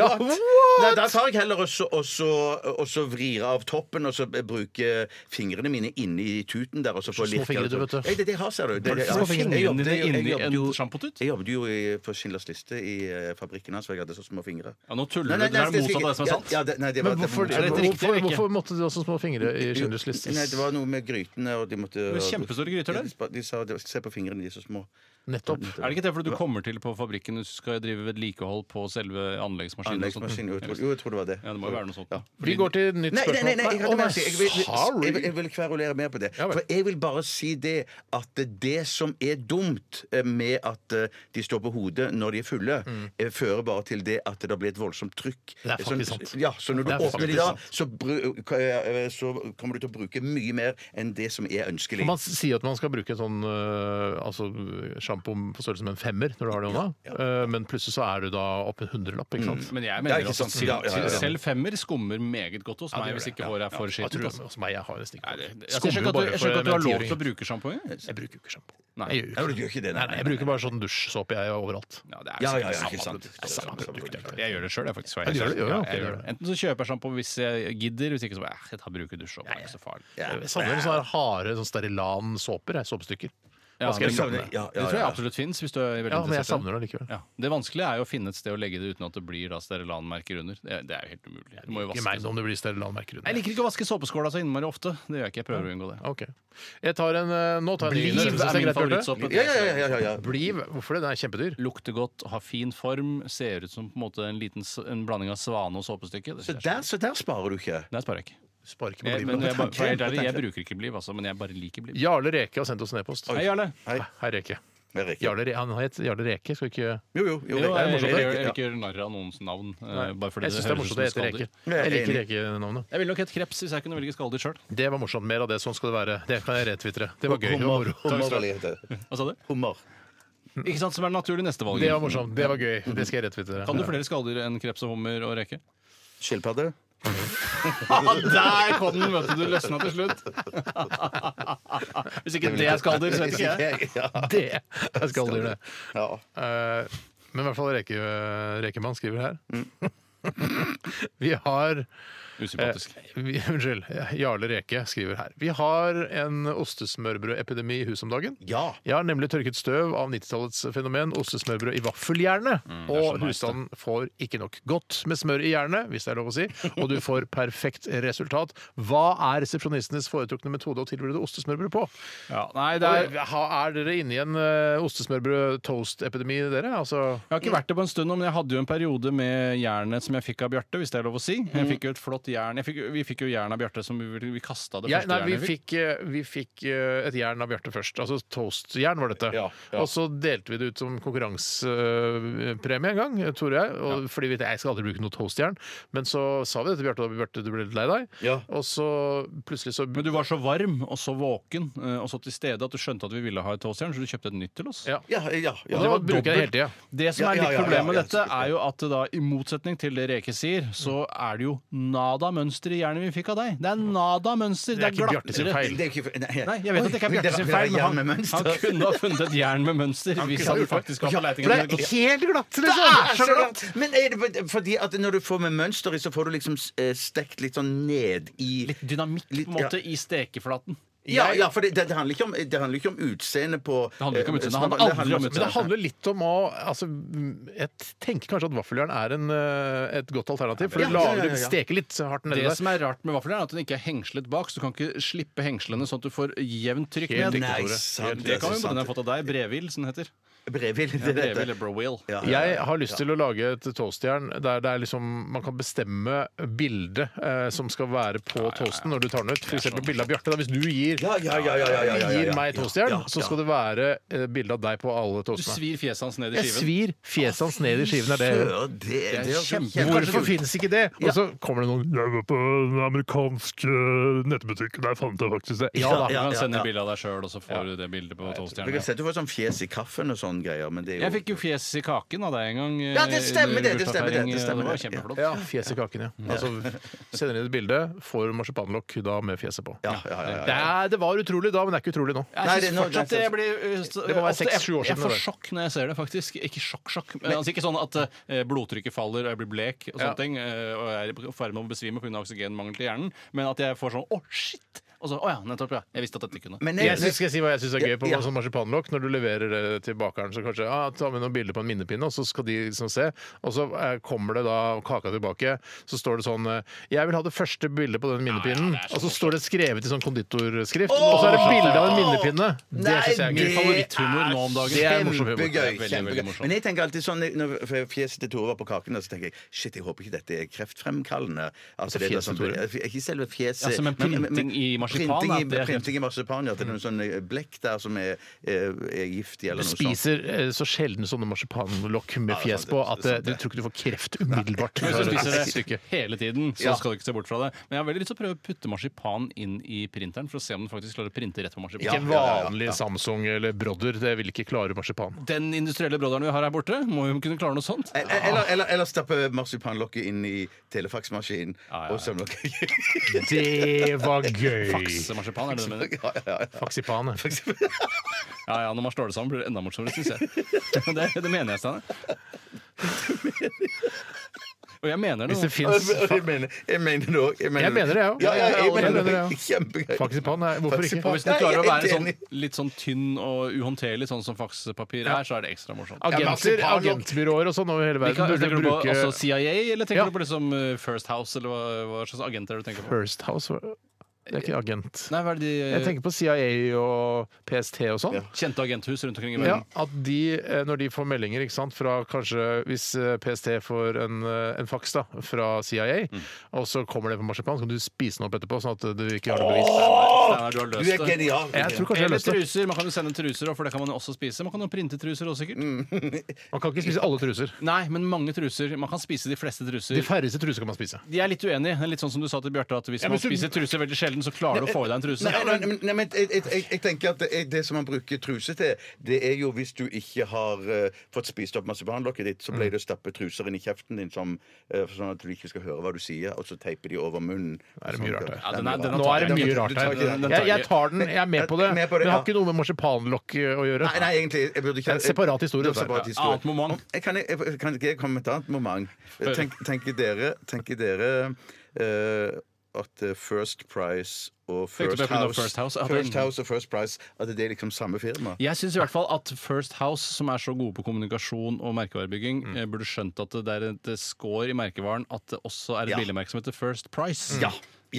Speaker 5: Ja,
Speaker 6: da- Nei,
Speaker 5: what?
Speaker 6: da tar jeg heller også, også, også vrir av toppen og så bruke fingrene mine inni tuten der. Og så få
Speaker 5: små
Speaker 6: lirke
Speaker 5: fingre
Speaker 6: det
Speaker 5: du,
Speaker 6: opp.
Speaker 5: vet du.
Speaker 6: Nei, Det, det har, ser du. Det, det,
Speaker 7: Små fingre
Speaker 6: Jeg jobbet- jeg- jeg
Speaker 7: inni
Speaker 6: jobbet
Speaker 7: en
Speaker 6: jo-
Speaker 7: sjampotut?
Speaker 6: Jeg jobbet jo i, på Schindlers liste i eh, fabrikken hans, og jeg hadde så små fingre.
Speaker 7: Ja, nå tuller du. Det er det motsatte av det som er sant.
Speaker 6: Ja, ja, det, nei, det var,
Speaker 5: Men hvorfor,
Speaker 6: det, var-
Speaker 7: Er dette riktig
Speaker 5: hvorfor,
Speaker 7: eller ikke?
Speaker 5: hvorfor måtte du ha så små fingre i
Speaker 6: Jo,
Speaker 5: Schindlers liste?
Speaker 6: Nei, det var noe med grytene, og de måtte
Speaker 7: Det var kjempestore gryter der.
Speaker 6: Ja, de spa- De sa de- se på fingrene, de er så små.
Speaker 5: Nettopp.
Speaker 7: Er det ikke det fordi du kommer til på fabrikken hvis du skal drive vedlikehold på selve anleggsmaskinen? og sånt?
Speaker 6: Anleggsmaskin. Jo, jeg tror- jo, jeg tror det var det.
Speaker 7: Ja, det må jo være noe sånt. da.
Speaker 5: Vi går til nytt
Speaker 6: Nei, nei,
Speaker 5: spørsmål.
Speaker 6: nei, nei, jeg, hadde
Speaker 5: Å, nei,
Speaker 6: mer å si. jeg, vil,
Speaker 5: sorry.
Speaker 6: jeg, vil, jeg vil kverulere mer på det.
Speaker 5: Ja vel.
Speaker 6: For jeg vil bare si det at det som er dumt eh, med at eh, de står på hodet når de er fulle, eh, fører bare til det at det blir et voldsomt trykk.
Speaker 5: Mm. Det er faktisk
Speaker 6: Sånn-
Speaker 5: sant.
Speaker 6: Ja, så når du
Speaker 5: Det er
Speaker 6: åpner de
Speaker 5: faktisk
Speaker 6: da, så, bru- k- eh, så kommer du til å bruke mye mer enn det som er ønskelig.
Speaker 5: Man sier at man skal bruke sånn øh, altså, sjampo på størrelse med en femmer når du har det i hånda, Øh, men plutselig så er du da oppe en hundrelapp, ikke sant?
Speaker 7: Men jeg
Speaker 6: Ja,
Speaker 7: mener
Speaker 6: ikke
Speaker 7: at
Speaker 6: sant. Ja, ja, ja, ja.
Speaker 7: selv- selv femmer skummer meget godt hos
Speaker 5: det
Speaker 7: meg
Speaker 5: gjør
Speaker 7: hvis
Speaker 5: det.
Speaker 7: ikke håret er for
Speaker 5: Jeg
Speaker 7: skittent.
Speaker 5: tror
Speaker 7: altså.
Speaker 5: hos meg jeg har nesten
Speaker 7: Nei,
Speaker 5: ikke
Speaker 7: det- det- altså, Jeg skjønner ikke at du- jeg skjønner ikke at du har lov til å bruke sjampo.
Speaker 5: Jeg bruker ikke sjampo.
Speaker 7: Nei.
Speaker 5: Jeg, gjør
Speaker 6: Ja,
Speaker 5: jo ikke
Speaker 6: du
Speaker 5: det.
Speaker 6: gjør ikke det,
Speaker 5: nei, nei, jeg bruker bare sånn dusjsåpe jeg overalt.
Speaker 7: Ja, det er
Speaker 6: Ja,
Speaker 7: sikkert
Speaker 6: ja, ja,
Speaker 7: samme
Speaker 6: ikke sant.
Speaker 7: produkt.
Speaker 6: Det er samme produkt, ja.
Speaker 7: Jeg gjør det sjøl, faktisk.
Speaker 5: Ja, du gjør det, ja, ja,
Speaker 7: jeg gjør det. Enten så kjøper jeg sjampo hvis jeg gidder, hvis ikke så bare, eh, jeg tar bruker dusj. og Det er ikke Eh, så farlig.
Speaker 6: Ja.
Speaker 5: Jeg savner sånne her harde sånn Sterilan-såper. jeg, Såpestykker.
Speaker 7: Ja,
Speaker 5: Vasker
Speaker 7: det-
Speaker 5: jeg kroppen med.
Speaker 6: Ja, ja,
Speaker 7: Det tror jeg
Speaker 6: ja.
Speaker 7: absolutt fins. hvis du er veldig
Speaker 5: Ja, men jeg
Speaker 7: interessert i det.
Speaker 5: savner det likevel.
Speaker 7: Ja. Det vanskelige er jo å finne et sted å legge det uten at det blir da Sterilan-merker under. Det er, det er jo helt umulig. Du må jo
Speaker 5: Ikke
Speaker 7: vaske
Speaker 5: merk om det blir Sterilan-merker
Speaker 7: Jeg
Speaker 5: under.
Speaker 7: liker ikke å vaske såpeskåla så innmari ofte. Det gjør jeg ikke. Jeg prøver å unngå det.
Speaker 5: Ok. Jeg tar en, øh, nå tar jeg en ny. Synes
Speaker 7: Bliv
Speaker 5: det
Speaker 7: er min
Speaker 5: greit, Bjarte?
Speaker 7: favorittsåpe.
Speaker 6: Ja, ja, ja, ja, ja, ja.
Speaker 5: Bliv? Hvorfor det? Den er kjempedyr.
Speaker 7: Lukter godt, har fin form, ser ut som på en måte en liten s- en blanding av svane og såpestykke. Det
Speaker 6: Så
Speaker 7: synes jeg er-
Speaker 6: der, så der sparer du ikke.
Speaker 7: Nei, sparer jeg ikke.
Speaker 5: Sparker på
Speaker 7: Jeg,
Speaker 5: blivet.
Speaker 7: Eh, men jeg, bare- for jeg,
Speaker 6: Tanken,
Speaker 7: jeg
Speaker 6: tanken.
Speaker 7: bruker ikke bliv, altså, men jeg bare liker bliv.
Speaker 5: Jarle Reke har sendt oss en e-post.
Speaker 7: Hei, Jarle.
Speaker 5: Hei, Reke.
Speaker 6: Det er riktig.
Speaker 5: Jarle, Re- han het Jarle Reke, skal vi ikke
Speaker 6: Jo, jo. jo,
Speaker 7: Jo,
Speaker 6: det er
Speaker 7: jeg
Speaker 6: morsomt.
Speaker 7: jeg-
Speaker 5: det.
Speaker 7: jeg- jeg ikke gjør narr av noens navn. eh, Bare fordi
Speaker 5: Jeg syns det er
Speaker 7: høres
Speaker 5: morsomt
Speaker 7: ut
Speaker 5: det
Speaker 7: som
Speaker 5: heter
Speaker 7: skalldyr.
Speaker 5: Reker.
Speaker 6: Ja,
Speaker 5: Jeg
Speaker 6: jeg er
Speaker 5: liker
Speaker 6: enig.
Speaker 5: Reke-navnet.
Speaker 7: Jeg ville nok hett kreps hvis jeg kunne velge skalldyr sjøl.
Speaker 5: Det var morsomt. Mer av det. Sånn skal det være. Det kan jeg retvitre. Det var gøy. Det var
Speaker 6: Hummer.
Speaker 5: moro.
Speaker 6: Hummer, vel, heter det.
Speaker 7: Hva sa du?
Speaker 6: Hummer.
Speaker 7: Ikke sant, Som er det naturlige neste valg.
Speaker 5: Mm. Det var morsomt. Det var gøy. Det skal jeg retvitre.
Speaker 7: Kan du flere skalldyr enn kreps og hummer og reke?
Speaker 6: Skilpadde.
Speaker 7: der kom den! Vet du, du løsna til slutt. Hvis ikke det er skalldyr, så vet ikke jeg.
Speaker 6: Ja.
Speaker 5: Det er skalldyr, det.
Speaker 6: Ja.
Speaker 5: Eh, Men i hvert fall reke, eh, Rekemann skriver her. Vi har
Speaker 7: Usympatisk.
Speaker 5: Eh, vi, unnskyld. Jarle Reke skriver her. Vi har en ostesmørbrødepidemi i huset om dagen.
Speaker 6: ja.
Speaker 5: Jeg har nemlig tørket støv av 90-tallets fenomen ostesmørbrød i vaffeljernet. og husstanden får ikke nok godt med smør i jernet, hvis det er lov å si, og du får perfekt resultat. Hva er resepsjonistenes foretrukne metode å tilberede ostesmørbrød på?
Speaker 7: Ja, nei, det er...
Speaker 5: Er, er dere inne i en eh, ostesmørbrød-toast-epidemi, dere? Altså,
Speaker 7: Jeg har ikke vært det på en stund, nå, men jeg hadde jo en periode med jernet som jeg fikk av Bjarte. hvis det er lov å si.
Speaker 5: Mm.
Speaker 7: Jeg fikk jo et flott jern. Jeg fikk, vi fikk jo jern av Bjarte som vi, vi kasta det
Speaker 5: Ja,
Speaker 7: første
Speaker 5: nei, vi
Speaker 7: jernet vi fikk.
Speaker 5: fikk, eh, vi fikk eh, et jern av Bjarte først. Altså toastjern var dette.
Speaker 6: Ja, ja.
Speaker 5: Og så delte vi det ut som konkurransepremie en gang, Tore og jeg. Og fordi vi tenkte, jeg skal aldri bruke noe toastjern. Men så sa vi det til Bjarte, og Bjarte, du ble litt lei deg.
Speaker 6: Ja.
Speaker 5: Og så plutselig så
Speaker 7: Men du var så varm og så våken eh, og så til stede at du skjønte at vi ville ha et toastjern, så du kjøpte et nytt til oss.
Speaker 5: Ja.
Speaker 6: Ja, ja, ja.
Speaker 5: Og det var bruker jeg hele tida.
Speaker 7: Det som
Speaker 6: Ja,
Speaker 7: er
Speaker 6: ja,
Speaker 7: litt
Speaker 6: ja,
Speaker 7: problemet med
Speaker 6: ja, ja,
Speaker 7: dette, er jo at det da, i motsetning til det Reke sier, så er det jo nada-mønster i jernet vi fikk av deg. Det er nada-mønster. Det
Speaker 5: Det er
Speaker 7: er
Speaker 5: ikke Bjarte sin
Speaker 7: glattere.
Speaker 5: feil.
Speaker 6: Det er jo ikke Nei,
Speaker 7: Nei, jeg vet at det ikke er
Speaker 6: Oi,
Speaker 7: Bjarte sin feil,
Speaker 6: det er jern
Speaker 7: men
Speaker 6: med
Speaker 7: han,
Speaker 6: mønster.
Speaker 7: han kunne ha funnet et jern med mønster hvis han faktisk var på leting
Speaker 5: For det er
Speaker 7: etter det.
Speaker 5: helt glatt!
Speaker 6: Det er så
Speaker 5: glatt!
Speaker 6: godt! Men er det på- fordi at når du får med mønster i, så får du liksom eh, stekt litt sånn ned i
Speaker 7: Litt dynamikk på
Speaker 6: Litt,
Speaker 7: en måte i stekeflaten.
Speaker 6: Ja, ja for det, det, det, handler ikke om, det handler ikke om utseende på
Speaker 7: Det handler ikke om
Speaker 6: eh,
Speaker 7: utseende, det handler
Speaker 6: smak-
Speaker 7: aldri om
Speaker 5: Men det
Speaker 7: utseende.
Speaker 5: handler litt om å altså, Jeg tenker kanskje at vaffeljern er en, eh, et godt alternativ. For det
Speaker 6: Ja, ja, ja,
Speaker 5: lager,
Speaker 6: ja, ja.
Speaker 5: steker litt hardt nedi
Speaker 7: Det
Speaker 5: der.
Speaker 7: som er rart med vaffelen, er at den ikke er hengslet bak, så du kan ikke slippe hengslene sånn at du får jevnt trykk
Speaker 5: Helt
Speaker 7: ned.
Speaker 5: riktig,
Speaker 6: Nei,
Speaker 5: Tore.
Speaker 6: sant,
Speaker 7: Det kan jo
Speaker 6: sant.
Speaker 7: den ha fått av deg. Brevil, som den heter.
Speaker 6: Brevil. det er dette.
Speaker 7: Brevil eller Browil.
Speaker 6: Ja, ja, ja.
Speaker 5: Jeg har lyst til å lage et toastjern der det er liksom, man kan bestemme bildet eh, som skal være på toasten når du tar den ut. F.eks. bilde av Bjarte. da. Hvis du gir,
Speaker 6: Ja, ja, ja, ja, ja, ja, ja, ja,
Speaker 5: gir
Speaker 6: ja.
Speaker 5: meg toastjern,
Speaker 6: Ja, ja,
Speaker 5: så skal det være eh, bilde av deg på alle
Speaker 7: Du
Speaker 5: toastene.
Speaker 7: svir fjeset hans ned i
Speaker 5: Jeg
Speaker 7: skiven.
Speaker 5: svir fjeset hans ned i skiven. er det
Speaker 6: Sør, det, det er jo
Speaker 7: kjempe-
Speaker 6: kjempe-
Speaker 5: Hvorfor finnes ikke det? Og så kommer det noen
Speaker 8: Jeg var på eh, den amerikanske nettbutikken. Der fant jeg faktisk det.
Speaker 5: Ja da.
Speaker 7: Du
Speaker 6: Ja,
Speaker 7: kan
Speaker 6: ja,
Speaker 7: sende
Speaker 6: ja.
Speaker 7: bilde av deg sjøl, og så får du det bildet på
Speaker 6: Jeg har
Speaker 7: toastjernet.
Speaker 6: sett du får sånn fjes i kaffen og sånne greier, men det er jo
Speaker 7: Jeg fikk jo fjes i kaken av deg en gang. eh,
Speaker 6: Ja, det stemmer det,
Speaker 7: under
Speaker 6: det stemmer det,
Speaker 7: bursdagsfeiring,
Speaker 6: det stemmer
Speaker 7: og
Speaker 6: det.
Speaker 7: Det var kjempeflott.
Speaker 5: ja, Fjes i kaken, ja.
Speaker 6: Mm.
Speaker 5: Altså, sender inn et bilde, får marsipanlokk da med fjeset på.
Speaker 6: ja, ja, ja, ja.
Speaker 5: Det, er, det var utrolig da, men det er ikke utrolig nå.
Speaker 6: Nei,
Speaker 7: Jeg
Speaker 6: det-
Speaker 7: synes
Speaker 6: nå-
Speaker 7: fortsatt
Speaker 6: det-
Speaker 7: jeg blir uh, s-
Speaker 5: må være
Speaker 7: ofte-
Speaker 5: seks-sju år
Speaker 7: jeg-
Speaker 5: siden,
Speaker 7: Jeg får
Speaker 5: det
Speaker 7: sjokk når jeg ser det, faktisk. Ikke sjokk-sjokk. men Altså, ikke sånn at eh, blodtrykket faller og jeg blir blek og
Speaker 5: Ja.
Speaker 7: sånne ting, eh, og jeg er i ferd med å besvime pga. oksygenmangel til hjernen, men at jeg får sånn å, shit! Og så å ja, nettopp, ja. Jeg visste at dette kunne.
Speaker 6: Men
Speaker 5: Jeg synes, skal jeg si hva jeg syns er gøy på
Speaker 6: Ja.
Speaker 5: sånn marsipanlokk? Når du leverer det til bakeren, så kanskje ah, ta med noen bilder på en minnepinne, og så skal de liksom se. Og så eh, kommer det da kaka tilbake, så står det sånn eh, Jeg vil ha det første bildet på den minnepinnen. og så står det skrevet i sånn konditorskrift. Og så er det bilde av en minnepinne. Det
Speaker 6: Nei,
Speaker 5: syns jeg er
Speaker 7: Min
Speaker 5: gøy.
Speaker 7: favoritthumor nå om dagen.
Speaker 5: Det er morsom humor.
Speaker 6: Kjempegøy.
Speaker 7: Det er veldig,
Speaker 6: kjempegøy.
Speaker 7: veldig morsomt.
Speaker 6: Men jeg tenker alltid sånn Når fjeset til Tore var på kaken, så tenker jeg shit, jeg håper ikke dette er kreftfremkallende. Altså, det
Speaker 5: fjeset
Speaker 6: er da sånn-
Speaker 5: til
Speaker 6: ikke selve fjeset.
Speaker 7: Ja, som en printing i marsipan,
Speaker 6: Printing i,
Speaker 7: at det er-
Speaker 6: printing i marsipan, ja. At det er noe sånn blekk der som er, er, er
Speaker 5: Du
Speaker 6: giftig, eller noe sånt.
Speaker 5: spiser eh, så sjelden sånne marsipanlokk med
Speaker 6: Ja, det er
Speaker 5: fjes
Speaker 6: sant,
Speaker 5: på
Speaker 6: det er
Speaker 5: at eh,
Speaker 6: sant,
Speaker 5: du
Speaker 6: det.
Speaker 5: tror ikke du får kreft umiddelbart.
Speaker 7: Hvis du spiser det
Speaker 5: Stykket.
Speaker 7: hele tiden, så
Speaker 6: Ja.
Speaker 7: skal du ikke se bort fra det. Men jeg har veldig lyst til å prøve å putte marsipan inn i printeren for å se om den faktisk klarer å printe rett på marsipan.
Speaker 5: Ikke en vanlig Samsung eller Brodder. Det vil ikke klare marsipan.
Speaker 7: Den industrielle broderen vi har her borte, må jo kunne klare noe sånt.
Speaker 6: E- e- Eller, eller, eller stappe marsipanlokket inn i telefaksmaskinen
Speaker 7: ja, ja.
Speaker 6: og sømlokket
Speaker 5: Det var gøy!
Speaker 7: Faksemarsipan, er det det du mener?
Speaker 6: ja, ja, ja.
Speaker 5: Faksipan.
Speaker 6: For eksempel.
Speaker 7: Ja ja, når man slår det sammen, blir det enda morsommere, syns jeg. Det, det mener jeg, Steinar. Og jeg mener det.
Speaker 5: Hvis det
Speaker 7: nå.
Speaker 5: fins
Speaker 6: Jeg mener, jeg mener det òg.
Speaker 5: Jeg mener det, jeg
Speaker 6: òg.
Speaker 5: òg.
Speaker 6: Ja, ja, jeg
Speaker 5: Jeg
Speaker 6: mener
Speaker 5: mener det,
Speaker 6: det òg. Kjempegøy.
Speaker 5: Faksipan er Hvorfor ikke?
Speaker 7: Og hvis den
Speaker 6: Nei,
Speaker 7: klarer å
Speaker 6: jeg er
Speaker 7: være sånn,
Speaker 6: enig.
Speaker 7: litt sånn tynn og uhåndterlig, sånn som fakspapir er, så er det ekstra morsomt.
Speaker 5: Agenter,
Speaker 6: marsipan-
Speaker 5: agentbyråer og sånn over hele
Speaker 7: Hvilke,
Speaker 5: verden burde
Speaker 7: tenker du på
Speaker 5: bruke
Speaker 7: altså CIA, eller tenker
Speaker 5: Ja.
Speaker 7: du på liksom eh, First House, eller hva, hva slags agenter du tenker på?
Speaker 5: First House. Det er ikke agent.
Speaker 7: Nei, hva er det de
Speaker 5: Jeg tenker på CIA og PST og sånn.
Speaker 7: Kjente agenthus rundt omkring i
Speaker 5: Ja,
Speaker 7: verden.
Speaker 5: at de, eh, når de får meldinger ikke sant, fra kanskje hvis eh, PST får en, eh, en faks da, fra CIA, og så kommer det på marsipan, så kan du spise den opp etterpå, sånn at du ikke har noe bevis.
Speaker 7: Steinar, du har
Speaker 6: Du er
Speaker 7: løst det.
Speaker 6: genial.
Speaker 5: Jeg tror kanskje jeg
Speaker 7: Eller
Speaker 5: løste det.
Speaker 7: truser. Man kan jo sende truser, og for det kan man jo også spise. Man kan jo printe truser også, sikkert.
Speaker 5: Man kan ikke spise alle truser.
Speaker 7: Nei, men mange truser. Man kan spise de fleste truser.
Speaker 5: De færreste truser kan man spise.
Speaker 7: De er litt uenige. Det er Litt sånn som du sa til Bjarte, at hvis
Speaker 5: Ja, men
Speaker 7: man
Speaker 5: så-
Speaker 7: spiser truser veldig sjelden, så klarer du å få i deg en truse.
Speaker 6: Nei, nei, men- nei, men jeg, jeg, jeg, jeg tenker at det, er- det som man bruker truse til, det er jo hvis du ikke har eh, fått spist opp marsipanlokket ditt, så
Speaker 5: Mm.
Speaker 6: pleier det å stappe truser inn i kjeften din, som, eh, sånn at du ikke skal høre hva du sier, og så teiper de over munnen. Sånn
Speaker 5: Det er mye rart her.
Speaker 7: Ja, den er- den er-
Speaker 5: Nå er det mye rart her. Jeg, jeg tar den, jeg er med på det,
Speaker 6: Jeg er
Speaker 5: men
Speaker 6: med på det,
Speaker 5: det har
Speaker 6: ja.
Speaker 5: ikke noe med marsipanlokk eh, å gjøre.
Speaker 6: Nei, nei, egentlig jeg burde
Speaker 5: Det er
Speaker 6: ikke
Speaker 5: en separat historie,
Speaker 6: Det er en
Speaker 5: dette her.
Speaker 6: separat historie.
Speaker 7: Annet moment.
Speaker 6: Jeg kan, jeg, jeg- kan ikke jeg komme med et annet moment? Tenk, tenker dere, tenker dere eh, at eh, First Price og
Speaker 7: Tenkte
Speaker 6: First
Speaker 7: bare på grunn av
Speaker 6: House,
Speaker 7: First House, at
Speaker 6: First
Speaker 7: den-
Speaker 6: House og First Price At det er liksom samme firma?
Speaker 7: Jeg syns i hvert fall at First House, som er så gode på kommunikasjon og merkevarebygging, eh, burde skjønt at det er et skår i merkevaren at det også er et
Speaker 6: Ja.
Speaker 7: billigmerke som heter First Price.
Speaker 6: Ja,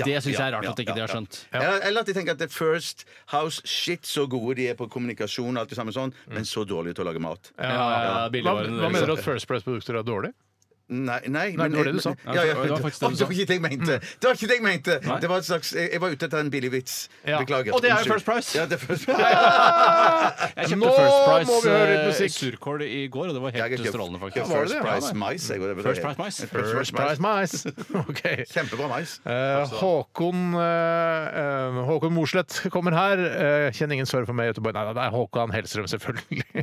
Speaker 7: det syns jeg
Speaker 6: ja,
Speaker 7: er rart
Speaker 6: ja,
Speaker 7: at ikke
Speaker 6: ja,
Speaker 7: de har
Speaker 6: ja.
Speaker 7: skjønt.
Speaker 6: Eller, eller at de tenker at det er First House Shit, så gode de er på kommunikasjon, og alt det samme sånn, men så dårlige til å lage mat.
Speaker 7: Mm. Ja, ja, ja,
Speaker 5: Hva,
Speaker 7: billigvarene
Speaker 5: hva
Speaker 7: deres.
Speaker 5: mener du at First Price-produkter er dårlig?
Speaker 6: Nei, nei,
Speaker 5: Nei, det var det du sa.
Speaker 6: Ja, ja,
Speaker 7: Ja, det var faktisk
Speaker 6: Å,
Speaker 7: det du
Speaker 6: det var
Speaker 7: sa. Mm.
Speaker 6: ikke det jeg mente! Det var ikke det jeg mente!
Speaker 7: Nei.
Speaker 6: Det var et slags, jeg, jeg var ute etter en billig vits.
Speaker 5: Ja.
Speaker 6: Beklager.
Speaker 7: Og det er jo
Speaker 6: Unnskyld.
Speaker 7: First Price.
Speaker 6: Ja, det er First Price.
Speaker 7: Jeg
Speaker 5: Nå
Speaker 7: kjøpte First Price
Speaker 5: må vi høre litt
Speaker 7: eh,
Speaker 5: musikk.
Speaker 7: surkål i går, og det var
Speaker 6: Jeg har
Speaker 7: helt
Speaker 6: kjøpt-
Speaker 7: strålende,
Speaker 6: kjøpt
Speaker 7: faktisk.
Speaker 5: var det
Speaker 6: First
Speaker 5: det? Ja,
Speaker 6: Price
Speaker 5: nei.
Speaker 6: mais. Jeg, går over
Speaker 7: First
Speaker 6: det.
Speaker 7: Price mais?
Speaker 5: First Price Mais! OK.
Speaker 6: Kjempebra mais.
Speaker 5: Eh,
Speaker 7: Altså-
Speaker 5: Håkon, eh, eh, Håkon Mosleth kommer her. Eh, kjenner ingen sorg for meg i Göteborg. Nei, det er Håkan Hellstrøm, selvfølgelig.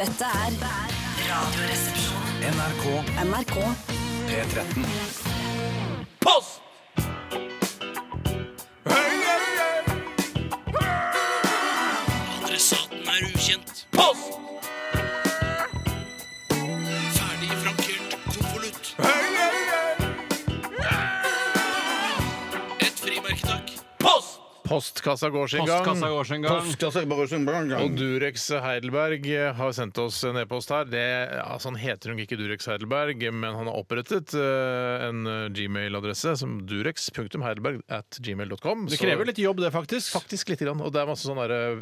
Speaker 1: Dette er Radioresepsjonen. NRK. NRK.
Speaker 4: Post! Adressaten er ukjent. Post! Ferdig frankert konvolutt. Et frimerke, takk. Post!
Speaker 5: Postkassa går sin gang.
Speaker 7: Postkassa går sin gang.
Speaker 6: altså,
Speaker 5: Og Durex Heidelberg har sendt oss en e-post her. Det, altså han heter nok ikke Durex Heidelberg, men han har opprettet eh, en eh, gmail-adresse som durex.heidelberg at gmail.com.
Speaker 7: Det krever litt jobb, det, faktisk.
Speaker 5: Faktisk lite grann. Og det er masse sånn derre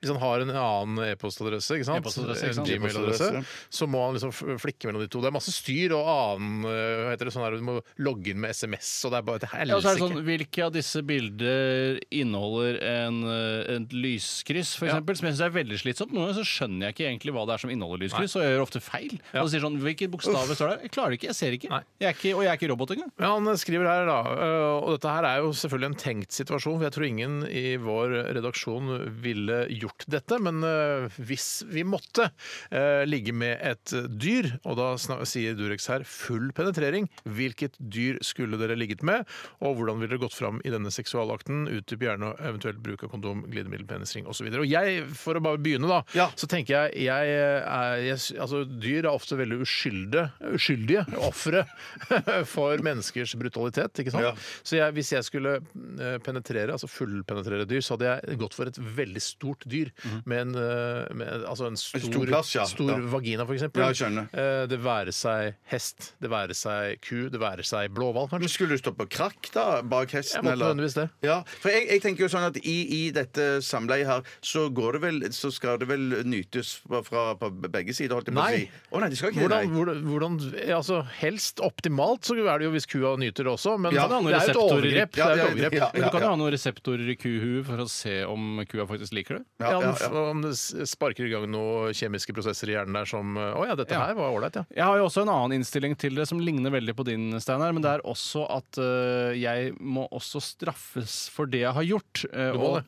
Speaker 5: Hvis han har en annen e-postadresse, ikke sant?
Speaker 7: E-postadresse, ikke sant?
Speaker 5: En Gmail-adresse, så må han liksom f- flikke mellom de to. Det er masse styr og annen eh, Hva heter det sånn her, du må logge inn med SMS, og det er bare et
Speaker 7: Ja, og så er det
Speaker 5: helsike.
Speaker 7: sånn, Hvilke av disse bilder inneholder en, eh, et lyskryss, for eksempel, som jeg synes er veldig slitsomt? Noen ganger så skjønner jeg ikke egentlig hva det er som inneholder lyskryss, og jeg gjør ofte feil.
Speaker 5: Ja.
Speaker 7: Og så sier sånn, Hvilke bokstaver står der? Jeg klarer det ikke, jeg ser ikke.
Speaker 5: Nei.
Speaker 7: Jeg er ikke og jeg er ikke robot engang.
Speaker 5: Ja, Han skriver her, da, øh, og dette her er jo selvfølgelig en tenkt situasjon, for jeg tror ingen i vår redaksjon ville gjort dette, men øh, hvis vi måtte øh, ligge med et dyr, og da sna- sier Durex her full penetrering, hvilket dyr skulle dere ligget med, og hvordan ville dere gått fram i denne seksualakten, utdyp gjerne og eventuelt bruk av kondom, glidemiddel, penisring osv. Og jeg, for å bare begynne, da,
Speaker 6: Ja.
Speaker 5: så tenker jeg, jeg, er, jeg sy- altså, Dyr er ofte veldig uskyldige, uskyldige ofre for menneskers brutalitet. ikke sant?
Speaker 6: Ja.
Speaker 5: Så jeg, hvis jeg skulle eh, penetrere, altså fullpenetrere dyr, så hadde jeg gått for et veldig stort dyr.
Speaker 6: Mhm.
Speaker 5: Med en, eh, med, altså en stor,
Speaker 6: stor plass, ja.
Speaker 5: stor
Speaker 6: Ja.
Speaker 5: vagina, for eksempel.
Speaker 6: Ja, jeg skjønner.
Speaker 5: Eh, Det være seg hest, det være seg ku, det være seg blåhval,
Speaker 6: Men
Speaker 5: kanskje.
Speaker 6: Skulle du stå på krakk da, bak hesten?
Speaker 5: Jeg måtte
Speaker 6: eller?
Speaker 5: nødvendigvis det.
Speaker 6: Ja, for jeg, jeg tenker jo sånn at i, i dette samleiet her, så, går det vel, så skal det vel nytes fra, fra på begge sider, holdt jeg på å
Speaker 5: Nei.
Speaker 6: si. Å nei, det skal ikke det,
Speaker 5: Hvordan,
Speaker 6: nei.
Speaker 5: hvordan, hvordan, altså helst optimalt så er det jo hvis kua nyter det også, men
Speaker 6: Ja,
Speaker 5: det
Speaker 6: kan
Speaker 5: er jo et
Speaker 7: reseptorer i-
Speaker 5: overgrep. Det
Speaker 6: Ja,
Speaker 5: er jo
Speaker 6: ja,
Speaker 5: et overgrep.
Speaker 6: ja,
Speaker 7: Men du kan jo
Speaker 6: ja.
Speaker 7: ha noen reseptorer i kuhuet for å se om kua faktisk liker det.
Speaker 5: Ja,
Speaker 6: ja,
Speaker 5: om, om det s- sparker i gang noen kjemiske prosesser i hjernen der som eh, Å ja, dette
Speaker 7: Ja.
Speaker 5: her var ålreit, ja.
Speaker 7: Jeg har jo også en annen innstilling til det som ligner veldig på din, Steinar. Men det er også at øh, jeg må også straffes for det jeg har gjort. øh,
Speaker 5: Du må det.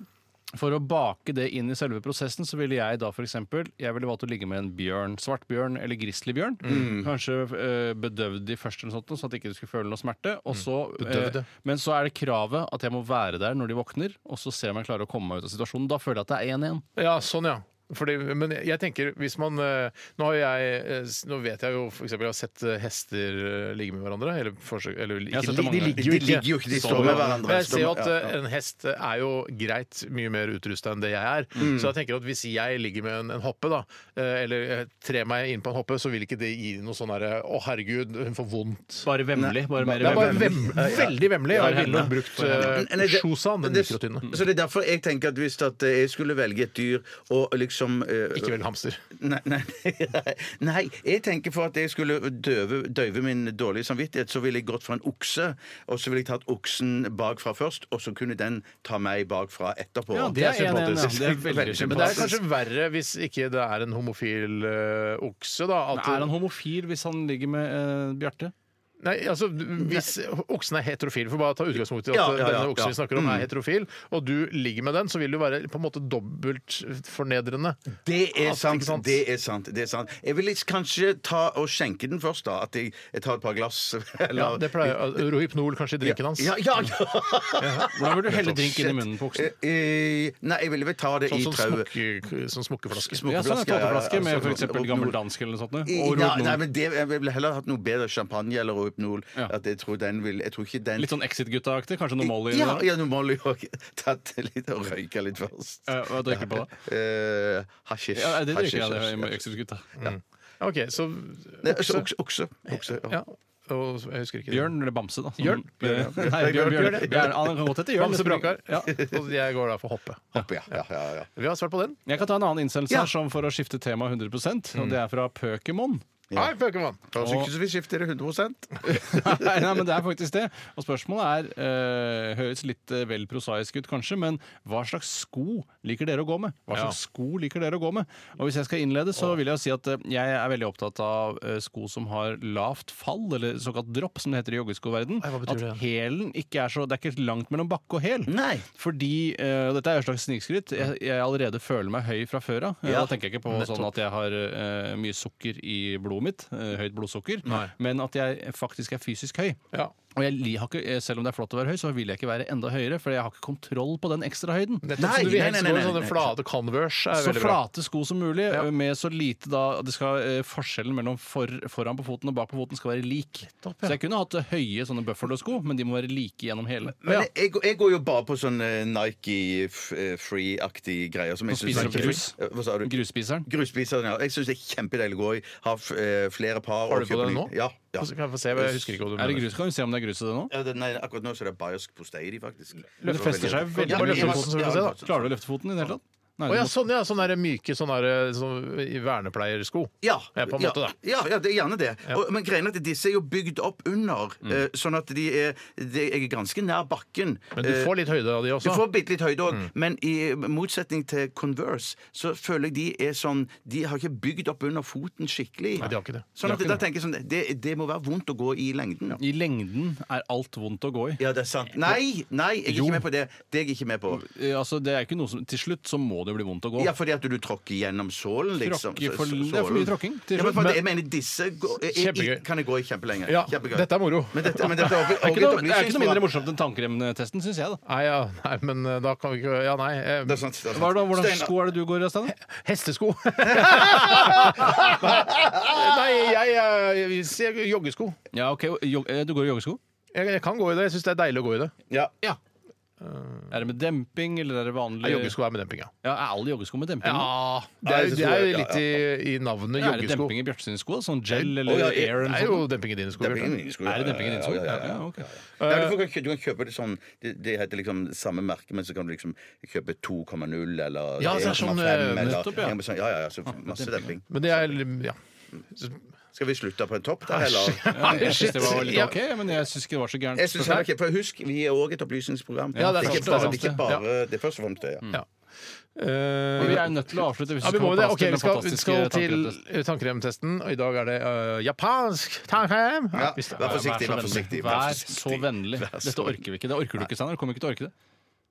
Speaker 7: for å bake det inn i selve prosessen, så ville jeg da f.eks. Jeg ville valgt å ligge med en bjørn. Svartbjørn eller grizzlybjørn. Kanskje øh, bedøvd de først, eller noe sånt, sånn at de ikke skulle føle noe smerte. Og så,
Speaker 5: Bedøvd, ja.
Speaker 7: øh, men så er det kravet at jeg må være der når de våkner, og så ser jeg om jeg klarer å komme meg ut av situasjonen. Da føler jeg at det er 1-1.
Speaker 5: Ja, sånn, ja. Fordi, men jeg tenker, hvis man eh, Nå, har jeg, eh, s- nå vet jeg jo for eksempel, jeg har sett eh, hester eh, ligge med hverandre. Eller, forsøk, eller ikke,
Speaker 7: har sett
Speaker 5: ligge-
Speaker 7: det
Speaker 5: de,
Speaker 7: mange ganger.
Speaker 5: ligger jo
Speaker 6: De
Speaker 5: ikke.
Speaker 6: ligger jo ikke, de står med hverandre.
Speaker 5: Men jeg ser jo at
Speaker 6: Ja,
Speaker 5: eh, en hest er jo greit mye mer utrusta enn det jeg er.
Speaker 6: Mm.
Speaker 5: Så jeg tenker at hvis jeg ligger med en, en hoppe, da, eh, eller eh, trer meg inn på en hoppe, så vil ikke det gi noe sånn herre Å, herregud, hun får vondt.
Speaker 7: Bare vemmelig. Bare mer
Speaker 5: Det er bare
Speaker 7: vemmelig.
Speaker 5: vem, veldig vemmelig. Jeg
Speaker 7: Bare
Speaker 5: ville
Speaker 7: henne.
Speaker 5: brukt
Speaker 6: Nei,
Speaker 5: eh,
Speaker 6: nei, det-
Speaker 5: Shosan, den
Speaker 6: det-
Speaker 5: mikrotynne.
Speaker 6: Så det er derfor jeg tenker at hvis at eh, jeg skulle velge et dyr og liksom eh,
Speaker 5: Ikke velg hamster.
Speaker 6: Nei, nei, nei, jeg tenker for at jeg skulle døve, døyve min dårlige samvittighet, så ville jeg gått for en okse, og så ville jeg tatt oksen bakfra først, og så kunne den ta meg bakfra etterpå.
Speaker 7: Ja, det er sympatisk. Det er veldig
Speaker 5: Men det er
Speaker 7: sympatisk.
Speaker 5: kanskje verre hvis ikke det er en homofil eh, okse, da.
Speaker 7: Men
Speaker 5: At,
Speaker 7: Er han homofil hvis han ligger med eh, Bjarte?
Speaker 5: nei, altså, hvis oksen er heterofil, for bare å ta utgangspunkt i at
Speaker 6: Ja, ja, ja,
Speaker 5: denne oksen vi
Speaker 6: ja. Mm.
Speaker 5: snakker om er heterofil, og du ligger med den, så vil du være på en måte dobbelt fornedrende.
Speaker 6: Det er
Speaker 5: At-
Speaker 6: sant.
Speaker 5: ikke sant?
Speaker 6: Det er sant. det er sant Jeg ville kanskje ta og skjenke den først, da. At jeg, jeg tar et par glass.
Speaker 5: Ja, det pleier Rohypnol kanskje i drinken hans.
Speaker 6: Ja, ja, ja.
Speaker 7: Hvordan vil du helle drinken i munnen på oksen?
Speaker 6: sånn Eh, eh, Nei, jeg ville vel ta det
Speaker 5: Sånn
Speaker 6: i
Speaker 5: som
Speaker 6: trauet.
Speaker 5: smukke, sånn smukkeflaske.
Speaker 7: Ja, sånn en
Speaker 6: ja, ja,
Speaker 7: tåteflaske med
Speaker 6: altså,
Speaker 7: f.eks.
Speaker 6: Rohypnol.
Speaker 7: gammel dansk eller noe sånt.
Speaker 6: I-
Speaker 7: Og
Speaker 6: ja, nei,
Speaker 7: Rohypnol.
Speaker 6: men det, jeg ville heller hatt noe bedre champagne eller Rohypnol.
Speaker 7: Ja.
Speaker 6: At Jeg, tror den vil- jeg tror ikke den
Speaker 7: Litt sånn Exit-gutta-aktig. Kanskje noe Molly?
Speaker 6: Ja,
Speaker 7: inni der.
Speaker 6: ja nå må du jo også tatt litt og røyka litt først.
Speaker 7: Eh, Hva drikker du på da?
Speaker 6: Eh, hasjisj.
Speaker 7: Ja, det drikker jeg, det
Speaker 6: hasjisj,
Speaker 7: med
Speaker 6: hasjisj.
Speaker 7: Exit-gutta.
Speaker 5: OK, så
Speaker 6: Nei, altså, Okse. okse, okse
Speaker 5: Ja.
Speaker 6: ja.
Speaker 5: Og, jeg husker ikke.
Speaker 7: Bjørn eller Bamse, da.
Speaker 5: Bjørn.
Speaker 7: Eh, Nei,
Speaker 5: Bjørn,
Speaker 7: Bjørn, Bjørn.
Speaker 5: Bjørn.
Speaker 7: Bjørn. Han kan godt hete Jørn.
Speaker 5: Bamse Brakar.
Speaker 7: Ja.
Speaker 5: Og jeg går da for hoppe.
Speaker 6: Hopp, ja, ja, ja, ja.
Speaker 5: Vi har svart på den.
Speaker 7: Jeg kan ta en annen innsendelse
Speaker 6: Ja. Mm.
Speaker 7: her, som for å skifte tema 100 og det er fra Pøkemon.
Speaker 5: Hei, Pokémon!
Speaker 6: Kanskje ikke så vi skifter det 100
Speaker 7: Nei, nei, men det er faktisk det. Og spørsmålet er eh, høres litt eh, vel prosaisk ut, kanskje, men hva slags sko liker dere å gå med? Hva slags sko liker dere å gå med? Og hvis jeg skal innlede, så vil jeg jo si at eh, jeg er veldig opptatt av eh, sko som har lavt fall, eller såkalt dropp, som det heter i joggeskoverden.
Speaker 5: Nei, hva betyr
Speaker 7: At
Speaker 5: det?
Speaker 7: hælen ikke er så Det er ikke langt mellom bakke og hæl.
Speaker 6: Nei.
Speaker 7: Fordi, eh, og Dette er jo et slags snikskryt. Jeg, jeg allerede føler meg høy fra før av. Eh, Da tenker jeg ikke på sånn at jeg har eh, mye sukker i blodet mitt, eh, høyt blodsukker, men at jeg faktisk er fysisk høy.
Speaker 5: Ja.
Speaker 7: Og jeg li- har ikke, eh, Selv om det er flott å være høy, så vil jeg ikke være enda høyere, for jeg har ikke kontroll på den ekstra høyden.
Speaker 5: Nettopp,
Speaker 6: Nei,
Speaker 5: så du vil
Speaker 6: nei,
Speaker 5: helst
Speaker 6: nei,
Speaker 5: gå i
Speaker 6: nei,
Speaker 5: sånne
Speaker 6: nei.
Speaker 5: flate Converse. Er
Speaker 7: Så
Speaker 5: veldig bra.
Speaker 7: flate sko som mulig, eh, med så lite da det skal, eh, Forskjellen mellom for, foran på foten og bak på foten skal være lik. Så jeg kunne hatt eh, høye sånne Buffalo-sko, men de må være like gjennom hele.
Speaker 6: Men jeg- jeg, går- jeg går jo bare på sånn eh, Nike f- eh, Free-aktige greier. Som jeg
Speaker 7: Og
Speaker 6: synes
Speaker 7: spiser
Speaker 6: er
Speaker 7: opp
Speaker 6: kjempe-
Speaker 7: grus.
Speaker 6: Eh, Hva sa du?
Speaker 7: Grusspiseren.
Speaker 6: Gruspiseren, ja. Jeg syns det er kjempedeilig å gå i. Har f- eh, flere par.
Speaker 5: Har
Speaker 6: og
Speaker 5: du på
Speaker 6: kjøper
Speaker 5: deg
Speaker 6: ny-
Speaker 5: nå?
Speaker 6: Ja. ja.
Speaker 5: Så kan jeg få se, jeg husker ikke hva du
Speaker 7: Er det
Speaker 5: mener.
Speaker 7: grus? Kan vi se om det er grus i det nå?
Speaker 6: Ja, det, nei, akkurat nå så er det bayersk postei i de, faktisk.
Speaker 7: Men det fester seg veldig
Speaker 5: Bare
Speaker 7: mye.
Speaker 5: løfte foten, så vi får se, da.
Speaker 7: Klarer du å løfte foten i det hele tatt? Nei,
Speaker 5: Å ja,
Speaker 7: du må-
Speaker 5: sånn ja. Sånne der myke sånne der, sånn i vernepleiersko.
Speaker 6: Ja,
Speaker 5: Ja, på en måte, da.
Speaker 6: ja, ja, det er gjerne det. Og, men greiene er at disse er jo bygd opp under,
Speaker 5: Mm.
Speaker 6: eh, sånn at de er, de er ganske nær bakken.
Speaker 5: Men du Mm.
Speaker 6: Eh,
Speaker 5: får litt høyde av de
Speaker 6: du
Speaker 5: også.
Speaker 6: får bitte litt høyde òg, men i motsetning til Converse så føler jeg de er sånn De har ikke bygd opp under foten skikkelig.
Speaker 5: Nei, de har ikke det.
Speaker 6: Sånn at
Speaker 7: De har
Speaker 6: da tenker jeg sånn det, det må være vondt å gå i lengden.
Speaker 7: I lengden er alt vondt å gå i.
Speaker 6: Ja, det er sant. Nei, nei, jeg er
Speaker 7: Jo.
Speaker 6: ikke med på det. Det er jeg ikke med på.
Speaker 7: Eh, Altså, det er ikke noe som, til slutt så må det jo bli vondt å gå.
Speaker 6: Ja, fordi at du tråkker gjennom sålen, liksom.
Speaker 7: Tråkker for-
Speaker 6: Så-
Speaker 7: det er for mye tråkking til
Speaker 6: Ja, men
Speaker 7: slutt,
Speaker 6: for
Speaker 7: men-
Speaker 6: jeg mener disse går, jeg, jeg,
Speaker 5: Kjempegøy.
Speaker 6: kan jeg gå i kjempelenge.
Speaker 5: Ja,
Speaker 6: Kjempegøy.
Speaker 5: dette er moro.
Speaker 6: Men dette, men dette er over-
Speaker 7: Det er ikke noe, det er ikke noe mindre
Speaker 6: overbevist-
Speaker 7: morsomt enn tannkremtesten, syns jeg. da
Speaker 5: Nei, ja, nei, men eh, da kan vi ikke Ja, nei. eh,
Speaker 6: Det er sånn. sant, det er sant.
Speaker 7: Hva er det, Hvordan
Speaker 6: Steinar-
Speaker 7: sko er det du går i, Steinar?
Speaker 5: Hestesko. nei, jeg, eh, jeg sier joggesko.
Speaker 7: Ja, ok, jo- eh, Du går i joggesko?
Speaker 5: Jeg, jeg kan gå i det. Jeg syns det er deilig å gå i det.
Speaker 6: Ja.
Speaker 7: Ja. Er det med demping, eller er det vanlig
Speaker 5: Nei, joggesko er med demping, ja.
Speaker 7: Ja, Er alle joggesko med demping? nå?
Speaker 5: Det er,
Speaker 6: jeg synes
Speaker 5: det er
Speaker 6: det er-
Speaker 5: litt i, i navnet
Speaker 7: Ja, er det
Speaker 5: joggesko.
Speaker 7: demping i Bjarte sine sko? da? Sånn gel eller
Speaker 6: Å, ja, jeg-
Speaker 7: air?
Speaker 5: Det
Speaker 7: Eller
Speaker 5: er jo
Speaker 7: noe sånt?
Speaker 5: demping i dine sko.
Speaker 6: Det er
Speaker 5: Bjørte.
Speaker 6: ingen sko, ja,
Speaker 7: Er det demping i dine Eh. sko?
Speaker 6: Ja, ja, ja,
Speaker 7: Ja,
Speaker 6: ja.
Speaker 7: ok.
Speaker 6: Nei, du, får, kjø- du kan kjøpe det sånn Det, det heter liksom samme merke, men så kan du liksom kjøpe 2,0 eller
Speaker 5: Ja, så er det sånn,
Speaker 6: 1,5
Speaker 5: eh,
Speaker 6: eller
Speaker 7: nettopp, ja.
Speaker 6: sånn- Ja, ja, ja. Så masse demping.
Speaker 5: Men det er Ja.
Speaker 6: Skal vi slutte på en topp, da, eller?
Speaker 7: Ja, jeg syns det var litt
Speaker 5: Ja.
Speaker 7: ok, men jeg syns ikke det var så gærent.
Speaker 6: Jeg synes heller ikke, for Husk, vi er òg et opplysningsprogram.
Speaker 5: Ja, det er sant,
Speaker 6: ikke
Speaker 5: det er
Speaker 6: bare,
Speaker 5: sant,
Speaker 6: det er ikke
Speaker 5: ja.
Speaker 6: bare det er først og fremst det. Ja.
Speaker 5: ja. Eh,
Speaker 7: Men Vi er nødt til å avslutte. Hvis
Speaker 5: Ja, vi
Speaker 7: skal
Speaker 5: må
Speaker 7: ha
Speaker 5: jo det.
Speaker 7: plass
Speaker 5: Ok,
Speaker 7: til
Speaker 5: vi
Speaker 7: den
Speaker 5: skal, vi
Speaker 7: fantastiske
Speaker 5: skal til
Speaker 7: tankekraften.
Speaker 5: tannkremtesten, og i dag er det øh, japansk tannkrem. Ja, visst det.
Speaker 6: Vær forsiktig, vær forsiktig.
Speaker 7: Vær så vennlig. Dette orker vi ikke. Det orker du ikke, Steinar. Du Kommer ikke til å orke det.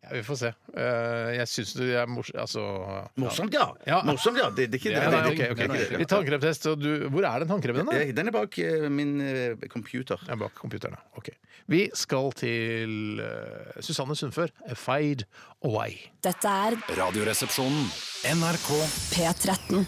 Speaker 5: Ja, vi får se. Eh, jeg syns du er mors... Altså
Speaker 6: Morsomt, ja.
Speaker 5: Ja.
Speaker 6: Morsomt, ja. Det, det er ikke det.
Speaker 5: ja, nei,
Speaker 6: det-
Speaker 5: ok,
Speaker 6: det-
Speaker 5: ok.
Speaker 6: det er ikke det.
Speaker 5: Litt tannkremtest. Og du, hvor er den tannkremen?
Speaker 6: Eh, Den er bak eh, min eh, computer.
Speaker 5: Ja, bak computeren, ja. Ok. Vi skal til eh, Susanne Sundfør, A Fade Away.
Speaker 1: Dette er
Speaker 2: Radioresepsjonen. NRK.
Speaker 1: P13.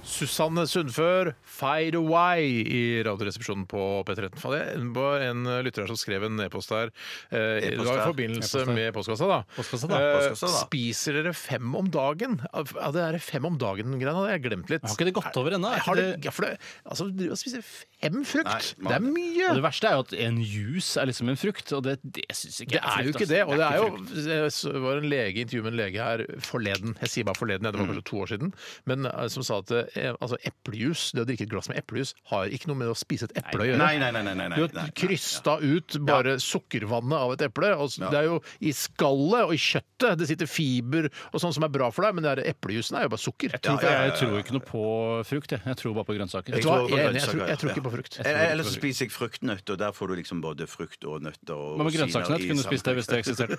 Speaker 5: Susanne Sundfør, Fade Away i Radioresepsjonen på P13. Faen, det var en lytter her som skrev en e-post her. eh, Det var i forbindelse med postkassa, da.
Speaker 7: Postkassa, da.
Speaker 5: Eh,
Speaker 7: Postkassa, da.
Speaker 5: Spiser dere fem om dagen? Ja, det er fem om dagen-greia, det har jeg glemt litt.
Speaker 7: Har ikke det gått over ennå? Er ikke
Speaker 5: Har det,
Speaker 7: det-
Speaker 5: ja, for det, altså, du spiser fem frukt,
Speaker 9: Nei,
Speaker 5: det er mye!
Speaker 7: Og det verste er jo at en juice er liksom en frukt, og det, det syns ikke
Speaker 5: Det
Speaker 7: jeg
Speaker 5: er jo ikke
Speaker 7: frukt, altså.
Speaker 5: det. Og det er
Speaker 7: ikke frukt.
Speaker 5: jo det var en lege, intervju med en lege her forleden, jeg sier bare forleden, ja, det var kanskje to år siden, men eh, som sa at eh, altså, eplejus, det å drikke et glass med eplejus, har ikke noe med å spise et eple å gjøre.
Speaker 6: Nei, nei, nei. nei, nei, nei,
Speaker 5: Du
Speaker 6: nei,
Speaker 5: har krysta ut bare sukkervannet av et eple. Og s- det er jo i skallet og i kjøttet det sitter fiber og sånn som er bra for deg, men det der eplejusen er jo bare sukker.
Speaker 7: Jeg tror, jeg tror ikke noe på frukt, jeg. Jeg tror bare på grønnsaker.
Speaker 5: Vet du hva?
Speaker 6: tror på
Speaker 5: Jeg er enig, jeg
Speaker 6: grønnsaker,
Speaker 5: tror,
Speaker 6: ja.
Speaker 5: jeg tror ikke på frukt.
Speaker 6: Eller- Eller så spiser jeg fruktnøtt, og der får du liksom både frukt og nøtter og
Speaker 7: Hva med
Speaker 6: rosiner
Speaker 7: grønnsaksnøtt?
Speaker 6: i
Speaker 7: Kunne du spist det
Speaker 6: samme-
Speaker 7: hvis det eksisterte?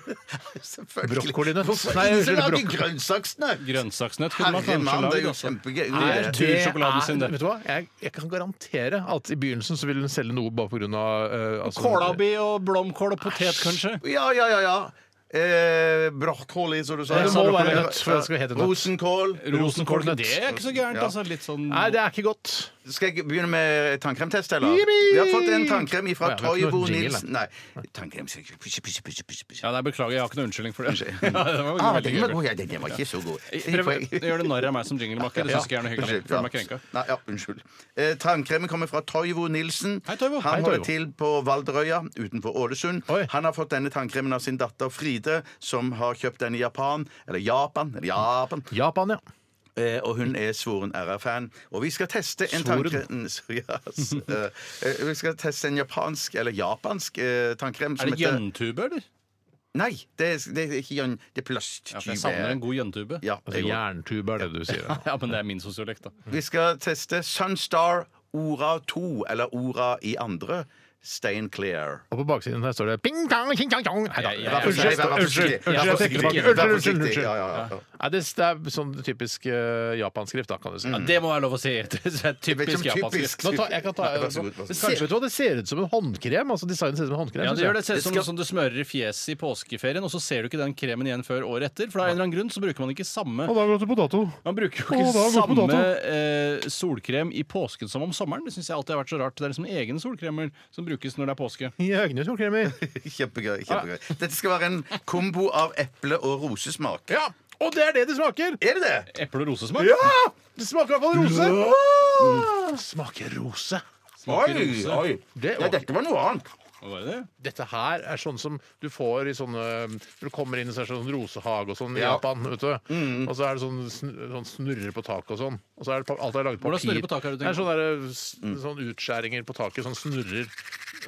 Speaker 6: Selvfølgelig.
Speaker 5: Brokkolinøtt.
Speaker 6: Hvorfor
Speaker 5: Nei,
Speaker 6: ikke
Speaker 5: unnskyld,
Speaker 6: lage
Speaker 5: brokkoli.
Speaker 6: grønnsaksnøtt?
Speaker 7: Grønnsaksnøtt kunne man
Speaker 6: Herre
Speaker 7: kanskje
Speaker 6: mann, det er
Speaker 7: lagd.
Speaker 6: jo
Speaker 7: altså.
Speaker 6: kjempegøy.
Speaker 7: Er
Speaker 6: Det-
Speaker 7: tur sjokoladen
Speaker 5: er-
Speaker 7: sin, det.
Speaker 5: Vet du hva? Jeg, jeg kan garantere at i begynnelsen så vil hun selge noe bare pga. Uh, altså,
Speaker 7: Kålabi og blomkål og potet, kanskje?
Speaker 6: Ja, ja, ja. ja. Eh, brokkoli, som du sa.
Speaker 5: Det må
Speaker 6: Brokkoli.
Speaker 5: være nøtt, for det skal hete nøtt.
Speaker 6: Rosenkål.
Speaker 5: Rosenkålnøtt.
Speaker 7: Det er ikke så gærent,
Speaker 6: Ja.
Speaker 7: altså. Litt sånn
Speaker 5: Nei, det er ikke godt.
Speaker 6: Skal jeg begynne med tannkremtest, eller?
Speaker 5: Jippi!
Speaker 6: Vi har fått en tannkrem
Speaker 5: Å
Speaker 6: fra
Speaker 5: ja, det er ikke noe
Speaker 6: Toivo
Speaker 5: jingle,
Speaker 6: Nilsen. Nei. Tannkrem Pusje, pusje, pusje, pusje, pusje.
Speaker 7: Ja, nei, Beklager, jeg har ikke noen unnskyldning for det. Ja, det var
Speaker 6: Ah,
Speaker 7: veldig
Speaker 6: den var
Speaker 7: gøy.
Speaker 6: god. Ja, den var ikke så god.
Speaker 7: Prøv gjør det narr av meg som jinglemaker. Det syns ikke jeg er noe hyggelig.
Speaker 6: Unnskyld,
Speaker 7: Føler meg krenka.
Speaker 6: Nei, ja, unnskyld. Eh, tannkremen kommer fra Toivo Nilsen.
Speaker 7: Hei,
Speaker 6: Han
Speaker 7: Toivo. Hei,
Speaker 6: holder
Speaker 7: Toivo.
Speaker 6: til på Valderøya utenfor Ålesund.
Speaker 5: Oi.
Speaker 6: Han har fått denne tannkremen av sin datter Fride, som har kjøpt den i Japan. Eller Japan. Eller Japan.
Speaker 5: Japan, ja.
Speaker 6: Eh, og hun er svoren RR-fan. Og vi skal teste en
Speaker 5: Svoren?
Speaker 6: tannkrem ja, s- eh, eh, Vi skal teste en japansk, eller japansk, eh, tannkrem som
Speaker 7: Er det gjøntube, eller?
Speaker 6: Nei, det er, det er ikke gjønn. Det er plasttube.
Speaker 7: Ja, for jeg savner en god gjøntube.
Speaker 6: Ja,
Speaker 5: Altså,
Speaker 6: jeg også.
Speaker 5: jerntube er det du sier. ja.
Speaker 7: Ja, men det er min sosiolekt, da.
Speaker 6: Vi skal teste Sunstar Ora 2, eller Ora i andre. Stay clear.
Speaker 5: Og på baksiden der står det ping, tang, ching, tang, tong. Nei da.
Speaker 7: Jeg- jeg-
Speaker 6: Vær forsiktig,
Speaker 5: Unnskyld,
Speaker 6: vær forsiktig.
Speaker 5: unnskyld, jeg
Speaker 6: Vær
Speaker 5: trekker
Speaker 6: forsiktig,
Speaker 5: tilbake.
Speaker 6: vær
Speaker 5: Unnskyld, unnskyld,
Speaker 6: forsiktig.
Speaker 5: unnskyld.
Speaker 6: Ja, ja, ja.
Speaker 5: Nei, det, det er sånn typisk uh, japanskrift, da, kan du si.
Speaker 7: Ja, det må være lov å si! Det er
Speaker 6: vet
Speaker 7: typisk
Speaker 6: ikke om Mm. typisk.
Speaker 7: japansk.
Speaker 5: Nå tar, jeg kan ta,
Speaker 6: Nei, vær så god, vær så god.
Speaker 5: det, ser, vet du hva, det ser ut som en håndkrem. Altså, Designen ser ut som en håndkrem.
Speaker 7: Ja,
Speaker 5: synes
Speaker 7: det
Speaker 5: jeg.
Speaker 7: gjør det. Ser ut som, som du smører i fjeset i påskeferien, og så ser du ikke den kremen igjen før året etter. For av en eller annen grunn så bruker man ikke samme
Speaker 8: Og da går det på dato.
Speaker 7: Man bruker jo
Speaker 8: Å, det har
Speaker 7: ikke
Speaker 8: gått på
Speaker 7: samme
Speaker 8: dato.
Speaker 7: eh, solkrem i påsken som om sommeren. Det syns jeg alltid har vært så rart. Det er liksom egne solkremer som brukes når det er påske.
Speaker 5: I øynene, solkremer.
Speaker 6: Kjempegøy. kjempegøy Dette skal være en kombo av eple- og rosesmak.
Speaker 5: Ja, og det er det det smaker!
Speaker 6: Er det det?
Speaker 7: Eple- og rosesmak.
Speaker 5: Det smaker i hvert fall rose. Mm. Smaker rose.
Speaker 7: Smaker rose.
Speaker 5: Det,
Speaker 6: Ja, dette var noe annet.
Speaker 7: Hva var det?
Speaker 5: dette her er sånn som du får i sånne Når du kommer inn i en sånn rosehage og sånn i
Speaker 6: Ja.
Speaker 5: Japan, vet du.
Speaker 7: Mm.
Speaker 5: Og så er det sånn, sn- sånn snurrer på taket og sånn. Og så er det pa- alt er laget
Speaker 7: Hvordan
Speaker 5: papir.
Speaker 7: snurrer på Mm. taket har du tenkt
Speaker 5: det er sånne, der, s- sånn utskjæringer på taket, sånn snurrer.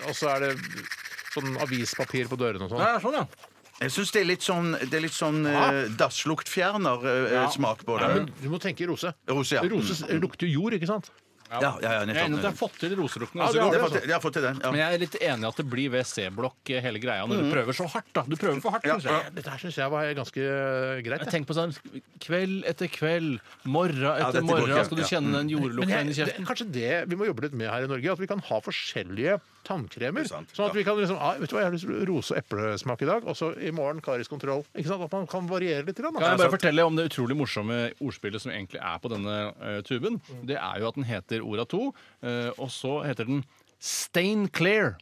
Speaker 5: Og så er det sånn avispapir på dørene og sånn.
Speaker 7: Nei, det er sånn, ja.
Speaker 6: Jeg syns det er litt sånn, det er litt sånn eh, dassluktfjerner-smak på det.
Speaker 5: Ja, men du må tenke rose.
Speaker 6: Rose, ja.
Speaker 5: Rose s-
Speaker 7: Mm.
Speaker 5: lukter jord, ikke sant?
Speaker 6: Ja, ja, ja,
Speaker 7: Jeg er enig i at jeg har
Speaker 6: nettopp.
Speaker 7: fått til roselukten
Speaker 6: Ja,
Speaker 7: ganske
Speaker 6: jeg har
Speaker 7: godt.
Speaker 6: fått til- jeg har fått til den.
Speaker 7: Men
Speaker 6: Ja.
Speaker 7: jeg er litt enig i at det blir ved C-blokk eh, hele greia når du prøver så hardt. da. Du prøver for hardt, synes jeg.
Speaker 5: Dette her syns jeg var ganske eh, greit.
Speaker 7: Jeg
Speaker 5: jeg.
Speaker 7: tenker på sånn kveld etter kveld, morgen etter
Speaker 6: dette går
Speaker 7: morgen,
Speaker 6: ikke, Mm.
Speaker 7: skal du
Speaker 6: ja.
Speaker 7: kjenne den
Speaker 5: Men
Speaker 7: jordlukta
Speaker 5: jeg,
Speaker 7: inn i
Speaker 5: det,
Speaker 7: kjeften.
Speaker 5: kanskje det vi må jobbe litt med her i Norge, at vi kan ha forskjellige tannkremer.
Speaker 6: er sant,
Speaker 5: Sånn at
Speaker 6: ja.
Speaker 5: vi kan liksom, ah, vet du hva, jeg har lyst til rose- og eplesmak i dag, og så i morgen Karis kontroll. Ikke sant? At man kan variere litt. Grann,
Speaker 7: Kan jeg
Speaker 5: da. Altså,
Speaker 6: altså-
Speaker 7: bare fortelle om det utrolig morsomme ordspillet som egentlig er på denne eh, tuben?
Speaker 6: Mm.
Speaker 7: Det er jo at den heter Orda 2, eh, og så heter den Stain Clear.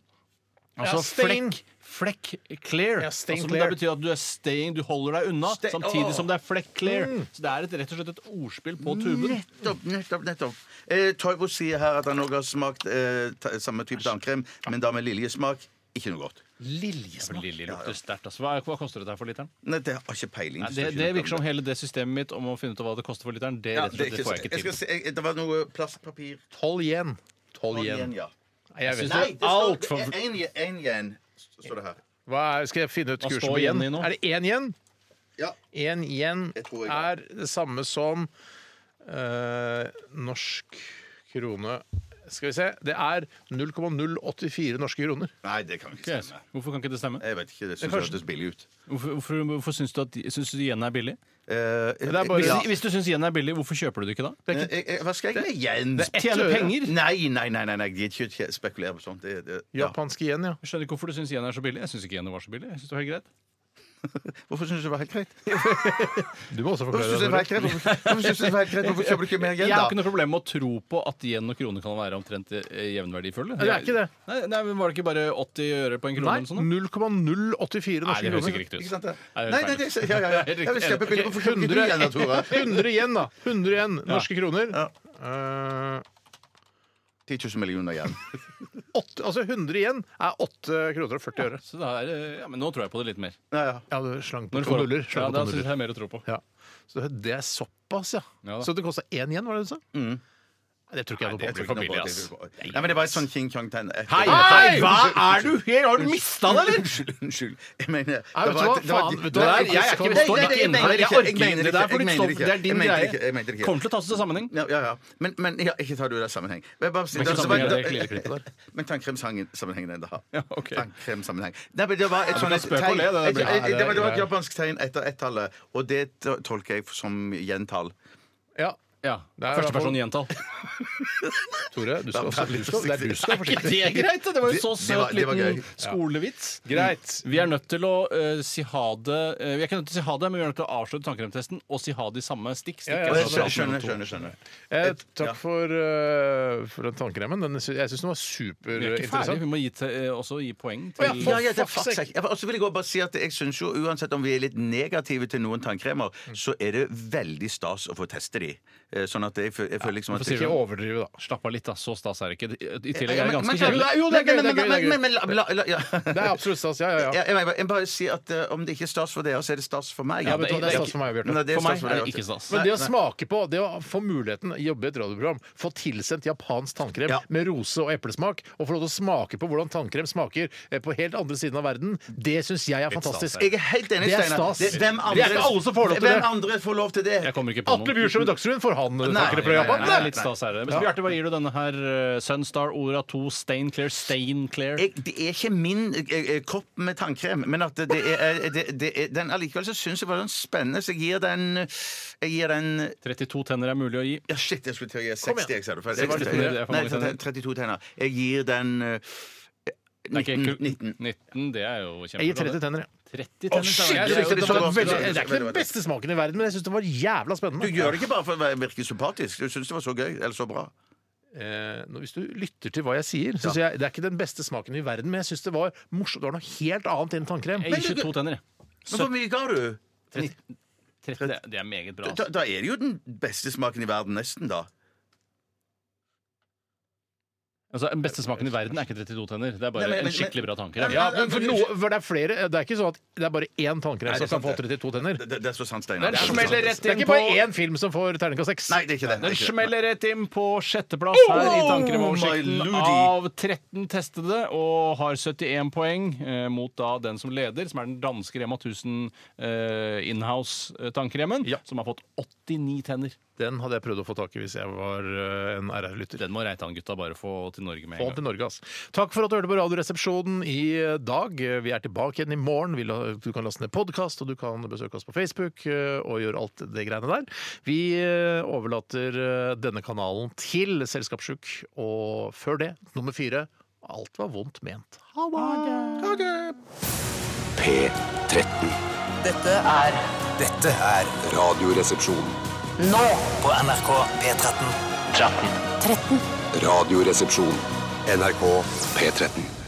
Speaker 7: Altså
Speaker 5: stain.
Speaker 7: flekk. Flekk clear.
Speaker 5: Ja, stain
Speaker 7: altså,
Speaker 5: clear.
Speaker 7: Det betyr at du er staying, du holder deg unna,
Speaker 6: Stay-
Speaker 7: samtidig som det er flekk clear.
Speaker 5: Mm.
Speaker 7: Så det er et, rett og slett et ordspill på tuben.
Speaker 6: Nettopp, nettopp, nettopp. Eh, Toivo sier her at han òg har smakt eh, ta- samme type tannkrem, men da med liljesmak. Ikke noe godt.
Speaker 7: Liljesmak. Lilje lukter sterkt. Altså. Hva, hva koster dette her for literen?
Speaker 6: Nei, det har ikke peiling.
Speaker 7: Nei, det, det virker som hele det systemet mitt om å finne ut av hva det koster for literen, det,
Speaker 6: ja,
Speaker 7: rett
Speaker 6: det,
Speaker 7: og slett,
Speaker 6: er
Speaker 7: det
Speaker 6: ikke,
Speaker 7: får jeg
Speaker 6: jeg
Speaker 7: ikke
Speaker 6: skal
Speaker 7: til.
Speaker 6: si, eh, det var noe plastpapir.
Speaker 5: Tolv igjen. Tolv
Speaker 6: Og
Speaker 5: igjen.
Speaker 6: igjen, ja.
Speaker 5: Nei, jeg vet
Speaker 7: Nei,
Speaker 5: ikke.
Speaker 7: det står- Alt for-
Speaker 6: En igjen- en igjen, står det her.
Speaker 5: Hva er, skal jeg finne ut
Speaker 7: Hva
Speaker 5: kursen
Speaker 7: står
Speaker 5: på igjen?
Speaker 7: igjen i nå?
Speaker 5: Er det én igjen?
Speaker 6: Ja.
Speaker 5: Én igjen
Speaker 6: Jeg tror jeg
Speaker 5: er det samme som eh, norsk krone Skal vi se. Det er 0,084 norske kroner.
Speaker 6: Nei, det kan ikke
Speaker 7: Yes.
Speaker 6: stemme.
Speaker 7: Hvorfor kan ikke det stemme?
Speaker 6: Jeg vet ikke, det syns
Speaker 5: Kanskje-
Speaker 6: jeg hørtes billig ut.
Speaker 7: Hvorfor, hvorfor, hvorfor syns du at syns du yen er billig?
Speaker 6: Eh,
Speaker 5: er bare-
Speaker 7: Hvis,
Speaker 6: ja.
Speaker 7: hvis du syns yen er billig, hvorfor kjøper du det ikke da?
Speaker 6: Eh, eh, Hva skal jeg med igjen?
Speaker 7: Tjene
Speaker 5: øre.
Speaker 7: penger?
Speaker 6: Nei, nei, nei, nei, nei, jeg gidder ikke å spekulere på sånt. Det, det, Eh, ja.
Speaker 5: Japanske yen, ja.
Speaker 7: Jeg skjønner ikke hvorfor du syns yen er så billig. Jeg syns ikke yen var så billig. Jeg synes det var helt greit.
Speaker 6: Hvorfor syns du det var helt greit?
Speaker 5: Du må også
Speaker 6: Hvorfor
Speaker 5: forklare
Speaker 6: syns du det var
Speaker 5: det.
Speaker 6: helt greit? Hvorfor, hvorfor synes du det var helt greit? Hvorfor kjøper du ikke mer
Speaker 7: Jeg har ikke
Speaker 6: igjen, da?
Speaker 7: noe problem med å tro på at yen og krone kan være omtrent eh, jevnverdifulle.
Speaker 5: det er ikke det.
Speaker 7: Nei, nei, men Var det ikke bare 80 øre på en krone?
Speaker 5: Nei,
Speaker 7: eller noe sånt sånn, da?
Speaker 5: 0,084
Speaker 7: Nei,
Speaker 5: norske
Speaker 7: det høres
Speaker 5: kroner.
Speaker 7: ikke riktig
Speaker 6: Ikke
Speaker 7: ut.
Speaker 6: sant det?
Speaker 7: Nei, det
Speaker 6: Nei,
Speaker 7: er
Speaker 6: nei,
Speaker 7: feil.
Speaker 6: det, ja, ja, ja. Jeg vil kjøpe billig. Hvorfor kjøper ikke du
Speaker 5: 100,
Speaker 6: igjen, da, Tore?
Speaker 5: 100 igjen, da. 100 igjen norske kroner.
Speaker 6: Ja.
Speaker 5: Eh,
Speaker 6: 10 000 millioner igjen.
Speaker 5: åtte- altså 100 igjen er 8 kroner og 40 øre.
Speaker 7: Så det er, eh, ja, men nå tror jeg på det litt mer.
Speaker 6: Ja, ja.
Speaker 5: Ja, du slang på
Speaker 7: Når du
Speaker 5: to
Speaker 7: får-
Speaker 5: nuller.
Speaker 7: Ja,
Speaker 5: Slang på
Speaker 7: da
Speaker 5: to
Speaker 7: syns
Speaker 5: nuller.
Speaker 7: jeg det er mer å tro på.
Speaker 5: Ja. Så det er såpass, ja.
Speaker 7: Ja da.
Speaker 5: så det kosta én igjen, var det du sa?
Speaker 6: Mm.
Speaker 5: Nei, Det tror ikke jeg noe
Speaker 7: det
Speaker 5: på.
Speaker 7: tror jeg ikke noe på.
Speaker 6: Nei, men det var et sånn King Kong tegn.
Speaker 7: Hei,
Speaker 6: eh,
Speaker 5: Hei,
Speaker 7: hva
Speaker 6: unnskyld,
Speaker 7: er du her? Har du mista det, eller?
Speaker 6: Unnskyld, unnskyld. Jeg mener
Speaker 5: Nei, vet du hva? Faen, vet du hva?
Speaker 7: Det der, jeg er
Speaker 6: Nei, nei, nei,
Speaker 7: ikke består ikke inne
Speaker 6: jeg
Speaker 7: her. Jeg
Speaker 6: mener
Speaker 7: orker
Speaker 6: det ikke, jeg
Speaker 7: ikke
Speaker 6: mener
Speaker 7: det der, for
Speaker 6: det ikke,
Speaker 7: ditt stoff, det
Speaker 6: jeg
Speaker 7: er din
Speaker 6: mener det ikke, jeg
Speaker 7: greie.
Speaker 6: mener det ikke.
Speaker 7: Kommer til å tas ut av sammenheng.
Speaker 6: Ja, ja, ja. Men, men ja, ikke ta det ut av sammenheng. Men, bare,
Speaker 7: Men ikke
Speaker 6: det-
Speaker 7: sammenheng,
Speaker 6: det-
Speaker 7: det er lille klippet der.
Speaker 6: men tannkremsammenhengen den det har.
Speaker 7: Ja, ok.
Speaker 6: Tannkremsammenheng. Nei, men det var et
Speaker 7: du
Speaker 6: sånt
Speaker 7: kan
Speaker 6: et
Speaker 7: spøke
Speaker 6: tegn.
Speaker 7: og le, det der
Speaker 6: Et-
Speaker 7: blir-
Speaker 6: et-
Speaker 5: Ja,
Speaker 6: Det var- det var
Speaker 5: det
Speaker 6: et
Speaker 5: er-
Speaker 6: japansk tegn etter ett-tallet, og det to- tolker jeg som gjentall.
Speaker 5: Ja,
Speaker 7: Ja,
Speaker 5: Det er i hvert fall-
Speaker 7: Førsteperson gjentall.
Speaker 5: Tore, du skal også du skal, det er du som er
Speaker 7: Ikke
Speaker 5: forsiktig.
Speaker 7: det er greit? da. Det var jo
Speaker 6: Det- det
Speaker 7: så
Speaker 6: var-
Speaker 7: søt
Speaker 6: det var
Speaker 7: liten
Speaker 6: gøy.
Speaker 7: skolevits.
Speaker 5: Greit.
Speaker 7: Vi er nødt til å eh, si ha det eh, Vi er ikke nødt til å si ha det, men vi er nødt til å avslutte tannkremtesten og si ha det i samme stikk. stikk
Speaker 5: Ja, ja,
Speaker 7: altså,
Speaker 5: ja.
Speaker 7: fra
Speaker 6: Skjønner, skjønner.
Speaker 7: nummer
Speaker 6: skjønner,
Speaker 7: to.
Speaker 6: skjønner.
Speaker 5: Eh,
Speaker 6: Et-
Speaker 5: takk
Speaker 6: ja.
Speaker 5: for, eh, for den tannkremen. Den, sy- jeg syns den var
Speaker 7: Vi er ikke ferdig.
Speaker 5: superinteressant.
Speaker 7: Vi må gi til, eh, også gi poeng
Speaker 5: Å, ja,
Speaker 7: til
Speaker 6: Ja, ja, det er
Speaker 5: fuck's
Speaker 6: faktisk- Ja, Og så vil jeg også bare si at jeg syns jo uansett om vi er litt negative til noen tannkremer,
Speaker 7: Mm.
Speaker 6: så er det veldig stas å få teste de. Eh, Sånn at jeg, fø- jeg føler liksom at
Speaker 7: hvorfor sier du
Speaker 5: Ikke overdrive, da.
Speaker 7: Slapp av litt, da. Så stas er det ikke. I tillegg
Speaker 6: Ja,
Speaker 7: er det
Speaker 6: men-
Speaker 7: ganske
Speaker 6: men-
Speaker 7: kjedelig.
Speaker 5: Jo, det er gøy,
Speaker 6: men-
Speaker 5: det er gøy, det er
Speaker 6: men-
Speaker 5: gøy.
Speaker 6: men- men- la- la- ja.
Speaker 5: Det er absolutt stas. Ja, ja,
Speaker 6: Ja,
Speaker 5: ja.
Speaker 6: jeg, må bare- jeg må bare si at eh, om det ikke er stas for dere, så er det stas for meg.
Speaker 5: Ja, vet du hva, det er stas for meg, Bjarte.
Speaker 6: Nei, det er
Speaker 7: For
Speaker 6: stas
Speaker 7: meg er
Speaker 6: deg,
Speaker 7: det ikke
Speaker 6: Bjarte.
Speaker 7: stas.
Speaker 5: Men det å smake på, det å få muligheten, jobbe i et radioprogram, få tilsendt japansk tannkrem
Speaker 6: Ja.
Speaker 5: med rose og eplesmak, og få lov til å smake på hvordan tannkrem smaker eh, på helt andre siden av verden, det syns jeg er fantastisk.
Speaker 6: Jeg er helt enig,
Speaker 5: Det er
Speaker 6: Steinar.
Speaker 5: stas.
Speaker 6: Det- Hvem
Speaker 5: Det er
Speaker 6: andre-
Speaker 5: ikke alle som får lov til det.
Speaker 6: Hvem andre får lov til det?
Speaker 7: Jeg kommer ikke på
Speaker 5: Atle
Speaker 7: noen.
Speaker 5: Bjurstrøm i Dagsrevyen, får han eh,
Speaker 6: Nei,
Speaker 5: tannkrem fra
Speaker 6: nei,
Speaker 5: Japan?
Speaker 6: nei,
Speaker 7: Det
Speaker 5: Nei,
Speaker 7: er litt stas er det. Men Bjarte, hva gir du denne her? eh, Sunstar, Ora 2, Stainclair, Stainclair?
Speaker 6: Jeg, det er ikke min eh, eh, kopp med tannkrem, men at det er, eh, det, det er den allikevel så syns jeg var sånn spennende, så jeg gir den Jeg gir den
Speaker 7: 32 tenner er mulig å gi.
Speaker 6: Ja, shit, jeg skulle til å gi 60, jeg, sa du.
Speaker 7: Se hva du tror det er for
Speaker 6: Nei,
Speaker 7: mange
Speaker 6: 32 tenner. Jeg gir den eh,
Speaker 7: Det er
Speaker 6: 19.
Speaker 7: ikke-
Speaker 6: 19.
Speaker 7: 19, det er jo kjempebra.
Speaker 5: Jeg gir 30 tenner, ja.
Speaker 7: 30 tenner.
Speaker 6: shit,
Speaker 5: Jeg
Speaker 7: tenner.
Speaker 6: det er
Speaker 5: synes
Speaker 6: ikke
Speaker 5: det,
Speaker 6: så
Speaker 5: var veldig,
Speaker 6: godt.
Speaker 5: det
Speaker 6: Det
Speaker 5: er
Speaker 6: er
Speaker 5: ikke den
Speaker 6: veldig-
Speaker 5: beste smaken i verden, men jeg syns det var jævla spennende.
Speaker 6: Du gjør det ikke bare for å virke sympatisk. Du syns det var så gøy eller så bra.
Speaker 5: Eh, nå, hvis du lytter til hva jeg sier, så sier jeg det er ikke den beste smaken i verden, men jeg syns det var morsomt. Det var noe helt annet enn tannkrem.
Speaker 7: Jeg gir 22 tenner, jeg.
Speaker 6: Men hvor mye ga du?
Speaker 7: 30, det- det er meget bra.
Speaker 6: Da, da er det jo den beste smaken i verden, nesten, da.
Speaker 7: Altså, den beste smaken i verden er ikke 32 tenner. Det er bare
Speaker 6: Nei, men-
Speaker 7: en
Speaker 6: men-
Speaker 7: skikkelig bra tanke.
Speaker 6: Nei,
Speaker 5: Ja, men for noe, for det er flere Det er ikke sånn at det er bare én tannkrem
Speaker 6: Nei,
Speaker 5: som
Speaker 6: det er
Speaker 5: kan få
Speaker 6: sant,
Speaker 5: 32 tenner.
Speaker 6: Det, det er så sant, Steinar.
Speaker 7: Den
Speaker 6: Det er så
Speaker 7: smeller
Speaker 6: sant.
Speaker 7: rett
Speaker 5: Det er ikke
Speaker 7: på-
Speaker 5: bare én film som får terningkast seks.
Speaker 6: Nei, det er ikke det. det er
Speaker 7: Den
Speaker 6: ikke det.
Speaker 7: smeller rett inn på sjetteplass
Speaker 6: Oh,
Speaker 7: her i
Speaker 6: my
Speaker 7: tannkremoversikten
Speaker 6: lordy.
Speaker 7: av 13 testede, og har 71 poeng eh, mot da den som leder, som er den danske Rema 1000 eh, inhouse-tannkremen,
Speaker 5: Ja.
Speaker 7: som har fått 89 tenner.
Speaker 5: Den hadde jeg prøvd å få tak i hvis jeg var eh, en RR-lytter.
Speaker 7: Den må Reitan-gutta bare få til Norge med
Speaker 5: Få den
Speaker 7: en gang.
Speaker 5: til Norge, ass. Takk for at du hørte på Radioresepsjonen i dag. Vi er tilbake igjen i morgen. Vi la- Du kan laste ned podkast, og du kan besøke oss på Facebook eh, og gjøre alt det greiene der. Vi eh, overlater eh, denne kanalen til Selskapssjuk, og før det, nummer fire Alt var vondt ment. Ha det! Ha det.
Speaker 2: P13.
Speaker 3: Dette er
Speaker 2: Dette er Radioresepsjon.
Speaker 3: nå
Speaker 1: På NRK P13.
Speaker 3: 13.
Speaker 2: Radioresepsjon. NRK P13.